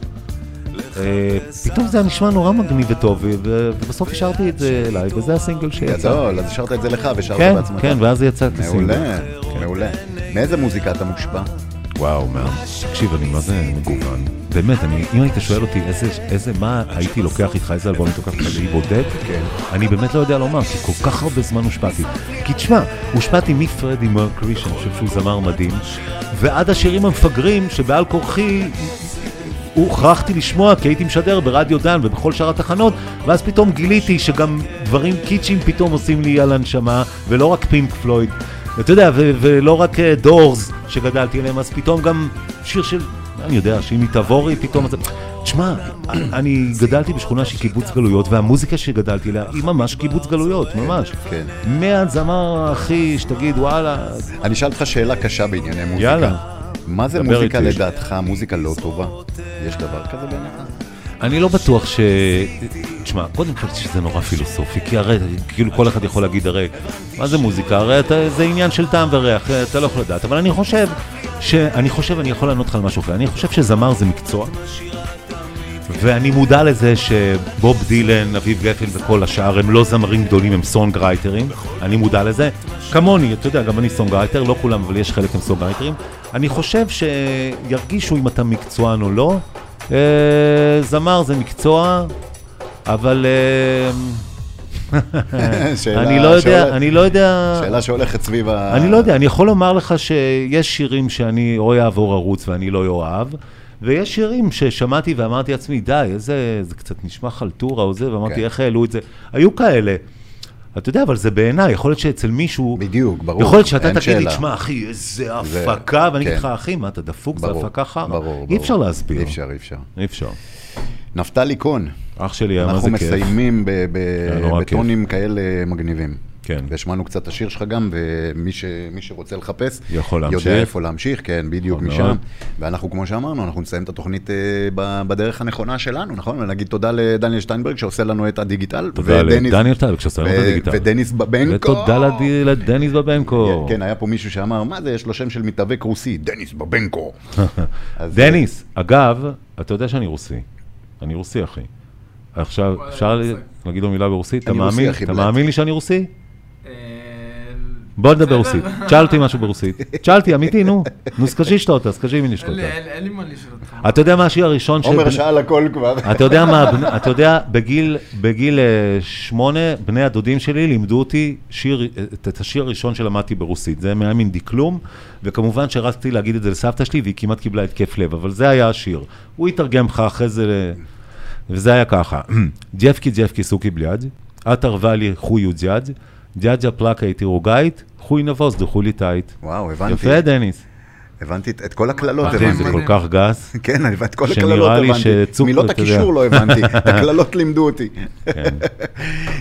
S3: אה, פתאום זה היה נשמע נורא מגניב וטוב, ו- ו- ובסוף השארתי את זה אליי, וזה הסינגל שיצא.
S2: גדול, לא, אז השארת את זה לך ושארת
S3: כן,
S2: בעצמך.
S3: כן, ואז יצא כסינגל.
S2: מעולה, מעולה. מאיזה מוזיקה אתה מושפע?
S3: וואו, מה? תקשיב, אני מה זה מגוון. באמת, אני, אם היית שואל אותי איזה, איזה, מה הייתי לוקח איתך, איזה אלבום הייתי לוקח איתך לאי בודד,
S2: כן.
S3: אני באמת לא יודע לומר, כי כל כך הרבה זמן הושפעתי. כי תשמע, הושפעתי מפרדי מרקרי, שאני חושב שהוא זמר מדהים, ועד השירים המפגרים, שבעל כורחי הוכרחתי לשמוע כי הייתי משדר ברדיו דן ובכל שאר התחנות ואז פתאום גיליתי שגם דברים קיצ'ים פתאום עושים לי על הנשמה ולא רק פינק פלויד אתה יודע ו- ולא רק אה, דורס שגדלתי עליהם אז פתאום גם שיר של אני יודע שאם היא תבורי פתאום אז- תשמע אני גדלתי בשכונה של קיבוץ גלויות והמוזיקה שגדלתי עליה היא ממש קיבוץ גלויות ממש
S2: כן.
S3: מהזמר הכי שתגיד וואלה
S2: אני אשאל אותך שאלה קשה בענייני מוזיקה.
S3: יאללה.
S2: מה זה
S3: דבר
S2: מוזיקה
S3: איתי.
S2: לדעתך, מוזיקה לא טובה? יש דבר כזה בעיניך?
S3: אני לא בטוח ש... תשמע, קודם כל שזה נורא פילוסופי, כי הרי, כאילו כל אחד יכול להגיד הרי, מה זה מוזיקה? הרי אתה, זה עניין של טעם וריח, אה, אתה לא יכול לדעת, אבל אני חושב, ש... אני חושב, אני יכול לענות לך על משהו אחר, אני חושב שזמר זה מקצוע, ואני מודע לזה שבוב דילן, אביב גפן וכל השאר הם לא זמרים גדולים, הם סונגרייטרים, אני מודע לזה. כמוני, אתה יודע, גם אני סונגרייטר, לא כולם, אבל יש חלק הם סונגרייטרים. אני חושב שירגישו אם אתה מקצוען או לא. אה, זמר זה מקצוע, אבל... אה,
S2: שאלה-
S3: אני לא יודע,
S2: שאלה-
S3: אני לא יודע...
S2: שאלה שהולכת סביב ה...
S3: אני לא יודע, אני יכול לומר לך שיש שירים שאני או יעבור ערוץ ואני לא אוהב, ויש שירים ששמעתי ואמרתי לעצמי, די, איזה, זה קצת נשמע חלטורה או זה, ואמרתי,
S2: כן.
S3: איך העלו את זה? היו כאלה. אתה יודע, אבל זה בעיניי, יכול להיות שאצל מישהו...
S2: בדיוק, ברור,
S3: יכול להיות שאתה
S2: אין
S3: תגיד לי,
S2: שאלה.
S3: תשמע, אחי, איזה
S2: זה-
S3: הפקה, ואני אגיד
S2: כן.
S3: לך, אחי, מה, אתה דפוק, זה
S2: ברור,
S3: הפקה חרא.
S2: ברור, ברור.
S3: אי אפשר להסביר.
S2: אי אפשר, אי אפשר.
S3: אי אפשר.
S2: נפתלי קון,
S3: אח שלי, היה, מה
S2: אנחנו
S3: זה כיף. לא,
S2: מסיימים ב- ב-
S3: היה נורא
S2: בטונים כאלה מגניבים.
S3: כן.
S2: והשמענו קצת את השיר שלך גם, ומי ש- מי שרוצה לחפש,
S3: יכול
S2: יודע
S3: להמשיך.
S2: איפה להמשיך, כן, בדיוק
S3: נכון
S2: משם.
S3: מאוד.
S2: ואנחנו, כמו שאמרנו, אנחנו נסיים את התוכנית אה, ב- בדרך הנכונה שלנו, נכון? ונגיד תודה לדניאל שטיינברג שעושה לנו את הדיגיטל.
S3: תודה
S2: ודניס-
S3: לדניאל טל, כשעשה לנו את
S2: ו-
S3: הדיגיטל.
S2: ודניס בבנקו.
S3: ותודה לד- לדניס בבנקו.
S2: כן, היה פה מישהו שאמר, מה זה, יש לו שם של מתאבק רוסי, דניס בבנקו. אז-
S3: דניס, אגב, אתה יודע שאני רוסי. אני רוסי, אחי. עכשיו,
S4: וואלה,
S3: אפשר
S4: אין לי
S3: להגיד לו מילה ברוסית? אתה
S2: אני רוסי,
S3: מאמין?
S2: אחי,
S3: אתה
S2: בלעד.
S3: מאמין לי שאני רוסי?
S4: אה,
S3: בוא נדבר רוסית. תשאל אותי משהו ברוסית. תשאל אותי, אמיתי, נו. נו, סקשי שאתה אותה, סקשי מי נשתה
S4: אין לי-
S3: אותה.
S4: אין אין לי מה לשאול אותך.
S3: אתה יודע מה השיר הראשון של...
S2: אה, עומר
S3: בני-
S2: שאל הכל כבר.
S3: אתה יודע מה, הבנ- אתה יודע, בגיל, בגיל אה, שמונה, בני הדודים שלי לימדו אותי שיר, אה, את את השיר הראשון שלמדתי ברוסית. זה היה מין דקלום, וכמובן שרצתי להגיד את זה לסבתא שלי, והיא כמעט קיבלה התקף לב, אבל זה היה השיר. הוא יתרגם לך אחרי זה, ל- וזה היה ככה. ג'פקי ג'פקי סוכי בליאד, את ערבה לי חויו ג'אד, ג'אג'ה פלאקה איתי רוגאית, חוי נבוז דחו לי טייט.
S2: וואו, הבנתי.
S3: יפה, דניס.
S2: הבנתי את- את כל הקללות,
S4: מדהים,
S2: הבנתי.
S3: זה
S4: מדהים.
S3: כל כך גס.
S2: כן, אני- את כל
S3: שנראה
S2: הקללות
S3: לי
S2: הבנתי.
S3: שצוק-
S2: מילות
S3: אתה יודע.
S2: הקישור לא הבנתי, את הקללות לימדו אותי.
S3: כן.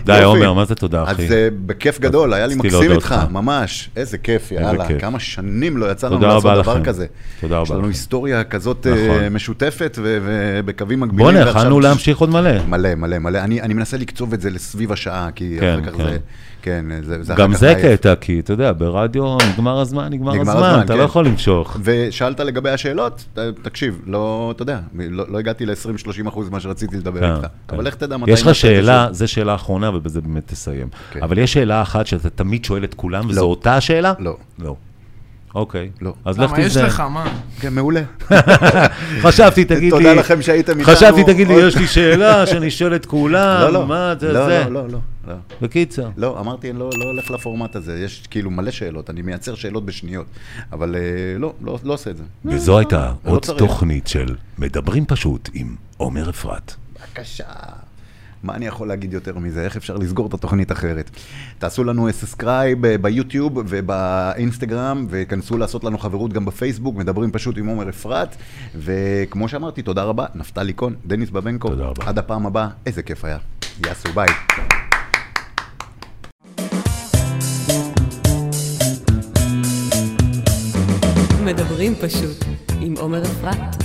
S3: די,
S2: יופי.
S3: עומר, מה זה תודה,
S2: אז
S3: אחי?
S2: אה, בכיף גדול, היה לי
S3: רציתי
S2: מקסים
S3: להודות
S2: איתך,
S3: לך.
S2: ממש. איזה כיף,
S3: איזה
S2: יאללה.
S3: כיף.
S2: כמה שנים לא יצא לנו
S3: תודה
S2: לעשות
S3: רבה
S2: דבר
S3: לכם.
S2: כזה.
S3: תודה
S2: יש
S3: רבה
S2: לנו
S3: לכם.
S2: היסטוריה כזאת אה,
S3: נכון.
S2: משותפת ו- ובקווים מקבילים.
S3: בוא'נה,
S2: ועכשיו-
S3: יכלנו להמשיך עוד מלא.
S2: מלא, מלא, מלא. אני אני מנסה לקצוב את זה לסביב השעה, כי
S3: כן,
S2: אחר כך
S3: כן.
S2: זה... כן, זה זה אחר
S3: גם
S2: כך
S3: זה
S2: עייף.
S3: קטע, כי אתה יודע, ברדיו נגמר הזמן, נגמר
S2: נגמר
S3: הזמן,
S2: הזמן,
S3: אתה לא
S2: כן.
S3: יכול למשוך.
S2: ושאלת לגבי השאלות, ת- תקשיב, לא, אתה יודע, לא, לא הגעתי ל-20-30 אחוז מה שרציתי לדבר
S3: כן,
S2: איתך.
S3: כן.
S2: אבל איך תדע מתי...
S3: יש לך
S2: נעשה את זה
S3: שאלה,
S2: שוב?
S3: זו שאלה אחרונה, ובזה באמת תסיים.
S2: כן.
S3: אבל יש שאלה אחת שאתה תמיד שואל את כולם, וזו
S2: לא.
S3: אותה השאלה?
S2: לא.
S3: לא. אוקיי.
S2: לא.
S3: אז לך
S4: למה יש
S3: תיזהר.
S4: לך, מה?
S2: כן, מעולה.
S3: חשבתי, תגיד לי...
S2: תודה לכם שהייתם איתנו.
S3: חשבתי, תגיד לי,
S2: עוד-
S3: יש לי שאלה שאני שואל את
S2: לא,
S3: כולם,
S2: לא.
S3: מה זה
S2: לא,
S3: זה?
S2: לא, לא, לא, לא.
S3: בקיצר.
S2: לא, אמרתי, אני לא, לא הולך לפורמט הזה, יש כאילו מלא שאלות, אני מייצר שאלות בשניות, אבל אה, לא, לא, לא עושה את זה.
S3: וזו הייתה
S2: לא
S3: עוד
S2: צריך.
S3: תוכנית של מדברים פשוט עם עומר אפרת.
S2: בבקשה. מה אני יכול להגיד יותר מזה? איך אפשר לסגור את התוכנית אחרת? תעשו לנו סאסקרייב ביוטיוב ובאינסטגרם, וכנסו לעשות לנו חברות גם בפייסבוק, מדברים פשוט עם עומר אפרת. וכמו שאמרתי, תודה רבה, נפתלי קון, דניס בבנקו.
S3: תודה רבה.
S2: עד הפעם הבאה, איזה כיף היה. יעשו ביי.
S1: מדברים פשוט עם עומר אפרת.